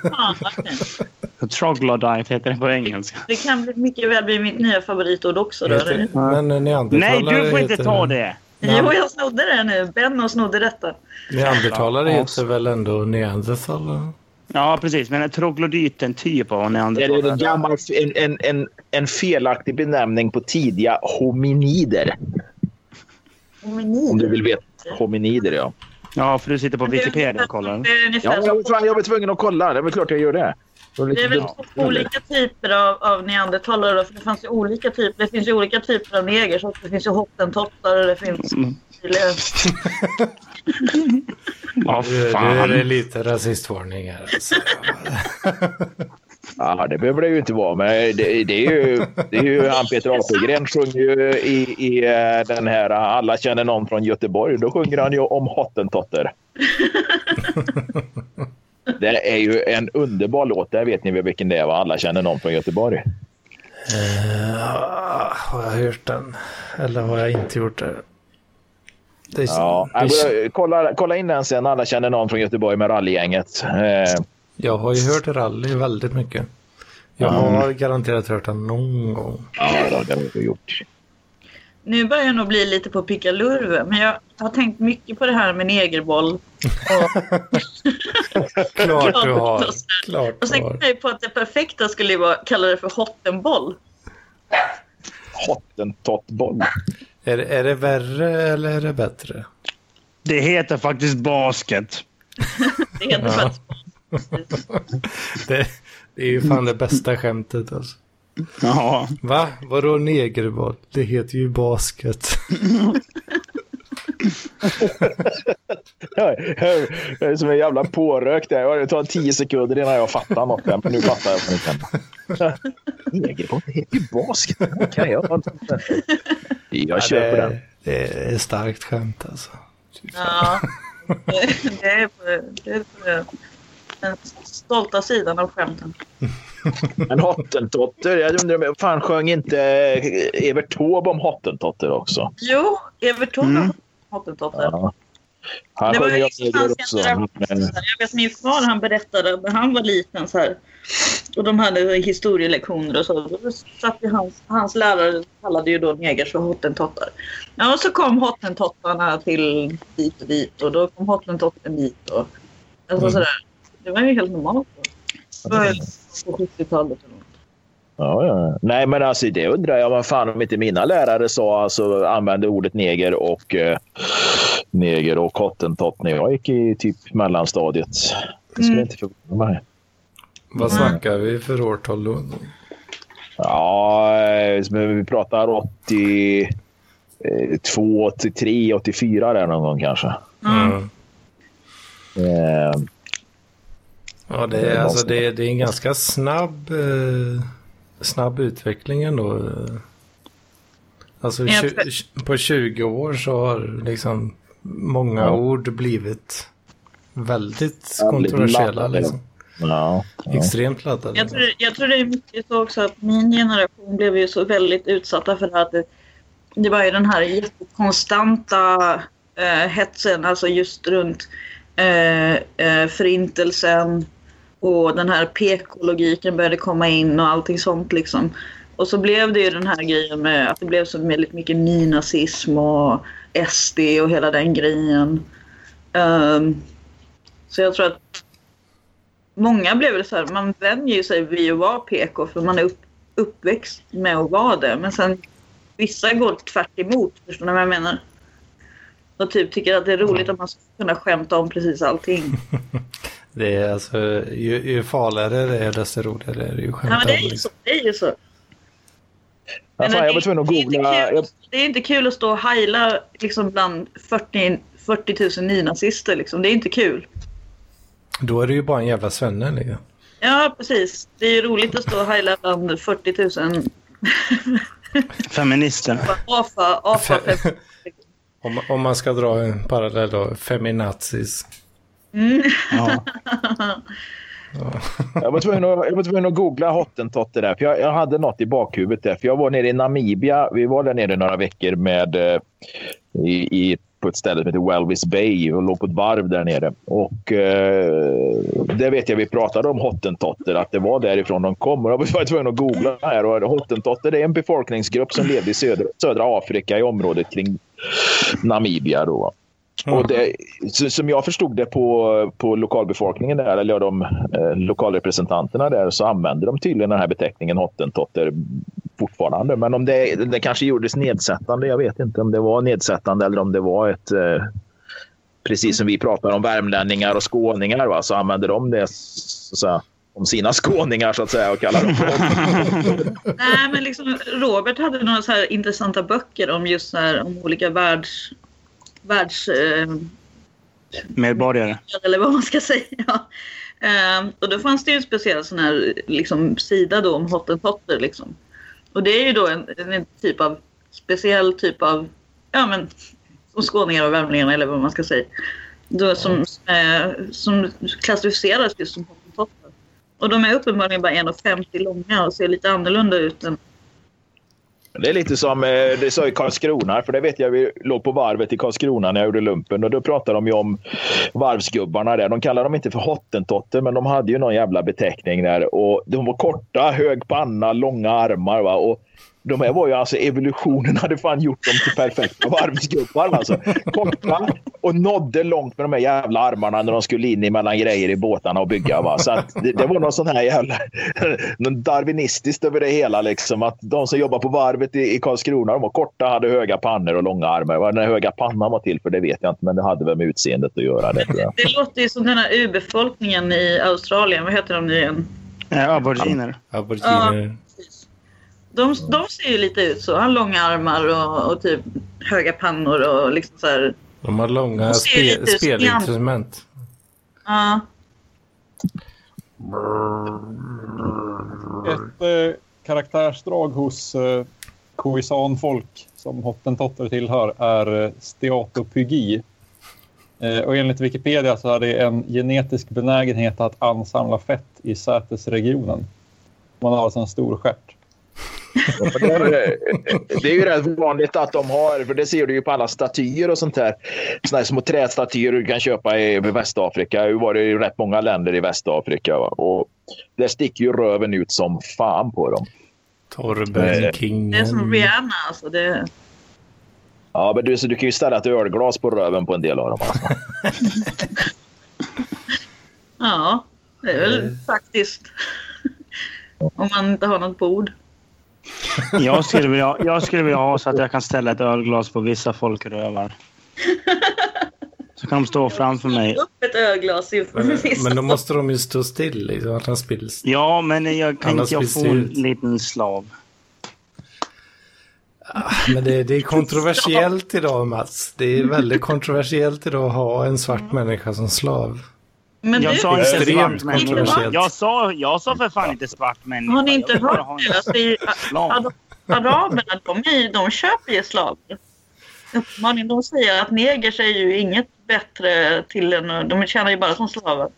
[SPEAKER 4] Fan, okej.
[SPEAKER 1] Troglodyte heter det på engelska.
[SPEAKER 4] Det kan bli- mycket väl bli mitt nya favoritord också. Då.
[SPEAKER 2] Heter- Men eh,
[SPEAKER 1] Nej,
[SPEAKER 2] neandertalare
[SPEAKER 1] du får inte
[SPEAKER 2] heter-
[SPEAKER 1] ta det.
[SPEAKER 4] Jo, jag snodde det nu. Benno snodde detta.
[SPEAKER 2] Neandertalare
[SPEAKER 1] Ja.
[SPEAKER 2] heter väl ändå neandertalare?
[SPEAKER 1] Ja, precis. Men en troglodyt är en typ av
[SPEAKER 3] Är det en,
[SPEAKER 1] neandertalare.
[SPEAKER 3] gammal, en, en, en, en felaktig benämning på tidiga hominider? Om du vill veta. Hominider, ja.
[SPEAKER 1] Ja, för du sitter på Wikipedia och kollar.
[SPEAKER 4] Det är ungefär
[SPEAKER 3] Ja, men jag,
[SPEAKER 4] som-
[SPEAKER 3] var tvungen, jag var tvungen att kolla. Det är väl klart jag gör det. Det var
[SPEAKER 4] Det är
[SPEAKER 3] lite
[SPEAKER 4] väl
[SPEAKER 3] dumt.
[SPEAKER 4] två olika typer av, av neandertalare då, för det fanns ju olika typer. Det finns ju olika typer av negers också. Det finns ju hottentottar och det finns...
[SPEAKER 3] Mm.
[SPEAKER 1] Ja,
[SPEAKER 2] Det, det
[SPEAKER 1] fan.
[SPEAKER 2] är lite rasistvarning här. Alltså.
[SPEAKER 3] Ja, det behöver det ju inte vara. Men det, det är ju, det är ju han Peter Apelgren sjunger ju i, i eh, den här eh, Alla känner någon från Göteborg. Då sjunger han ju om hottentotter. Det är ju en underbar låt. Där vet ni väl vilken det är, va? Alla känner någon från Göteborg.
[SPEAKER 2] Ah, har jag hört den? Eller har jag inte gjort det? det är,
[SPEAKER 3] Ja.
[SPEAKER 2] det är,
[SPEAKER 3] eh, Kolla, kolla in den sen. Alla känner någon från Göteborg med rallygänget. Eh,
[SPEAKER 2] jag har ju hört rally väldigt mycket.
[SPEAKER 1] Mm.
[SPEAKER 2] Jag har garanterat hört den någon gång.
[SPEAKER 3] Ja, det har vi gjort.
[SPEAKER 4] nu börjar jag nog bli lite på pickalurve, men jag har tänkt mycket på det här med negerboll. Och,
[SPEAKER 2] Klart du har. Klart
[SPEAKER 4] och
[SPEAKER 2] du
[SPEAKER 4] sen kom
[SPEAKER 2] har.
[SPEAKER 4] jag ju på att det perfekta skulle ju vara att kalla det för hottenboll.
[SPEAKER 3] Hottentottboll.
[SPEAKER 2] Är, det- är det värre eller är det bättre?
[SPEAKER 1] Det heter faktiskt basket.
[SPEAKER 4] Det heter
[SPEAKER 2] Ja.
[SPEAKER 4] faktiskt
[SPEAKER 2] Det, det är ju fan det bästa skämtet alltså.
[SPEAKER 1] Ja.
[SPEAKER 2] Va? Vadå negerboll? Det heter ju basket.
[SPEAKER 3] Jag jag- jag är som en jävla pårökt. där. Det tar tio sekunder innan jag fattar något. där, Men nu fattar jag. Negerboll, det heter ju basket. Okej, jag har inte fattat det. Jag
[SPEAKER 2] det,
[SPEAKER 3] kör på den.
[SPEAKER 2] Det är ett starkt skämt alltså. Fy fan.
[SPEAKER 4] Ja, det det är på, det är på den stolta sidan av skämten.
[SPEAKER 3] Men hottentotter, jag undrar om fan sjöng inte eh, Evert Taube om hottentotter också?
[SPEAKER 4] Jo, Evert Taube
[SPEAKER 1] Mm.
[SPEAKER 4] mm. hottentotter.
[SPEAKER 3] Ja. Han
[SPEAKER 4] Det var
[SPEAKER 3] sjöng
[SPEAKER 4] ju
[SPEAKER 3] ju
[SPEAKER 4] liksom
[SPEAKER 3] också.
[SPEAKER 4] hans generation. Jag vet min far han berättade när han var liten så här. Och de hade historielektioner och så. Då satt ju hans, hans lärare kallade ju då negers för hottentottar. Ja, och så kom hottentottarna till dit och dit och då kom hottentotten dit. Och, alltså
[SPEAKER 2] Mm.
[SPEAKER 4] sådär. Det var ju helt normalt. då. Det var ju på 70-talet. eller något.
[SPEAKER 3] Ja, ja. Nej, men alltså det undrar jag. Vad fan om inte mina lärare sa, alltså använde ordet neger och eh, neger och hottentott när jag gick i typ mellanstadiet. Det skulle
[SPEAKER 4] Mm.
[SPEAKER 3] inte förvåna mig.
[SPEAKER 2] Vad snackar vi för årtal då?
[SPEAKER 3] Ja, eh, men vi pratar eh, 82, 83, 84 där någon gång kanske.
[SPEAKER 4] Mm.
[SPEAKER 2] Mm.
[SPEAKER 3] Eh,
[SPEAKER 2] Ja, det är, alltså, det, är- det är en ganska snabb, eh, snabb utveckling ändå. eh. Alltså
[SPEAKER 4] Jag
[SPEAKER 2] tju-
[SPEAKER 4] tror-
[SPEAKER 2] tj- på 20 år så har liksom många
[SPEAKER 3] Ja.
[SPEAKER 2] ord blivit väldigt
[SPEAKER 3] Ja, blivit
[SPEAKER 2] kontroversiella.
[SPEAKER 3] laddade.
[SPEAKER 2] Liksom.
[SPEAKER 3] ja, ja.
[SPEAKER 2] Extremt laddade.
[SPEAKER 4] Jag tror, jag tror det är mycket så också att min generation blev ju så väldigt utsatta för det här att det, det var ju den här jättekonstanta eh, hetsen, alltså just runt eh, eh, förintelsen och den här PK-logiken började komma in och allting sånt liksom. Och så blev det ju den här grejen med att det blev så väldigt mycket nynazism och SD och hela den grejen. Ehm, så jag tror att många blev väl så här, man vänjer ju sig vid att vara PK för man är upp, uppväxt med att vara det. Men sen vissa går tvärt emot, förstår ni vad jag menar? Och typ tycker att det är roligt att man ska kunna skämta om precis allting.
[SPEAKER 2] Det är alltså, ju, ju farligare det är desto roligare är det ju
[SPEAKER 4] Ja,
[SPEAKER 2] skämt
[SPEAKER 4] men det är ju så. Det är ju så.
[SPEAKER 3] Ja, fan, Alltså, jag var tvungen att
[SPEAKER 4] det är inte
[SPEAKER 3] googla.
[SPEAKER 4] kul-
[SPEAKER 3] Jag,
[SPEAKER 4] Det är inte kul att stå och heila liksom bland 40, 40 000 nynazister. Liksom. Det är inte kul.
[SPEAKER 2] Då är det ju bara en jävla svenne. Liksom.
[SPEAKER 4] Ja, precis. Det är ju roligt att stå och heila bland 40 000
[SPEAKER 1] Feminister.
[SPEAKER 4] afa, afa
[SPEAKER 2] Om, om man ska dra en parallell då, feminazis.
[SPEAKER 1] Ja.
[SPEAKER 3] jag, var tvungen att, jag var tvungen att googla hottentotter där. För jag, jag hade något i bakhuvudet där. För jag var nere i Namibia. Vi var där nere några veckor med, eh, i, i, på ett ställe som heter Welvis Bay och låg på ett varv där nere. Och eh, det vet jag vi pratade om hottentotter, att det var därifrån de kom. Och jag var tvungen att googla här. Och hottentotter det är en befolkningsgrupp som levde i södra, södra Afrika i området kring Namibia. Då. va.
[SPEAKER 2] Mm.
[SPEAKER 3] Och det, så- som jag förstod det på, på lokalbefolkningen där, eller ja, de eh, lokalrepresentanterna där, så använder de tydligen den här beteckningen hottentotter fortfarande. Men om det, det kanske gjordes nedsättande, jag vet inte om det var nedsättande eller om det var ett... Eh, precis som vi pratar om värmlänningar och skåningar, va, så använder de det så, att säga, om sina skåningar så att säga och kallar dem för
[SPEAKER 4] Nej, men liksom, Robert hade några så här intressanta böcker om just så här, om olika världs... världs eh,
[SPEAKER 1] Medborgare.
[SPEAKER 4] eller vad man ska säga. Ehm, och då fanns det ju en speciell sån här liksom, sida då om hottentotter. Liksom. Och det är ju då en, en typ av speciell typ av, ja men, som skåningar och värmlingar eller vad man ska säga. Då, som, eh, som klassificeras just som hottentotter. Och de är uppenbarligen bara 1,50 långa och ser lite annorlunda ut än
[SPEAKER 3] Det är lite som eh, det sa i Karlskrona, för det vet jag vi låg på varvet i Karlskrona när jag gjorde lumpen och då pratade de ju om varvsgubbarna där. De kallar dem inte för hottentotter men de hade ju någon jävla beteckning där och de var korta, hög panna, långa armar va och De här var ju alltså evolutionen hade fan gjort dem till perfekta varvsgubbar alltså. Korta och nådde långt med de här jävla armarna när de skulle in mellan grejer i båtarna och bygga. Va? Så att det, det var någon sån här jävla någon darwinistiskt över det hela liksom. Att de som jobbar på varvet i, i Karlskrona, de var korta, hade höga pannor och långa armar. Vad den här höga pannan var till för det vet jag inte, men det hade väl med utseendet att göra. Det, tror jag.
[SPEAKER 4] Det låter ju som den här urbefolkningen i Australien. Vad heter de nu igen?
[SPEAKER 1] Eh, Aboriginer.
[SPEAKER 2] Aboriginer.
[SPEAKER 4] De, de ser ju lite ut så. Han har långa armar och, och typ höga pannor och liksom så här.
[SPEAKER 2] De har långa
[SPEAKER 4] De ser ju
[SPEAKER 2] spe-
[SPEAKER 4] lite ut som
[SPEAKER 2] spelinstrument.
[SPEAKER 4] Ja.
[SPEAKER 8] Ett eh, karaktärsdrag hos eh, koisanfolk som hottentotter tillhör är eh, steatopygi. Eh, och enligt Wikipedia så är det en genetisk benägenhet att ansamla fett i sätesregionen. Man har alltså en stor stjärt.
[SPEAKER 3] Och Det är, det är ju rätt vanligt att de har, för det ser du ju på alla statyer och sånt där. Såna här små trästatyer du kan köpa i Västafrika. Det var det ju rätt många länder i Västafrika. Va? Och där sticker ju röven ut som fan på dem.
[SPEAKER 2] Torben
[SPEAKER 3] Eh,
[SPEAKER 2] King.
[SPEAKER 4] Det är som Rihanna alltså. Det,
[SPEAKER 3] Ja, men du, så du kan ju ställa ett ölglas på röven på en del av dem. Alltså.
[SPEAKER 4] ja, det är
[SPEAKER 2] Eh.
[SPEAKER 4] väl faktiskt. Om man inte har något bord.
[SPEAKER 1] Jag skulle, vilja, jag skulle vilja ha så att jag kan ställa ett ölglas på vissa folkrövar. Så kan de stå framför mig.
[SPEAKER 4] Upp ett ölglas inför
[SPEAKER 2] Men,
[SPEAKER 4] vissa.
[SPEAKER 2] men då måste de ju stå still liksom, att han spills.
[SPEAKER 1] Ja, men jag kan
[SPEAKER 2] Annars
[SPEAKER 1] inte jag
[SPEAKER 2] finns
[SPEAKER 1] få
[SPEAKER 2] det
[SPEAKER 1] en
[SPEAKER 2] ut.
[SPEAKER 1] liten slav.
[SPEAKER 2] Men det, det är kontroversiellt idag Mats. Det är väldigt kontroversiellt idag att ha en
[SPEAKER 4] Mm.
[SPEAKER 2] svart människa som slav.
[SPEAKER 4] Men
[SPEAKER 1] Jag
[SPEAKER 4] du,
[SPEAKER 1] sa inte
[SPEAKER 2] Extremt
[SPEAKER 1] svart människa.
[SPEAKER 2] kontroversiellt.
[SPEAKER 1] Jag sa, jag sa för fan inte svart människa.
[SPEAKER 4] har ni inte
[SPEAKER 1] Jag vill bara
[SPEAKER 4] hört
[SPEAKER 1] ha en
[SPEAKER 4] det? Alltså, i-
[SPEAKER 1] slav.
[SPEAKER 4] Ara- Araberna, de, är, ju- de köper ju slavar. Uppenbarligen, de säger att negers är ju inget bättre till än... De tjänar ju bara som slavar.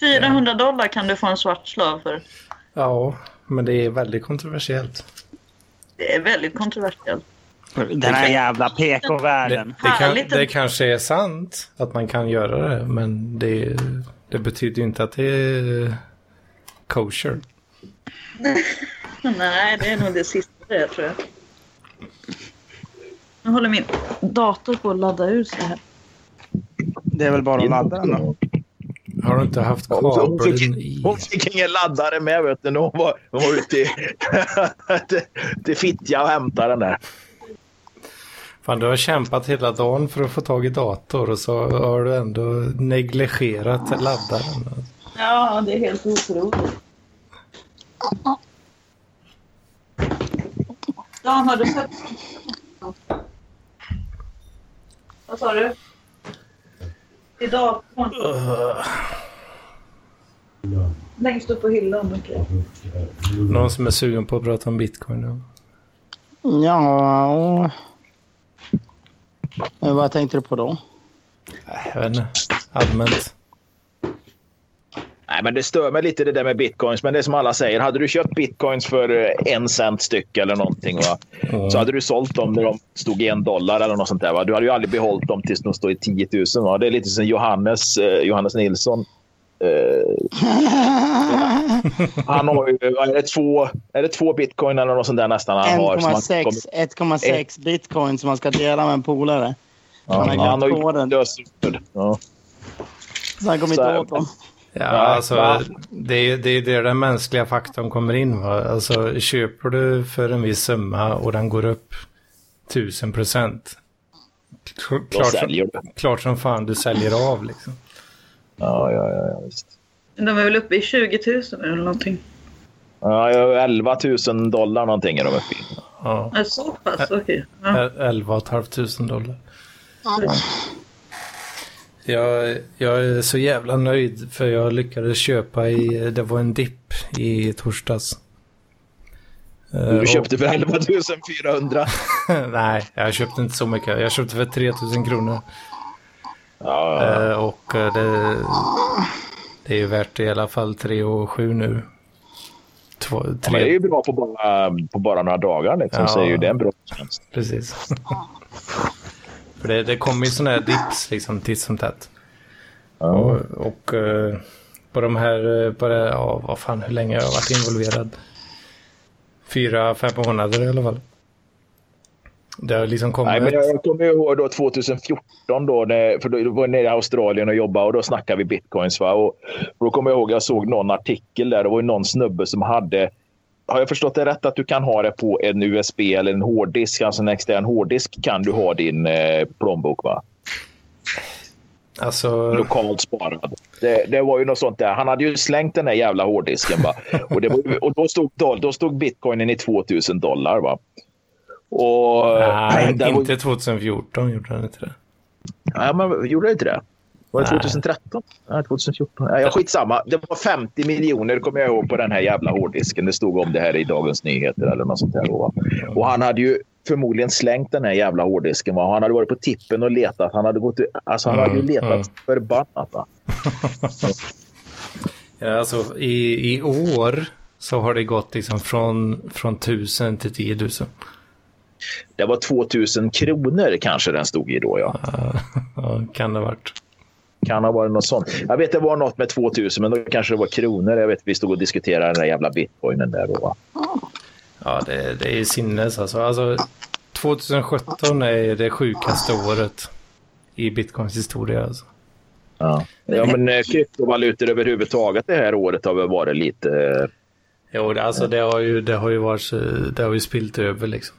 [SPEAKER 4] 400 dollar kan du få en svart slav för.
[SPEAKER 2] Ja, men det är väldigt kontroversiellt.
[SPEAKER 4] Det är väldigt kontroversiellt.
[SPEAKER 1] Den här jävla
[SPEAKER 2] Det,
[SPEAKER 1] PK-världen.
[SPEAKER 2] det, kan,
[SPEAKER 4] Härligt.
[SPEAKER 2] det kanske är sant att man kan göra det, men det, det betyder ju inte att det är kosher.
[SPEAKER 4] Men Nej, det är nog det sista det tror jag. Nu håller min dator på att ladda ur sig här.
[SPEAKER 1] Det är väl bara att ladda den då.
[SPEAKER 2] Har du inte haft kabeln i?
[SPEAKER 3] Hon fick ingen laddare med vet du, när hon var, hon var ute i, till, till Fittja och hämtade den där.
[SPEAKER 2] Fan, du har kämpat hela dagen för att få tag i dator och så har du ändå negligerat laddaren.
[SPEAKER 4] Ja, det är helt otroligt. Dan, har du sett... Vad sa du? Till datorn. Längst upp på hyllan. okej.
[SPEAKER 3] Mm.
[SPEAKER 2] Någon som är sugen på att prata om bitcoin? då?
[SPEAKER 1] Ja... och- Eh, Vad tänkte du på då?
[SPEAKER 2] Nej, Jag vet inte. Allmänt.
[SPEAKER 3] Nej, men det stör mig lite det där med bitcoins. Men det är som alla säger, hade du köpt bitcoins för eh, en cent styck eller någonting, va? så hade du sålt dem när de stod i en dollar eller något sånt där. Va? Du hade ju aldrig behållit dem tills de stod i 10 000. Va? Det är lite som Johannes, eh, Johannes Nilsson. Eh, han har ju vad är det, två, är det två bitcoin eller något sånt där nästan han har. som han
[SPEAKER 1] 1,6
[SPEAKER 3] kommer- Eh.
[SPEAKER 1] 1,6 bitcoin som man ska dela med en polare. Han har
[SPEAKER 3] ja, han har
[SPEAKER 1] glömt
[SPEAKER 3] ju
[SPEAKER 1] koden.
[SPEAKER 3] löst ut. Ja.
[SPEAKER 1] Så han kommer
[SPEAKER 3] Så
[SPEAKER 1] inte
[SPEAKER 3] här.
[SPEAKER 1] åt dem.
[SPEAKER 2] Ja,
[SPEAKER 3] Nej, va?
[SPEAKER 2] alltså, det är det är där den mänskliga faktorn kommer in. Va? Alltså, köper du för en viss summa och den går upp 1000 procent.
[SPEAKER 3] Då
[SPEAKER 2] Klart, som-
[SPEAKER 3] säljer du.
[SPEAKER 2] klart som fan du säljer av liksom.
[SPEAKER 3] Ja, ja, ja, ja, visst.
[SPEAKER 4] De är väl uppe i 20 000 eller någonting.
[SPEAKER 3] Ja, jag har 11 000 dollar någonting är de uppe i.
[SPEAKER 2] Ja.
[SPEAKER 4] Ja, Så pass? Okej. Ja.
[SPEAKER 2] El- 11 500 dollar. Jag, jag är så jävla nöjd för jag lyckades köpa i, det var en dipp i torsdags. Eh,
[SPEAKER 3] Du
[SPEAKER 2] och-
[SPEAKER 3] köpte för 11 400.
[SPEAKER 2] Nej, jag köpte inte så mycket. Jag köpte för 3000 kronor.
[SPEAKER 3] Ja, ja.
[SPEAKER 2] Eh, och eh, det, det är ju värt i alla fall 3 och 7 nu. Två,
[SPEAKER 3] Men det är
[SPEAKER 2] tre,
[SPEAKER 3] ju bra på bara, på bara några dagar. Liksom,
[SPEAKER 2] Ja.
[SPEAKER 3] så är ju det en bra tjänst.
[SPEAKER 2] precis. för det, det kommer ju sådana här dips liksom titt som tätt.
[SPEAKER 3] Ja.
[SPEAKER 2] Och, och eh, på de här, eh, på det, ja vad fan hur länge har jag varit involverad? Fyra, fem månader i alla fall. Det har liksom kommit...
[SPEAKER 3] Nej, men jag, jag kommer ihåg då 2014, då, när, för då var jag nere i Australien och jobbade och då snackade vi bitcoins. Va? Och då kommer jag ihåg jag såg någon artikel där. Det var ju någon snubbe som hade har jag förstått det rätt att du kan ha det på en USB eller en hårddisk, alltså en extern hårddisk kan du ha din eh, plånbok va?
[SPEAKER 2] Alltså,
[SPEAKER 3] Lokalt sparad. Det, det var ju något sånt där. Han hade ju slängt den där jävla hårddisken va. Och, det var, och då, stod, doll- då stod bitcoinen i 2000 dollar va. Och,
[SPEAKER 2] nej,
[SPEAKER 3] det var-
[SPEAKER 2] inte 2014 gjorde han inte det.
[SPEAKER 3] Nej, men gjorde det inte det? Var det
[SPEAKER 2] Nej.
[SPEAKER 3] 2013? Nej, 2014. Nej, ja, skitsamma. Det var 50 miljoner kommer jag ihåg på den här jävla hårddisken. Det stod om det här i Dagens Nyheter eller något sånt här. då, va? Och han hade ju förmodligen slängt den här jävla hårddisken. Va? Han hade varit på tippen och letat. Han hade, gått, alltså, han
[SPEAKER 2] Mm,
[SPEAKER 3] hade ju letat
[SPEAKER 2] mm.
[SPEAKER 3] förbannat. Va?
[SPEAKER 2] Ja, Alltså, i, I år så har det gått liksom från, från 1000 till 10 000.
[SPEAKER 3] Det var 2000 kronor kanske den stod i då. Ja.
[SPEAKER 2] Ja, kan det ha varit.
[SPEAKER 3] Kan ha varit något sånt. Jag vet det var något med 2000 men då kanske det var kronor. Jag vet vi stod och diskuterade den där jävla bitcoinen där då. Va?
[SPEAKER 2] Ja, det, det är sinnes alltså. alltså. 2017 är det sjukaste året i bitcoins historia. Alltså.
[SPEAKER 3] Ja, ja men eh, kryptovalutor överhuvudtaget det här året har väl varit lite... eh,
[SPEAKER 2] Jo, det- alltså det har ju, det har ju varit, så- det har ju spilt över liksom.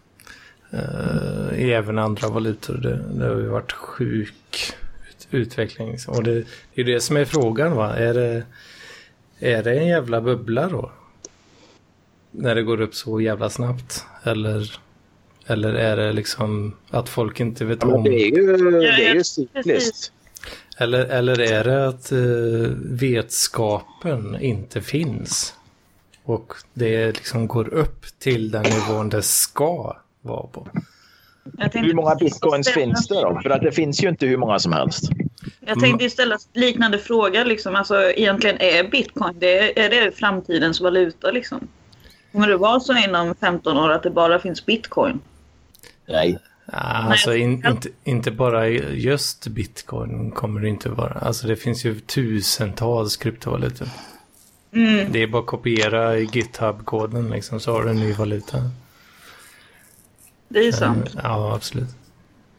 [SPEAKER 2] Eh, i även andra valutor. Det, det har ju varit sjuk ut, utveckling. Liksom. Och det, det är ju det som är frågan va. Är det, är det en jävla bubbla då? När det går upp så jävla snabbt? Eller, eller är det liksom att folk inte vet
[SPEAKER 3] Ja, men
[SPEAKER 2] om?
[SPEAKER 3] det är ju, det är ju
[SPEAKER 4] ja,
[SPEAKER 3] cykliskt.
[SPEAKER 4] precis.
[SPEAKER 2] Eller, eller är det att eh, vetskapen inte finns? Och det liksom går upp till den nivån det ska vara på.
[SPEAKER 4] Jag tänkte
[SPEAKER 3] Hur många
[SPEAKER 4] precis
[SPEAKER 3] bitcoins
[SPEAKER 4] ställa-
[SPEAKER 3] finns det då? För att det finns ju inte hur många som helst.
[SPEAKER 4] Jag tänkte
[SPEAKER 2] Mm.
[SPEAKER 4] ju ställa liknande fråga. Liksom. Alltså, egentligen är bitcoin det, är det framtidens valuta? Liksom? Kommer det vara så inom 15 år att det bara finns bitcoin?
[SPEAKER 3] Nej.
[SPEAKER 2] Ah, Alltså in, inte, inte bara just bitcoin kommer det inte vara. Alltså det finns ju tusentals kryptovalutor.
[SPEAKER 4] Mm.
[SPEAKER 2] Det är bara att kopiera i GitHub-koden liksom så har du en ny valuta.
[SPEAKER 4] Det är
[SPEAKER 2] Eh.
[SPEAKER 4] sant.
[SPEAKER 2] Ja, absolut.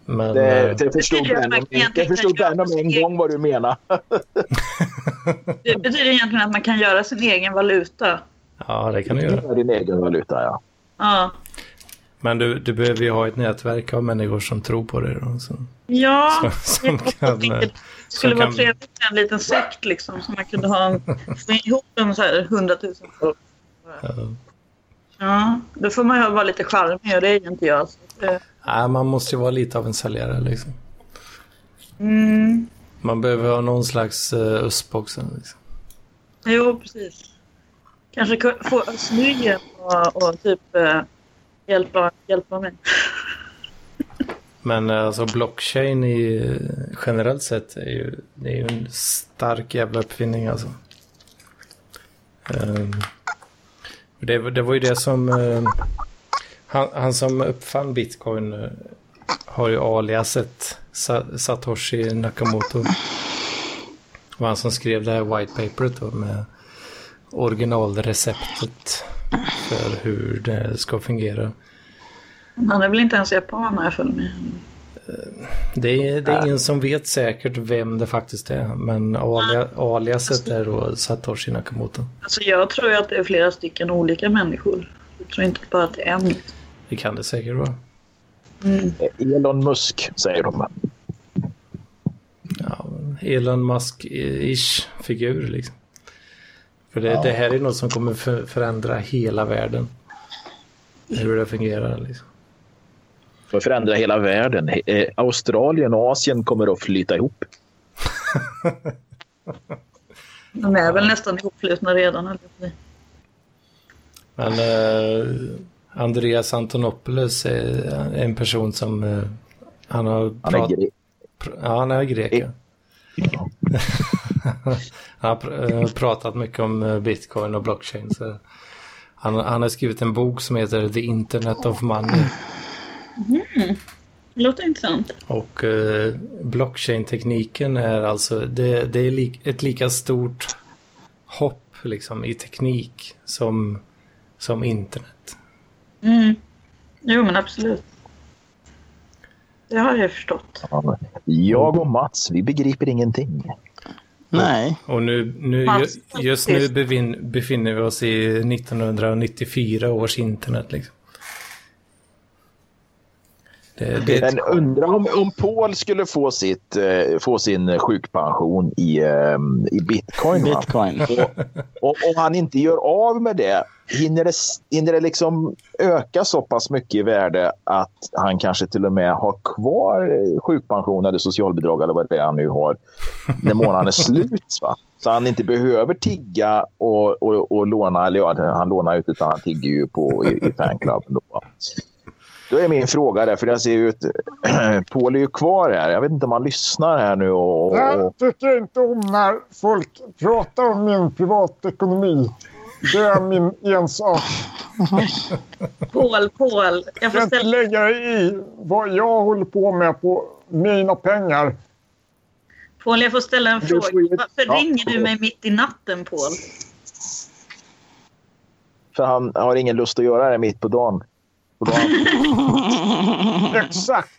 [SPEAKER 2] Men,
[SPEAKER 3] Det,
[SPEAKER 2] eh,
[SPEAKER 3] det förstod
[SPEAKER 4] tycker jag
[SPEAKER 3] Benham
[SPEAKER 4] verkligen
[SPEAKER 3] det förstod
[SPEAKER 4] att jag-
[SPEAKER 3] Benham en gång vad du menar.
[SPEAKER 4] Det betyder egentligen att man kan göra sin egen valuta.
[SPEAKER 2] ja, det kan du göra.
[SPEAKER 3] Det är din egen valuta, ja.
[SPEAKER 4] Ja,
[SPEAKER 2] Men du, du behöver ju ha ett nätverk av människor som tror på det. Då, så.
[SPEAKER 4] ja
[SPEAKER 2] Som- som
[SPEAKER 4] jag hoppas
[SPEAKER 2] kan,
[SPEAKER 4] att det
[SPEAKER 2] eh,
[SPEAKER 4] inte- skulle
[SPEAKER 2] som
[SPEAKER 4] vara
[SPEAKER 2] kan-
[SPEAKER 4] trevligt med en liten sekt liksom, som man kunde ha en, få ihop en så här 100 000 folk.
[SPEAKER 2] Ja.
[SPEAKER 4] Ja, då får man ju vara lite charmig och det är ju inte jag. Så, eh,
[SPEAKER 2] Nej, man måste ju vara lite av en säljare liksom.
[SPEAKER 4] mm,
[SPEAKER 2] Man behöver ha någon slags uh, USP också. Liksom.
[SPEAKER 4] jo, precis. Kanske ku- få snyggen och, och typ eh, hjälpa, hjälpa mig.
[SPEAKER 2] Men eh, alltså blockchain i, generellt sett är ju, det är ju en stark jävla uppfinning alltså. Ehm, det, det var ju det som... eh, han, han som uppfann bitcoin eh, har ju aliaset Sa, Satoshi Nakamoto. Det var han som skrev det här white paperet då med originalreceptet för hur det ska fungera.
[SPEAKER 4] Han är väl inte ens japan har jag för mig.
[SPEAKER 2] Det är, det är ingen som vet säkert vem det faktiskt är, men alia, aliaset är då Satoshi Nakamoto.
[SPEAKER 4] Alltså jag tror ju att det är flera stycken olika människor. Jag tror inte bara att det är en.
[SPEAKER 2] Det kan det säkert vara.
[SPEAKER 4] Mm.
[SPEAKER 3] Elon Musk, säger de.
[SPEAKER 2] Ja, Elon Musk-ish figur liksom. För det, det här är något som kommer för, förändra hela världen. Hur det fungerar liksom.
[SPEAKER 3] För att förändra hela världen. Eh, Australien och Asien kommer att flyta ihop.
[SPEAKER 4] De är väl nästan ihopflutna redan. höll jag på att säga.
[SPEAKER 2] Men eh, Andreas Antonopoulos är en person som eh, han har
[SPEAKER 3] Han är
[SPEAKER 2] prat-
[SPEAKER 3] gre-
[SPEAKER 2] Pr- Ja, han är grek. Ja. han har pr- eh, pratat mycket om eh, bitcoin och blockchain. Så han, han har skrivit en bok som heter The Internet of Money.
[SPEAKER 4] Det låter intressant.
[SPEAKER 2] Och eh, blockchain-tekniken är alltså, det, det är lik, ett lika stort hopp liksom, i teknik som, som internet.
[SPEAKER 4] Mm. Jo men absolut. Det har jag förstått.
[SPEAKER 3] Jag och Mats, vi begriper ingenting.
[SPEAKER 1] Nej.
[SPEAKER 2] Och nu, nu, ju- just nu bevin, befinner vi oss i 1994 års internet. Liksom. Det, det,
[SPEAKER 3] Men undrar om, om Paul skulle få, sitt, eh, få sin sjukpension i, eh, i bitcoin. va?
[SPEAKER 1] Bitcoin.
[SPEAKER 3] Och, och om han inte gör av med det, hinner det, hinner det liksom öka så pass mycket i värde att han kanske till och med har kvar eh, sjukpension eller socialbidrag eller vad det är han nu har när månaden är slut? Va? Så han inte behöver tigga och, och, och låna, eller ja, han lånar ut utan han tigger ju på, i, i fanklubben. Då, va? Då är min fråga där, för jag ser ju ut... Paul är ju kvar här. Jag vet inte om han lyssnar här nu och... och
[SPEAKER 7] Jag tycker inte om när folk pratar om min privatekonomi. Det är min ensak.
[SPEAKER 4] Paul, Paul. Jag
[SPEAKER 7] kan inte lägga dig i vad jag håller på med på mina pengar.
[SPEAKER 4] Paul, jag får ställa en
[SPEAKER 7] Du
[SPEAKER 4] fråga.
[SPEAKER 7] får ju-
[SPEAKER 4] Varför
[SPEAKER 7] Ja,
[SPEAKER 4] ringer du
[SPEAKER 7] förlåt.
[SPEAKER 4] mig mitt i natten, Paul?
[SPEAKER 3] för han har ingen lust att göra det mitt på dagen. På dagen.
[SPEAKER 7] Exakt.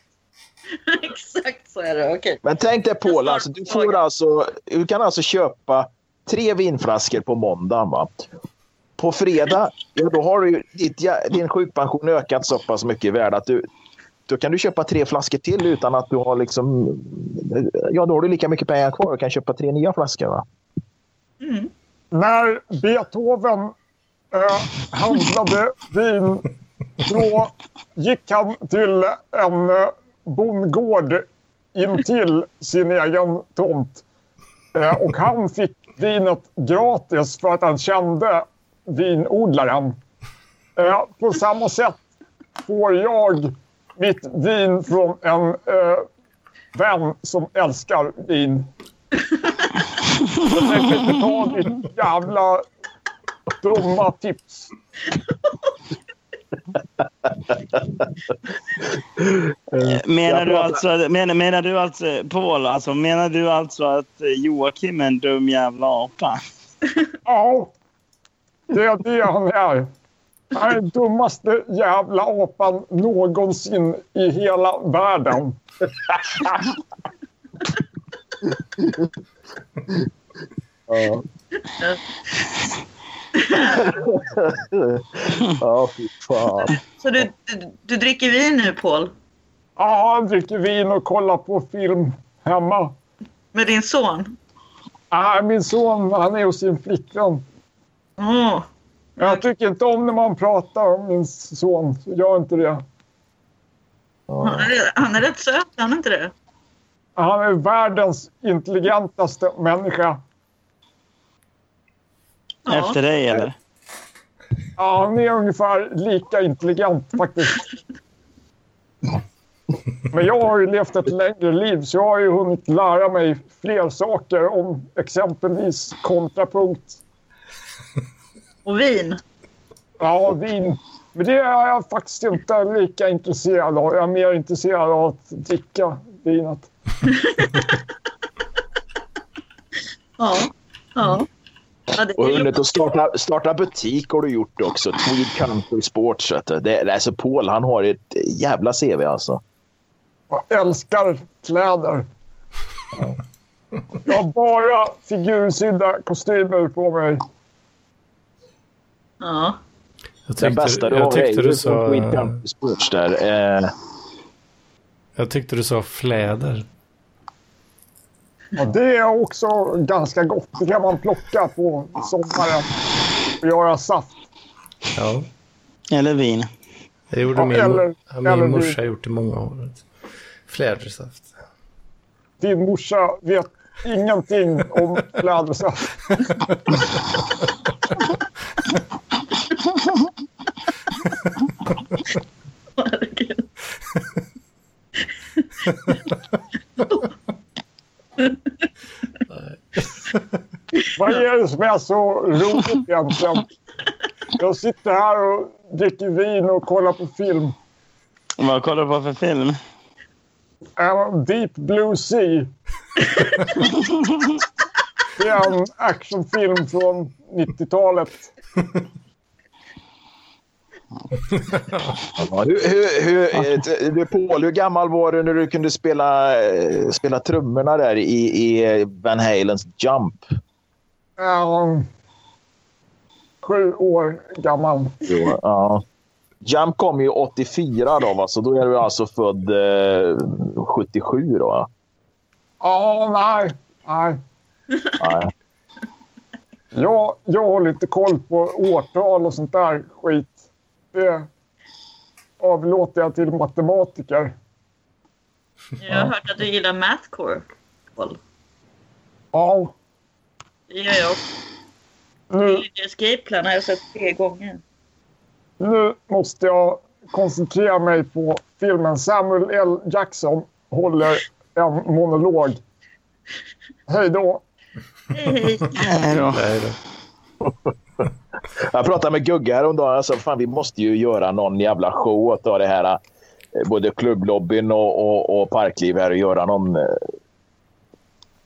[SPEAKER 4] Exakt så är det. Okej.
[SPEAKER 3] Men tänk dig Paul, alltså, du, får alltså, du kan alltså köpa tre vinflaskor på måndagen. Va? På fredag, ja, då har du, ju ditt, jä- din sjukpension ökat så pass mycket i värde att du, då kan du köpa tre flaskor till utan att du har liksom... Ja, då har du lika mycket pengar kvar och kan köpa tre nya flaskor. Va?
[SPEAKER 7] När Beethoven eh, handlade vin, då gick han till en eh, bondgård intill sin egen tomt. Eh, och han fick vinet gratis för att han kände vinodlaren. Eh, på samma sätt får jag mitt vin från en eh, vän som älskar vin. Jag tänker inte ta ditt jävla dumma tips.
[SPEAKER 1] Eh, Menar du alltså, menar, menar du alltså Paul, alltså, menar du alltså att eh, Joakim är en dum jävla apa?
[SPEAKER 7] Ja, det är det han är. Han är den dummaste jävla apan någonsin i hela världen.
[SPEAKER 3] Ja. ja, fy fan.
[SPEAKER 4] Så du, du, du dricker vin nu, Paul?
[SPEAKER 7] Ja, han dricker vin och kollar på film hemma.
[SPEAKER 4] Med din son?
[SPEAKER 7] Nej, min son han är hos sin flickvän. Jag tycker inte om när man pratar om min son. så Gör inte det.
[SPEAKER 4] Han är, han är rätt söt, är han inte det?
[SPEAKER 7] Han är världens intelligentaste människa.
[SPEAKER 1] Efter dig eller?
[SPEAKER 7] Ja, han är ungefär lika intelligent faktiskt. Men jag har ju levt ett längre liv så jag har ju hunnit lära mig fler saker om exempelvis kontrapunkt.
[SPEAKER 4] Och vin.
[SPEAKER 7] Ja, vin. Men det är jag faktiskt inte lika intresserad av. Jag är mer intresserad av att dricka vinet.
[SPEAKER 4] Ja. ja.
[SPEAKER 3] Mm. Och hunnit att starta, starta butik har du gjort också. Tweed Country Sports. vet du. Det, alltså Paul, han har ett jävla CV alltså.
[SPEAKER 7] Jag älskar kläder. Jag har bara figursydda kostymer på mig.
[SPEAKER 4] Ja.
[SPEAKER 2] jag
[SPEAKER 3] Den
[SPEAKER 2] tyckte,
[SPEAKER 3] bästa du
[SPEAKER 2] jag
[SPEAKER 3] har är
[SPEAKER 2] tyckte
[SPEAKER 3] ju
[SPEAKER 2] du
[SPEAKER 3] från Tweed
[SPEAKER 2] sa,
[SPEAKER 3] Country Sports där. Eh,
[SPEAKER 2] jag tyckte du sa fläder.
[SPEAKER 7] Ja, det är också ganska gott. Det kan man plocka på sommaren och göra saft.
[SPEAKER 2] Ja.
[SPEAKER 1] Eller vin.
[SPEAKER 2] Det gjorde
[SPEAKER 7] Ja,
[SPEAKER 2] min,
[SPEAKER 7] eller-
[SPEAKER 2] ja, min
[SPEAKER 7] eller
[SPEAKER 2] morsa
[SPEAKER 7] vin.
[SPEAKER 2] gjort i många år. Flädersaft.
[SPEAKER 7] Din morsa vet ingenting om flädersaft. Vad är det som är så roligt egentligen? Jag sitter här och dricker vin och kollar på film.
[SPEAKER 1] Vad kollar du på för film?
[SPEAKER 7] Um, Deep Blue Sea. Det är en actionfilm från 90-talet.
[SPEAKER 3] Ja, hur, hur, hur, eh, du, Paul, hur gammal var du när du kunde spela, eh, spela trummorna där i, i Van Halens Jump?
[SPEAKER 7] Ja, sju år gammal.
[SPEAKER 3] Ja. Jump kom ju 84 då, va? så då är du alltså född eh, 77 då. va?
[SPEAKER 7] Ja, nej. nej.
[SPEAKER 3] Nej.
[SPEAKER 7] Jag, jag har lite koll på årtal och sånt där skit. Det avlåter jag till matematiker.
[SPEAKER 4] Jag har hört att du gillar mathcore. Paul.
[SPEAKER 7] Ja,
[SPEAKER 4] Det gör jag också.
[SPEAKER 3] Mm.
[SPEAKER 4] Village Escape Plan har jag sett tre gånger.
[SPEAKER 7] nu måste jag koncentrera mig på filmen. Samuel L. Jackson håller en monolog. Hej då!
[SPEAKER 4] Hej, hej.
[SPEAKER 1] Ja.
[SPEAKER 2] Nej, då.
[SPEAKER 3] Jag pratade med Gugge häromdagen. Jag sa fan vi måste ju göra någon jävla show åt det här. eh, Både klubblobbyn och, och, och parkliv här och göra någon... eh,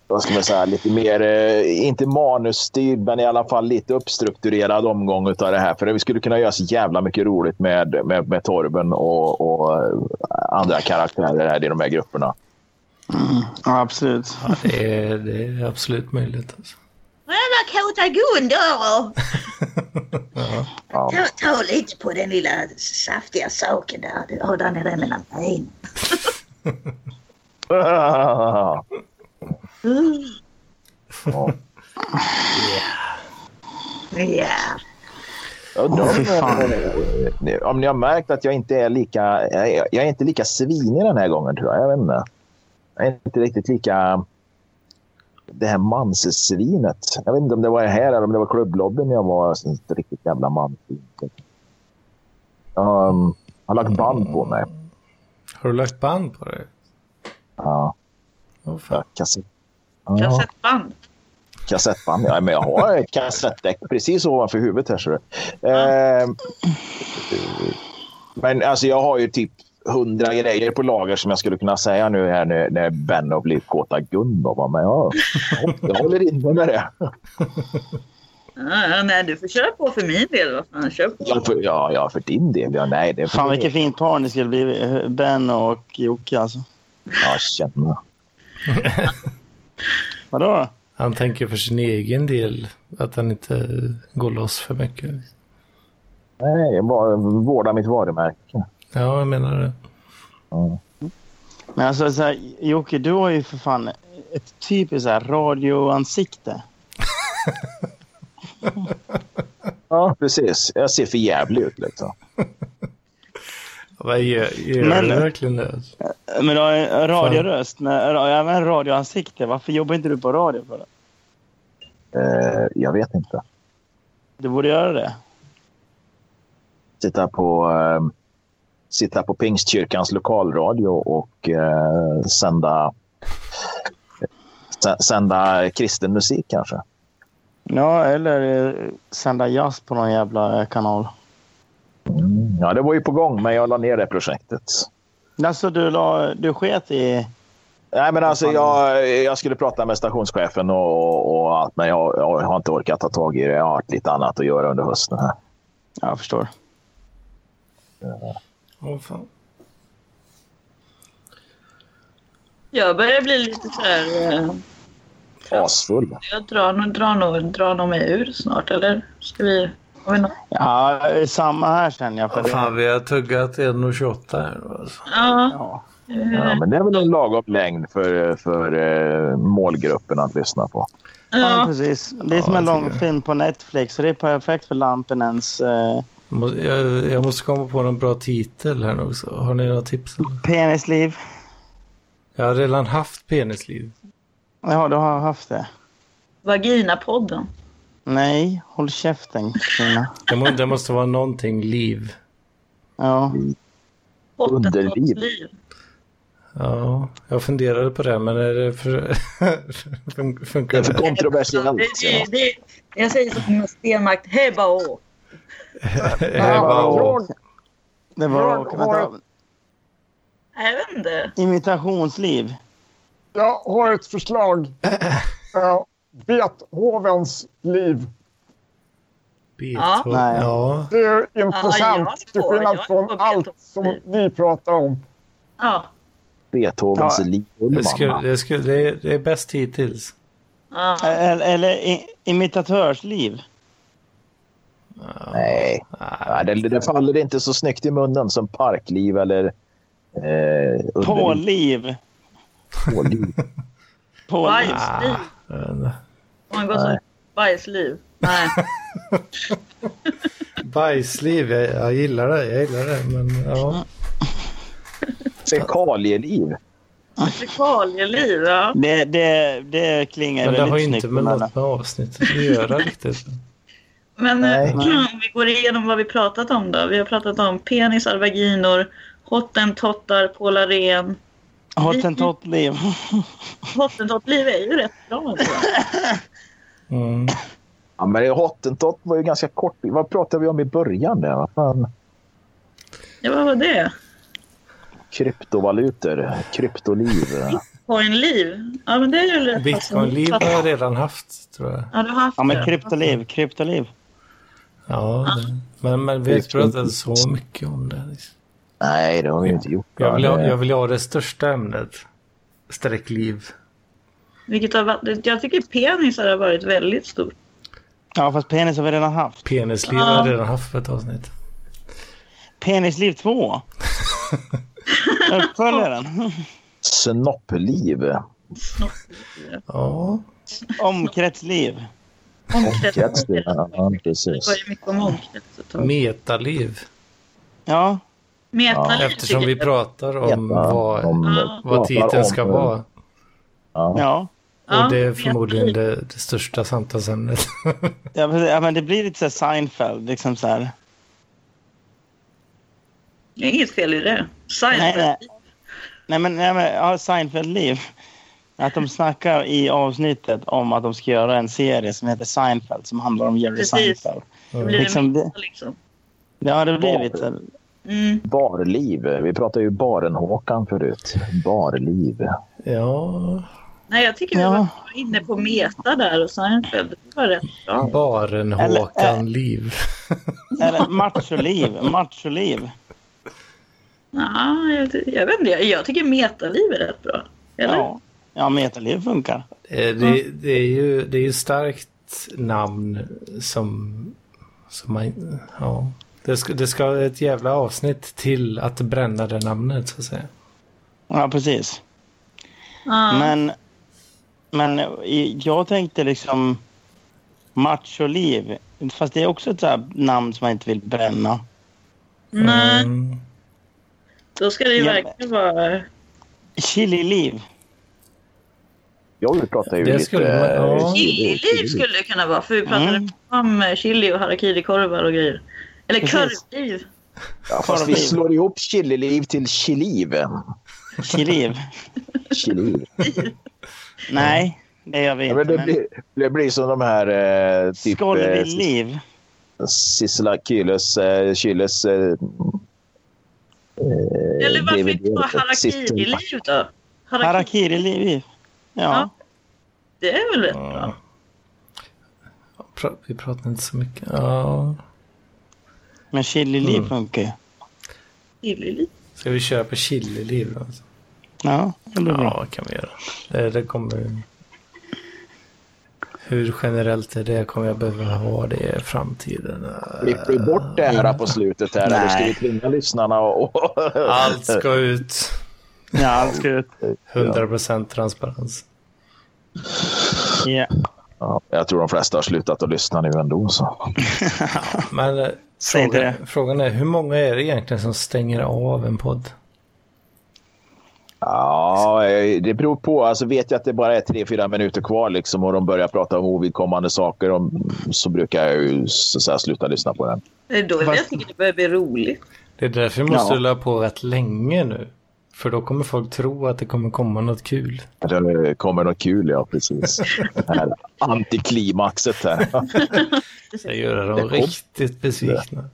[SPEAKER 3] Vad ska man säga? Lite mer, eh, inte manusstyrd, men i alla fall lite uppstrukturerad omgång utav det här. För vi skulle kunna göra så jävla mycket roligt med, med, med Torben och, och eh, andra karaktärer här i de här grupperna.
[SPEAKER 1] ja, absolut.
[SPEAKER 2] Ja, det, är, det är absolut möjligt. Alltså.
[SPEAKER 4] Vad kåta Gunnar!
[SPEAKER 3] Ja.
[SPEAKER 4] Ta, ta lite på den lilla saftiga saken där. Du har den där mellan benen.
[SPEAKER 3] Ja.
[SPEAKER 4] Ja.
[SPEAKER 3] Jag undrar
[SPEAKER 1] Åh, fy fan.
[SPEAKER 3] om, ni- om ni har märkt att jag inte är lika, jag, jag är inte lika svinig den här gången tror jag. Jag vet inte. Jag är inte riktigt lika det här mansesvinet. Jag vet inte om det var det här eller om det var klubblobben jag var inte riktigt jävla mansvin. Jag um, har lagt band på mig.
[SPEAKER 2] Har du lagt band på det?
[SPEAKER 3] Ja,
[SPEAKER 2] Åh, fan.
[SPEAKER 3] jag- kassett, ja,
[SPEAKER 4] Kassettband.
[SPEAKER 3] kassettband. Ja, men jag har ett kassettdäck precis ovanför huvudet här. Så. Eh, Men alltså jag har ju typ hundra grejer på lager som jag skulle kunna säga nu här när, när Ben har blivit kåta Gun. då, va. Men jag, jag håller inne med det.
[SPEAKER 4] Ja, ja, nej, du får köra på för min del. Vad fan, kör på.
[SPEAKER 3] Ja, för, ja, ja, för din del. Ja, nej, det är för
[SPEAKER 1] Fan
[SPEAKER 3] din
[SPEAKER 1] vilket
[SPEAKER 3] del.
[SPEAKER 1] fint par ni skulle bli. eh, Ben och Jocke alltså.
[SPEAKER 3] Ja, känna.
[SPEAKER 1] Vadå?
[SPEAKER 2] Han tänker för sin egen del att han inte går loss för mycket.
[SPEAKER 3] Nej, jag bara vårda mitt varumärke.
[SPEAKER 2] Ja, jag menar det.
[SPEAKER 1] Men alltså så här, Jocke, du har ju för fan ett typiskt så här radioansikte.
[SPEAKER 3] Ja, precis. Jag ser för jävlig ut. Liksom.
[SPEAKER 2] Vad gör, gör
[SPEAKER 1] Men-
[SPEAKER 2] du verkligen det? alltså?
[SPEAKER 1] Men du har en radioröst, men ra- även radioansikte. Varför jobbar inte du på radio för det?
[SPEAKER 3] Eh, jag vet inte.
[SPEAKER 1] Du borde göra det.
[SPEAKER 3] Sitta på, eh, sitta på Pingstkyrkans lokalradio och eh, sända, sä- sända kristen musik kanske.
[SPEAKER 1] Ja, eller eh, sända jazz på någon jävla eh, kanal.
[SPEAKER 3] Mm, Ja, det var ju på gång, men jag la ner det projektet.
[SPEAKER 1] Alltså du, la, du sket i...
[SPEAKER 3] Nej, men alltså, jag, jag skulle prata med stationschefen och, och, och allt, men jag, jag har inte orkat ta tag i det. Jag har haft lite annat att göra under hösten. Här.
[SPEAKER 1] Ja, Jag förstår.
[SPEAKER 2] Åh, fan.
[SPEAKER 4] Jag börjar bli lite så här... eh,
[SPEAKER 3] Asfull.
[SPEAKER 4] Jag drar nog drar nog- drar nog mig ur snart, eller? Ska vi... Har vi något?
[SPEAKER 1] Ja, eh, samma här känner jag. För det.
[SPEAKER 2] fan, vi har tuggat 1,28 här. Alltså.
[SPEAKER 4] Ja.
[SPEAKER 1] Ja.
[SPEAKER 3] Ja, men det är väl en lagom längd för, för eh, målgruppen att lyssna på.
[SPEAKER 1] Ja,
[SPEAKER 4] ja.
[SPEAKER 1] precis. Det är
[SPEAKER 2] Ja,
[SPEAKER 1] som en
[SPEAKER 2] jag
[SPEAKER 1] lång
[SPEAKER 2] tycker
[SPEAKER 1] film på Netflix. Så det är perfekt för Lampinens eh,
[SPEAKER 2] Må- Jag, jag måste komma på någon bra titel här nu också. Har ni några tips? eller?
[SPEAKER 1] penisliv.
[SPEAKER 2] Jag har redan haft penisliv.
[SPEAKER 1] Ja, du har haft det.
[SPEAKER 4] Vaginapodden.
[SPEAKER 1] Nej, håll käften kvinna.
[SPEAKER 2] Det, må, det måste vara någonting liv.
[SPEAKER 1] Ja.
[SPEAKER 3] Underliv.
[SPEAKER 4] Liv.
[SPEAKER 2] Ja, jag funderade på det, men är det för... fun-
[SPEAKER 3] Det
[SPEAKER 2] funkar
[SPEAKER 3] är för
[SPEAKER 2] det?
[SPEAKER 4] Ja,
[SPEAKER 3] kontroversiellt.
[SPEAKER 4] det, det, det, jag säger som med Stenmark, hebba å.
[SPEAKER 2] Är det bara...
[SPEAKER 7] jag,
[SPEAKER 1] Det var
[SPEAKER 7] Jag
[SPEAKER 1] råk.
[SPEAKER 7] har-
[SPEAKER 1] Vänta.
[SPEAKER 4] Jag vet inte.
[SPEAKER 1] Imitationsliv.
[SPEAKER 7] jag har ett Eh, förslag. Ja, Beethovens liv.
[SPEAKER 2] Beethoven.
[SPEAKER 7] Nej.
[SPEAKER 2] Ja.
[SPEAKER 7] Det är ju
[SPEAKER 9] Ja,
[SPEAKER 7] intressant.
[SPEAKER 9] jag
[SPEAKER 7] Till
[SPEAKER 9] får-
[SPEAKER 7] skillnad
[SPEAKER 9] jag
[SPEAKER 7] från
[SPEAKER 9] får
[SPEAKER 7] allt
[SPEAKER 9] Beethoven.
[SPEAKER 7] som vi pratar om.
[SPEAKER 9] Ja.
[SPEAKER 3] Beethovens
[SPEAKER 1] Ja.
[SPEAKER 3] Liv
[SPEAKER 2] Det, skulle,
[SPEAKER 3] Ullman.
[SPEAKER 2] det, skulle, det, är, det är bäst hittills.
[SPEAKER 9] ja.
[SPEAKER 1] Eller, eller i, imitatörsliv.
[SPEAKER 3] Nej, Nej det, det faller inte så snyggt i munnen som Parkliv eller... Eh, Ullevi.
[SPEAKER 1] Påliv.
[SPEAKER 3] Tåliv.
[SPEAKER 1] Påliv.
[SPEAKER 9] Bajsliv.
[SPEAKER 2] Jag vet inte.
[SPEAKER 9] Man går som bajsliv. Nej.
[SPEAKER 2] Bajsliv, jag, jag gillar det. Jag gillar det. Men ja.
[SPEAKER 3] Fekalieliv.
[SPEAKER 9] Fekalieliv, ja.
[SPEAKER 1] Det, det, det klingar
[SPEAKER 2] Men det har
[SPEAKER 1] väldigt
[SPEAKER 2] ju
[SPEAKER 1] snyggt.
[SPEAKER 2] inte med
[SPEAKER 1] men-
[SPEAKER 2] något med avsnittet att göra riktigt.
[SPEAKER 9] Men
[SPEAKER 3] Nej.
[SPEAKER 9] eh, om vi går igenom vad vi pratat om då. Vi har pratat om penisar, vaginor, hottentottar, polaren.
[SPEAKER 1] Hottentottliv.
[SPEAKER 9] Hottentottliv är ju rätt bra. ändå.
[SPEAKER 2] Mm.
[SPEAKER 3] Ja, men det- Hottentott var ju ganska kort. Vad pratade vi om i början? Där? Vad fan?
[SPEAKER 9] Ja, vad var det?
[SPEAKER 3] Kryptovalutor. Kryptoliv.
[SPEAKER 9] Bitcoinliv. Ja, men det är ju rätt.
[SPEAKER 2] Bitcoinliv har jag redan haft, tror jag.
[SPEAKER 9] Ja, du har haft
[SPEAKER 1] Ja, men
[SPEAKER 9] det.
[SPEAKER 1] kryptoliv. Kryptoliv.
[SPEAKER 2] Ja, det. Men, men vi har inte pratat så mycket om det. liksom.
[SPEAKER 3] Nej, det har vi ju inte gjort.
[SPEAKER 2] Jag vill, ha,
[SPEAKER 3] Men,
[SPEAKER 2] jag vill ha det största ämnet. Sträckliv.
[SPEAKER 9] Vilket har varit, jag tycker penisar har varit väldigt stort.
[SPEAKER 1] Ja, fast penis har vi redan haft.
[SPEAKER 2] Penisliv har jag redan haft för ett avsnitt.
[SPEAKER 1] Penisliv 2. Uppföljaren.
[SPEAKER 3] Snoppliv.
[SPEAKER 2] Ja.
[SPEAKER 1] Omkretsliv.
[SPEAKER 9] Omkrets.
[SPEAKER 3] Omkretsliv. Ja,
[SPEAKER 9] Det var
[SPEAKER 3] precis.
[SPEAKER 9] ju mycket om omkrets ett tag.
[SPEAKER 2] Metaliv.
[SPEAKER 1] Ja.
[SPEAKER 9] Metaliv
[SPEAKER 2] Eftersom
[SPEAKER 9] tycker
[SPEAKER 2] vi
[SPEAKER 9] jag-
[SPEAKER 2] pratar om
[SPEAKER 3] Veta
[SPEAKER 2] vad,
[SPEAKER 3] om-
[SPEAKER 2] vad titeln ska
[SPEAKER 3] om-
[SPEAKER 2] vara.
[SPEAKER 3] Ja.
[SPEAKER 1] Ja.
[SPEAKER 9] Ja,
[SPEAKER 2] Och det är
[SPEAKER 9] metaliv.
[SPEAKER 2] förmodligen det, det största samtalsämnet.
[SPEAKER 1] Ja, precis. ja, men det blir lite så här Seinfeld. Liksom så här.
[SPEAKER 9] Det är inget fel i det.
[SPEAKER 1] Nej,
[SPEAKER 9] Seinfeld.
[SPEAKER 1] nej. Nej, men, nej, men ja, Seinfeld-liv. Att de snackar i avsnittet om att de ska göra en serie som heter Seinfeld som handlar om Jerry
[SPEAKER 9] Precis.
[SPEAKER 1] Seinfeld.
[SPEAKER 9] Det blir
[SPEAKER 1] Liksom
[SPEAKER 9] liksom
[SPEAKER 1] det-
[SPEAKER 9] det. Liksom.
[SPEAKER 1] Ja, det blir lite...
[SPEAKER 9] Mm.
[SPEAKER 3] Barliv. Vi pratade ju Baren-Håkan förut. Barliv.
[SPEAKER 2] Ja,
[SPEAKER 9] Nej, jag tycker vi
[SPEAKER 1] Ja.
[SPEAKER 9] var inne på meta där och Seinfeld. Det var rätt bra.
[SPEAKER 2] baren
[SPEAKER 1] Eller, eh,
[SPEAKER 2] Håkan-liv.
[SPEAKER 1] Eller macholiv. Macholiv.
[SPEAKER 9] Ja, jag, jag vet inte, jag, jag tycker metaliv är rätt bra. Eller?
[SPEAKER 1] Ja. ja, metaliv funkar.
[SPEAKER 2] Eh, Det, det, är ju, det är ju starkt namn som... som man, ja. det, ska, det ska ett jävla avsnitt till att bränna det namnet så att säga.
[SPEAKER 1] Ja, precis.
[SPEAKER 9] Ja.
[SPEAKER 1] Men, men i- jag tänkte liksom macholiv. Fast det är också ett så här namn som man inte vill bränna.
[SPEAKER 9] Nej,
[SPEAKER 2] Mm.
[SPEAKER 9] då ska det ju
[SPEAKER 1] Ja.
[SPEAKER 9] verkligen vara...
[SPEAKER 1] Chililiv.
[SPEAKER 3] Jag pratade ju
[SPEAKER 2] Det
[SPEAKER 3] lite...
[SPEAKER 2] skulle man- ja.
[SPEAKER 9] Chililiv skulle det kunna vara, för vi pratade
[SPEAKER 1] Mm.
[SPEAKER 9] om eh, chili och harakirikorvar och grejer. Eller
[SPEAKER 1] Precis.
[SPEAKER 9] korvliv.
[SPEAKER 3] Ja, fast vi slår ihop Chililiv till Chiliv.
[SPEAKER 1] Chiliv.
[SPEAKER 3] Chiliv.
[SPEAKER 1] Nej, det gör vi
[SPEAKER 3] Ja,
[SPEAKER 1] inte.
[SPEAKER 3] men det,
[SPEAKER 1] men-
[SPEAKER 3] blir, det blir som de här... Eh, typ, eh,
[SPEAKER 1] Skollevi-liv.
[SPEAKER 3] Sissela Kyles... Eh, Kyles eh,
[SPEAKER 9] Eller varför
[SPEAKER 3] DVD,
[SPEAKER 9] inte bara harakiriliv då? Harakiri,
[SPEAKER 1] Harakiri-liv. Ja.
[SPEAKER 9] Ja. det är väl rätt bra?
[SPEAKER 2] Pra- Vi pratar inte så mycket. Ja.
[SPEAKER 1] men chili-liv
[SPEAKER 2] Mm.
[SPEAKER 1] funkar ju.
[SPEAKER 9] Chililiv.
[SPEAKER 2] Ska vi köra på chili-liv? då?
[SPEAKER 1] Ja, det blir
[SPEAKER 2] Ja,
[SPEAKER 1] bra.
[SPEAKER 2] vad kan vi göra. Det, det kommer... Hur generellt är det? Kommer jag behöva ha det i framtiden?
[SPEAKER 3] Klipper vi bort det här på slutet här? Eller ska
[SPEAKER 1] Nej.
[SPEAKER 3] vi tvinga lyssnarna och... och
[SPEAKER 2] Allt ska ut.
[SPEAKER 1] Ja, allt ska ut.
[SPEAKER 2] 100% transparens.
[SPEAKER 1] Ja.
[SPEAKER 3] Ja, jag tror de flesta har slutat att lyssna nu ändå. Så.
[SPEAKER 2] Men eh,
[SPEAKER 1] Säg inte
[SPEAKER 2] frågan, frågan är, hur många är det egentligen som stänger av en podd?
[SPEAKER 3] Ja, eh, det beror på. Alltså, vet jag att det bara är tre, fyra minuter kvar liksom, och de börjar prata om ovidkommande saker om, så brukar jag ju så, så här, sluta lyssna på den.
[SPEAKER 9] Det är då jag
[SPEAKER 1] Fast-
[SPEAKER 9] tycker det börjar bli roligt.
[SPEAKER 2] Det är därför vi måste
[SPEAKER 3] Ja.
[SPEAKER 2] hålla på rätt länge nu. För då kommer folk tro att det kommer komma något kul.
[SPEAKER 3] Det eh, kommer något kul, ja. Precis. Det här antiklimaxet här.
[SPEAKER 2] Så göra
[SPEAKER 3] Det
[SPEAKER 2] dem
[SPEAKER 3] kom-
[SPEAKER 2] riktigt besvikna.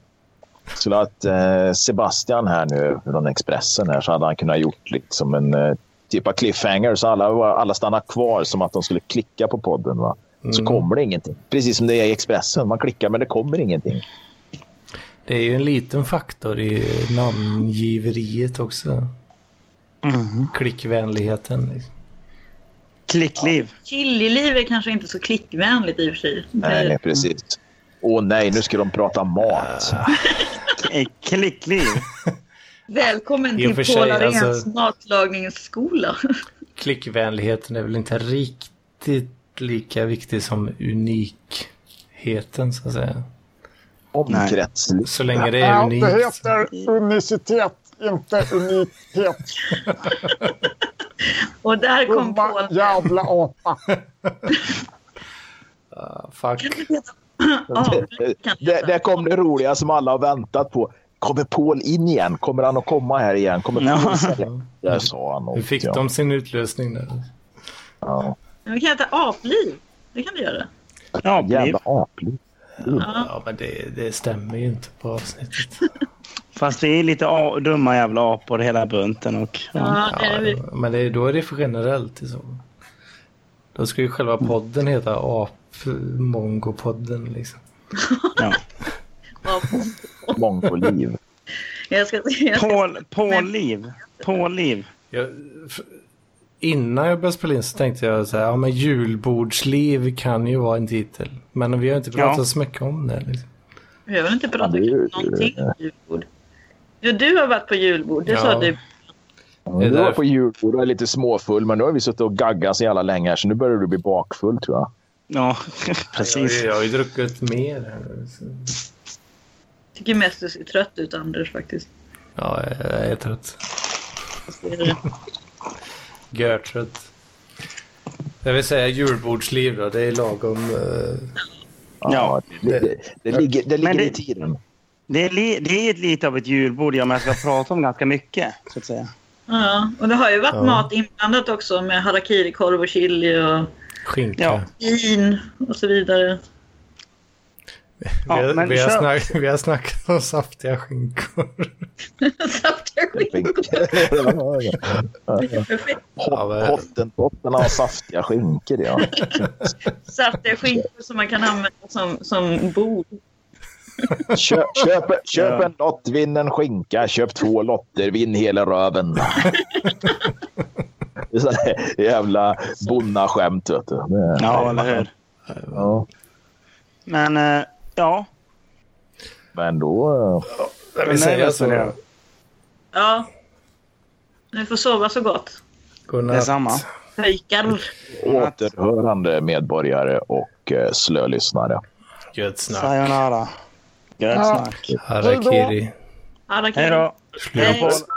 [SPEAKER 3] Skulle ha haft eh, Sebastian här nu från Expressen här, så hade han kunnat gjort liksom en eh, typ av cliffhanger så alla, var- alla stannar kvar som att de skulle klicka på podden. Va? så kommer det ingenting. Precis som det är i Expressen. Man klickar men det kommer ingenting.
[SPEAKER 2] Det är ju en liten faktor i namngiveriet också. Klickvänligheten. liksom.
[SPEAKER 1] Klickliv.
[SPEAKER 4] Killiliv är kanske inte så klickvänligt i och för sig.
[SPEAKER 3] Nej, precis. Åh nej, nu ska de prata mat.
[SPEAKER 1] Eh, Klickliv.
[SPEAKER 4] Välkommen
[SPEAKER 2] I och
[SPEAKER 4] till
[SPEAKER 2] för sig,
[SPEAKER 4] Paul Aréns
[SPEAKER 2] alltså-
[SPEAKER 4] matlagningsskola.
[SPEAKER 2] Klickvänligheten är väl inte riktigt lika viktig som unikheten så att säga.
[SPEAKER 3] Omkretsligt.
[SPEAKER 2] Så länge det är
[SPEAKER 7] Ja, Eh, det
[SPEAKER 2] unikt.
[SPEAKER 7] heter unicitet, inte unikhet.
[SPEAKER 4] Och där kom Paul.
[SPEAKER 7] Dumma jävla apa.
[SPEAKER 2] Fuck.
[SPEAKER 4] Ja,
[SPEAKER 3] Där, där kom det roliga som alla har väntat på. Kommer Paul in igen? Kommer han att komma här igen? Kommer Paul
[SPEAKER 1] Ja.
[SPEAKER 3] sälja? Där sa han
[SPEAKER 2] Hur
[SPEAKER 3] något.
[SPEAKER 2] fick
[SPEAKER 3] ja.
[SPEAKER 2] de sin utlösning där?
[SPEAKER 3] Ja.
[SPEAKER 4] Men vi kan heta apliv. Det kan du göra.
[SPEAKER 1] Ja, bliv.
[SPEAKER 3] Jävla aplig.
[SPEAKER 2] Ja, men det, det stämmer ju inte på avsnittet.
[SPEAKER 1] Fast vi är lite a- dumma jävla apor hela bunten. Och, ja.
[SPEAKER 4] Ja, det är vi.
[SPEAKER 2] Men det, då är det för generellt. Liksom. Då ska ju själva podden heta Apmongopodden. Liksom.
[SPEAKER 1] Ja.
[SPEAKER 4] Ap-
[SPEAKER 3] Mongoliv.
[SPEAKER 4] Jag ska, jag ska,
[SPEAKER 1] Paul, Paul-liv. Paul-liv.
[SPEAKER 2] Jag, f- innan jag började spela in så tänkte jag så här, ja men julbordsliv kan ju vara en titel. Men vi har inte pratat
[SPEAKER 1] Ja.
[SPEAKER 2] så mycket om det. Liksom.
[SPEAKER 4] jag vill inte prata
[SPEAKER 3] Ja, det är ju-
[SPEAKER 4] någonting om julbord. Ja, du har varit på julbord. Det sa
[SPEAKER 2] Ja.
[SPEAKER 4] du.
[SPEAKER 3] Ja, Du var
[SPEAKER 2] därför-
[SPEAKER 3] på julbord och är lite småfull, men nu har vi suttit och gaggat så jävla länge här, så nu börjar du bli bakfull tror jag.
[SPEAKER 1] Ja,
[SPEAKER 2] Jag,
[SPEAKER 1] precis.
[SPEAKER 2] jag har ju druckit mer. Här, nu, så.
[SPEAKER 4] tycker mest du ser trött ut, Anders, faktiskt.
[SPEAKER 2] Ja, jag, jag är trött.
[SPEAKER 4] Det är det.
[SPEAKER 2] Görtrött. Jag vill säga julbordsliv då, det är lagom. eh,
[SPEAKER 1] Ja.
[SPEAKER 3] det, det, det ligger, det ligger
[SPEAKER 1] Men det-
[SPEAKER 3] i tiden.
[SPEAKER 1] Det är, li- det är ett lite av ett julbord jag men jag ska prata om ganska mycket. Så att säga.
[SPEAKER 4] Ja, och det har ju varit
[SPEAKER 2] Ja.
[SPEAKER 4] mat inblandat också med harakirikorv och chili och
[SPEAKER 2] skinka.
[SPEAKER 1] Ja.
[SPEAKER 4] vin och så vidare.
[SPEAKER 1] Ja,
[SPEAKER 2] vi, har,
[SPEAKER 1] men
[SPEAKER 2] vi, har
[SPEAKER 1] kör.
[SPEAKER 2] snack, vi har snackat om saftiga skinkor.
[SPEAKER 4] Saftiga skinkor.
[SPEAKER 2] Ja, men-
[SPEAKER 3] Hottentotterna har saftiga skinkor, ja.
[SPEAKER 4] Saftiga skinkor som man kan använda som, som bord.
[SPEAKER 3] Köp, köp, köp
[SPEAKER 1] Ja.
[SPEAKER 3] en lott, vinn en skinka. Köp två lotter, vinn hela röven. Det är sådana här jävla bonnaskämt, vet du. Det-
[SPEAKER 1] Ja, eller hur?
[SPEAKER 3] Ja.
[SPEAKER 1] Men eh, ja.
[SPEAKER 3] Men då... eh,
[SPEAKER 2] Jag
[SPEAKER 1] Nej,
[SPEAKER 2] vill säga
[SPEAKER 1] jag tror
[SPEAKER 2] så.
[SPEAKER 1] det.
[SPEAKER 4] Ja. Ni får sova så gott.
[SPEAKER 2] Godnatt.
[SPEAKER 1] Detsamma.
[SPEAKER 4] Pojkar.
[SPEAKER 3] Återhörande medborgare och eh, slölyssnare.
[SPEAKER 2] Gött snack.
[SPEAKER 1] Sayonara. Gött snack.
[SPEAKER 2] Harakiri.
[SPEAKER 1] Hej då.
[SPEAKER 4] Harakiri.
[SPEAKER 1] Hej då.
[SPEAKER 2] Slut.
[SPEAKER 4] Hej.